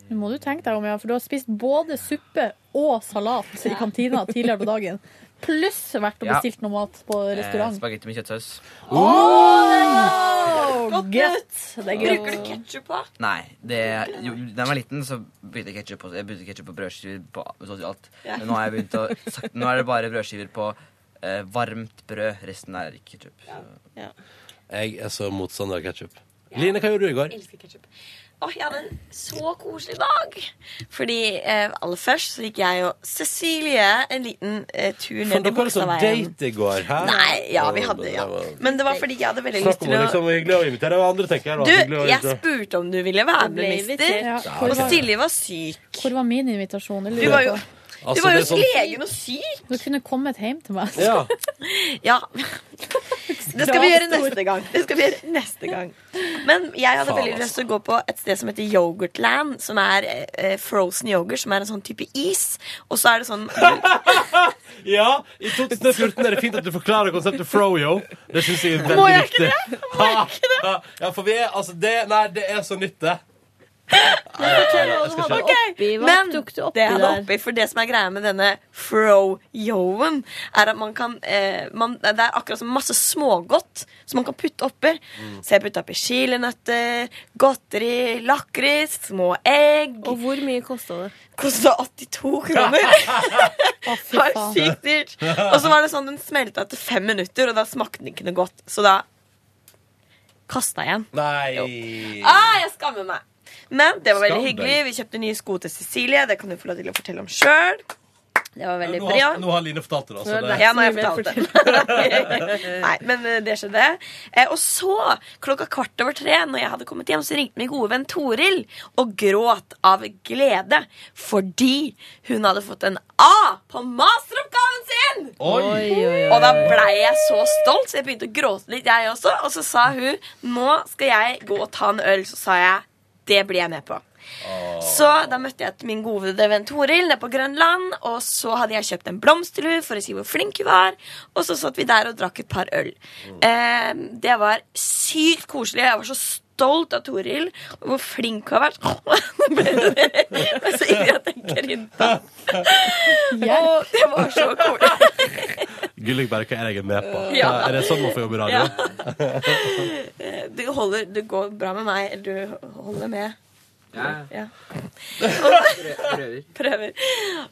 S4: Nå må du tenke deg om, ja, for du har spist både suppe og salat i kantina tidligere på dagen. Pluss vært og
S20: Ja.
S4: bestilt noe mat på
S20: Eh,
S4: restaurant.
S20: spagetti med kjøttsaus.
S2: Oh!
S4: Åh, Godt! Det er godt.
S13: Bruker du ketsjup på?
S20: Nei, det, jo, da jeg var liten, så begynte jeg ketchup på, jeg begynte ketchup på brødskiver på så å si alt.
S13: Ja.
S20: Men nå, har jeg begynt å, sak- nå er det bare brødskiver på eh, varmt brød. Resten er ikke ketsjup.
S2: Jeg er så motstander av ketsjup. Line, hva gjorde du i går?
S13: Elsker ketchup. Å, jeg hadde en så koselig dag! Fordi eh, aller først så gikk jeg og Cecilie en liten eh, tur
S2: Faen,
S13: ned i
S2: dere hadde sånn
S13: Bogstadveien.
S2: date i går, hæ?
S13: Nei, ja, vi hadde, ja. Men det var fordi jeg hadde veldig lyst til å
S2: liksom hyggelig å invitere andre, tenker jeg. da.
S13: Du,
S2: Hyggelig å
S13: jeg
S2: invitere.
S13: spurte om du ville være
S4: Det
S13: med,
S4: ble
S13: mister.
S4: invitert. Ja,
S13: Og
S4: hvor var-
S13: Silje var syk.
S4: Hvor var min invitasjon? Jeg lurer
S13: Du var jo,
S4: på.
S2: Altså,
S13: du var jo hos legen og syk.
S4: Du kunne kommet hjem til meg.
S2: sånn- Ja.
S13: Ja. sånn, Det skal vi gjøre neste gang. Det skal vi gjøre neste gang. Men jeg hadde
S19: Faen,
S13: veldig lyst til å gå på et sted som heter Yoghurtland, som er eh, frozen yoghurt, som er en sånn type is. Og så er det sånn
S2: ja, i 2014 er det fint at du forklarer konseptet froyo. Det syns jeg er veldig
S13: Må jeg ikke
S2: viktig. Må jeg ikke det? Ja, for vi er altså det, Nei, det er så nytt, det.
S13: Ok, Men det jeg hadde oppi, for det som er greia med denne fro-yoen, er at man kan eh, man, Det er akkurat som masse smågodt som man kan putte oppi. Så jeg putta oppi chilinøtter, godteri, lakris, små egg. Og
S3: hvor mye kosta det?
S13: Kosta 82 kroner. Det var
S3: faen.
S13: sykt dyrt. Og så var det sånn den smelta etter fem minutter, og da smakte den ikke noe godt. Så da kasta jeg den.
S2: Nei.
S13: Ah, jeg skammer meg. Men det var veldig
S2: Skam deg.
S13: hyggelig. Vi kjøpte nye sko til Cecilie. Det kan du få lov til å fortelle om sjøl. Det var veldig
S2: Nå
S13: bra.
S2: har, altså nå har Line fortalt det, da. Så det,
S13: Ja, nå har jeg fortalt det. Nei, men eh, det skjedde. Eh, Og så, klokka kvart over tre, når jeg hadde kommet hjem, så ringte min gode venn Toril og gråt av glede fordi hun hadde fått en A på masteroppgaven sin!
S21: Oi. Oi, oi, oi.
S13: Og da blei jeg så stolt, så jeg begynte å gråte litt, jeg også. Og så sa hun nå skal jeg gå og ta en øl. Så sa jeg det blir jeg med på. Så da møtte jeg min gode venn Toril nede på Grønland, og så hadde jeg kjøpt en blomst til henne for å si hvor flink hun var, og så satt vi der og drakk et par øl. Eh, det var sykt koselig. Jeg var så stolt av Toril, og hvor flink hun har vært. Det er så ille at jeg grynta. Og det var så koselig.
S2: Gullik bare, hva er det jeg er med på?
S13: Ja.
S2: Er det sånn man får jobbe i radio?
S13: Eh, Du holder Det går bra med meg. Du holder med.
S20: Ja.
S13: Ja.
S20: Prøver.
S13: Prøver.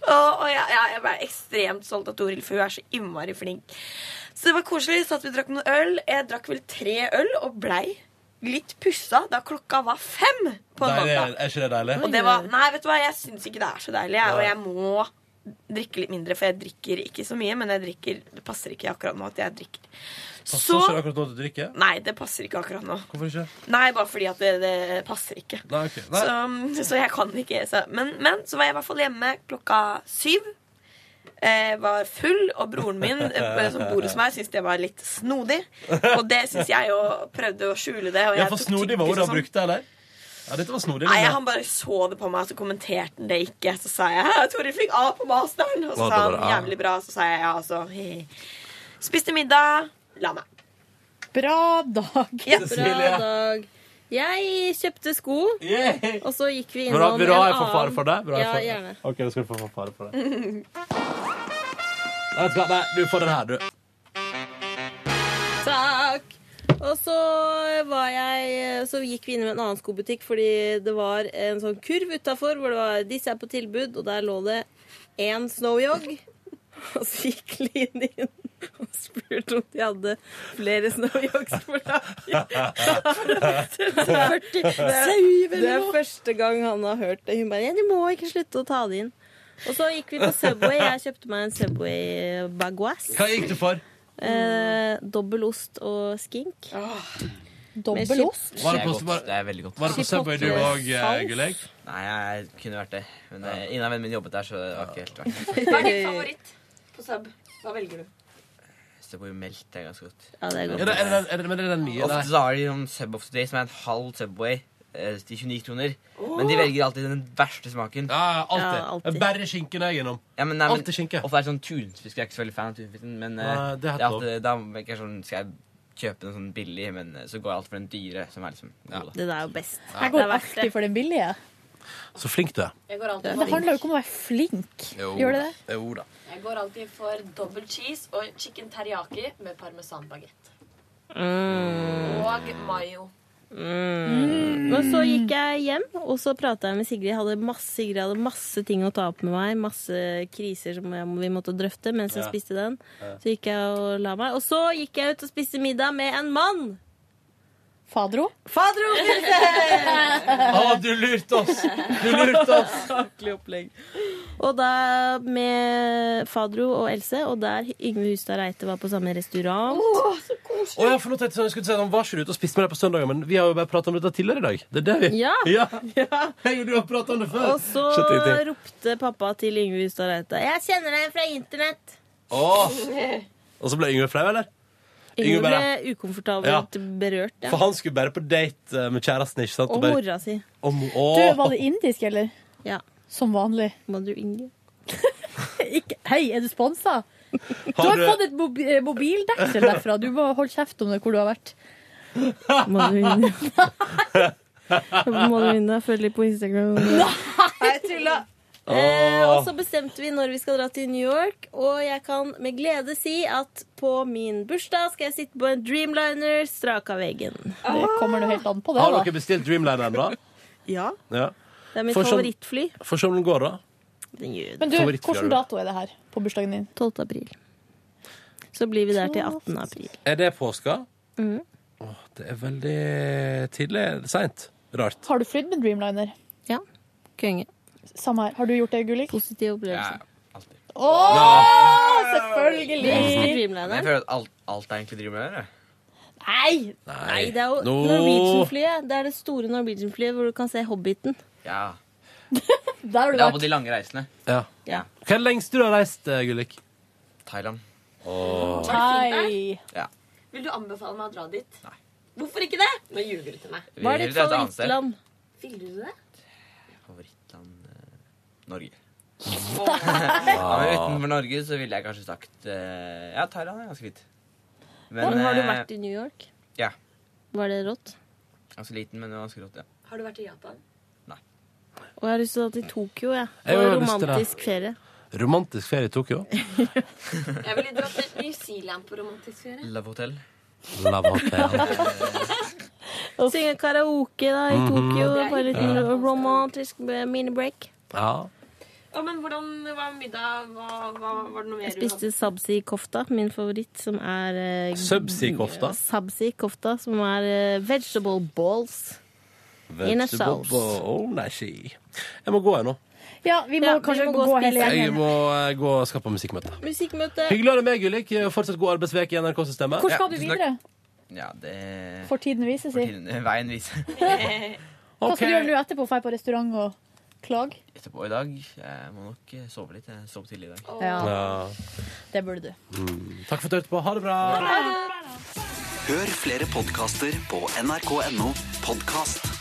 S13: Og, og jeg, jeg, jeg ble ekstremt stolt av Toril, for hun er så innmari flink. Så det var koselig. Satt vi og drakk noen øl. Jeg drakk vel tre øl og blei litt pussa da klokka var fem på en
S2: Deilig,
S13: mandag.
S2: er ikke det deilig?
S13: Og det var Nei, vet du hva, jeg syns ikke det er så deilig, jeg. Og jeg må drikke litt mindre, for jeg drikker ikke så mye, men jeg drikker Det passer ikke akkurat nå at jeg drikker.
S2: Passer
S13: så-
S2: ikke det akkurat nå til å drikke?
S13: Nei, det passer ikke akkurat nå.
S2: Hvorfor ikke?
S13: Nei, bare fordi at det, det passer ikke.
S2: Nei, ok. Nei.
S13: Så, så jeg kan ikke så, men, men så var jeg i hvert fall hjemme klokka syv. Eh, var full, og broren min eh, som bor hos meg, syntes det var litt snodig. Og det syns jeg jo prøvde å skjule det. Og
S2: ja,
S13: jeg
S2: for
S13: tok
S2: snodig var ordet
S13: tyggis og
S2: han
S13: sånn.
S2: brukte, eller? Ja, dette var snodig.
S13: Nei,
S2: Line.
S13: Han bare så det på meg, så kommenterte han det ikke. Så sa jeg «Hæ, 'Toril fikk A på masteren', og
S2: Å,
S13: så
S2: det
S13: sa
S2: var det,
S13: han
S2: ja.
S13: 'jævlig bra'. Så sa jeg ja, og så he-he. Spiste middag, la meg.
S4: Bra dag.
S13: Ja.
S3: Bra dag. Jeg kjøpte sko, og så gikk
S2: Vil
S3: vi
S2: du ha-
S3: innom
S2: vil du ha
S3: en
S2: jeg får fare for deg? Vil du ha jeg
S3: Ja,
S2: får-
S3: gjerne.
S2: OK, da skal du få få fare for det.
S3: annen.
S2: Nei, vet du hva? Nei, du får den her, du.
S3: Takk. Og så, var jeg, så gikk vi innom en annen skobutikk fordi det var en sånn kurv utafor hvor det var 'disse er på tilbud', og der lå det én Snowyog. Og så gikk Line inn og spurte om de hadde flere Snowyogs på lager. Det er- det er første gang han har hørt det. Hun bare 'ja, de må ikke slutte å ta det inn'. Og så gikk vi på Subway. Jeg kjøpte meg en Subway Bagwas.
S2: Hva gikk du for?
S3: Eh, dobbel ost og skink. Med chip-
S20: Var det, på, var, det er veldig godt.
S2: Var det på Subway du òg, eh, Gullek?
S20: Nei, jeg kunne vært det. Men eh, ingen av vennene mine jobbet der, så det var ikke helt verdt det.
S13: Hva er din favoritt på sub? Hva velger du?
S20: Subway melk det er ganske godt.
S13: Ja, det er godt.
S2: Er det- er det- er det- men er det den nye,
S20: Ofte
S2: eller?
S20: så har de sånn Sub of the Day, som er en halv Subway eh, til 29 kroner.
S2: Åh!
S20: Men de velger alltid den verste smaken.
S2: Ja, alltid. Ja, alltid. Bare skinken er gjennom.
S20: Ja, men, nei, men,
S2: Alltid skinke.
S20: Ofte er det sånn tunfisk. Jeg er ikke så veldig fan av tunfisken, men eh,
S2: Nei, det er
S20: det er
S2: helt lov.
S20: alltid, da tenker jeg sånn Skal jeg kjøpe den sånn billig, men eh, så går jeg alltid for den dyre, som er liksom god, da.
S3: Den er jo best.
S4: Jeg går alltid for den billige.
S2: Så flink du er.
S4: Det handler jo ikke om å være flink. Gjør det det?
S2: Jo da.
S21: Jeg går alltid for double cheese og chicken teriyaki med parmesanbaguett. Og mayo.
S3: Mm. Men så gikk jeg hjem, og så prata jeg med Sigrid. Jeg hadde masse, Sigrid hadde masse ting å ta opp med meg, masse kriser som jeg, vi måtte drøfte mens jeg
S21: Ja.
S3: spiste den.
S21: Ja.
S3: Så gikk jeg og la meg. Og så gikk jeg ut og spiste middag med en mann.
S4: Fadro?
S3: Fadro Pilsen!
S2: Å, du lurte oss! Du lurte oss!
S3: Saklig opplegg. Og da med Fadro og Else, og der Yngve Hustad Reite var på samme restaurant.
S2: Å, ja, for nå tenkte jeg sånn, jeg skulle si at Han var ikke ute og spiste med deg på søndagen, men vi har jo bare prata om dette tidligere i dag. Det er det vi
S3: Ja.
S2: ja. Jeg og du har prata om det før.
S3: Og så
S2: Skjønte ingenting.
S3: ropte pappa til Yngve Hustad Reite Jeg kjenner deg fra internett.
S2: Åh. Og så ble Yngve flau, eller?
S3: Yngve ble
S2: bare- Ja.
S3: ukomfortabelt berørt. Ja.
S2: For han skulle bare på date eh, med kjæresten, ikke sant?
S3: Og
S2: bare-
S3: mora si.
S2: Og mo-
S4: Du,
S2: Åh.
S4: var det indisk, eller?
S3: Ja.
S4: Som vanlig.
S3: Må du Inge?
S4: ikke, hei, er du sponsa? Du
S2: Har
S4: har
S2: du-
S4: fått et mobi- eh, mobildeksel derfra. Du må holde kjeft om det hvor du har vært.
S3: Må du Inge? Må du Inge? Følg litt på Instagram. Nei, tulla. Eh, og så bestemte vi når vi skal dra til New York, og jeg kan med glede si at på min bursdag skal jeg sitte på en Dreamliner strak av veggen.
S4: Det kommer noe helt an på,
S2: Har dere bestilt Dreamliner ennå?
S3: Ja.
S2: Ja.
S3: Det er mitt
S2: For sånn-
S3: favorittfly.
S2: For som den går, da?
S4: Men du,
S2: Favorittfly har
S4: hvilken
S2: du.
S4: dato er det her på bursdagen din?
S3: 12. april. Så blir vi der til 18. april.
S2: Er det påska?
S3: Mhm.
S2: Åh, det er veldig tidlig. Seint. Rart.
S4: Har du flydd med Dreamliner?
S3: Ja. Konge.
S4: Samme her. Har du gjort det, Gullik?
S3: Positiv opplevelse.
S20: Ja, alltid.
S4: Å,
S20: Ja.
S4: selvfølgelig!
S20: Men jeg føler at alt, alt er egentlig Dreamliner. jeg.
S3: Nei! Nei, det er jo
S20: Nå.
S3: Norwegian-flyet. Det er det store Norwegian-flyet hvor du kan se Hobbiten.
S20: Ja.
S3: Der har
S20: Det
S3: du
S20: var på
S3: vært.
S20: de lange reisene.
S2: Ja.
S3: Ja.
S2: Hva er det lengste du har reist, eh, Gullik?
S20: Thailand.
S2: Åh.
S21: Thai.
S20: Ja.
S21: Vil du anbefale meg å dra dit? Nei. Hvorfor ikke det? Nå ljuger du til meg.
S20: Vi Hva er ditt ljuger til et annet sted. favorittland?
S21: Vil du det?
S20: Favorittland eh, Norge. ja,
S21: Wow.
S20: men utenfor Norge så ville jeg kanskje sagt eh, Ja, Thailand er ganske fint.
S3: Men har du
S20: eh,
S3: vært i New York?
S20: Ja.
S3: Var det rått?
S20: Ganske liten, men det var ganske rått, ja.
S21: Har du vært i Japan?
S3: Og jeg har lyst til å dra til Tokyo, jeg.
S2: Jeg
S3: Og
S2: har lyst til det.
S3: romantisk ferie.
S2: Romantisk ferie i Tokyo.
S21: Jeg ville dratt til New Zealand på romantisk ferie.
S20: Love Hotel.
S2: Love Hotel.
S3: Synge karaoke da i
S2: Mhm.
S3: Tokyo.
S2: Det er
S3: Bare litt
S2: ikke
S3: romantisk eh, mini-break.
S2: Ja.
S21: Ja, men hvordan var middag? Hva, hva, var det noe mer
S3: Jeg spiste sabzi-kofta, min favoritt, som er eh,
S2: Subsi-kofta?
S3: Sabzi-kofta, som er eh, vegetable balls. In a
S2: Vegetable
S3: sauce.
S2: bowl, nei, si. Jeg må gå, jeg nå.
S4: Ja, vi må kanskje
S3: må
S4: gå,
S3: gå og
S4: hele
S3: spise.
S2: Jeg
S4: gjengen.
S2: må eh, gå og skape musikkmøte.
S3: Musikkmøte.
S2: Hyggelig å ha deg med, Gullik. Fortsatt god arbeidsveke i NRK-systemet.
S4: eh, Hvor skal du videre?
S20: Ja, det
S4: Får tiden vise, si.
S20: Tiden- Veien viser.
S4: Hva skal du gjøre nå etterpå? Dra på restaurant og klage?
S20: Etterpå i dag Jeg må nok eh, sove litt. Jeg sov tidlig i dag.
S4: Ja.
S2: Ja.
S4: Det burde du.
S2: Mm. Takk for at du hørte på. Ha det bra.
S1: Hør flere podkaster på nrk.no podkast.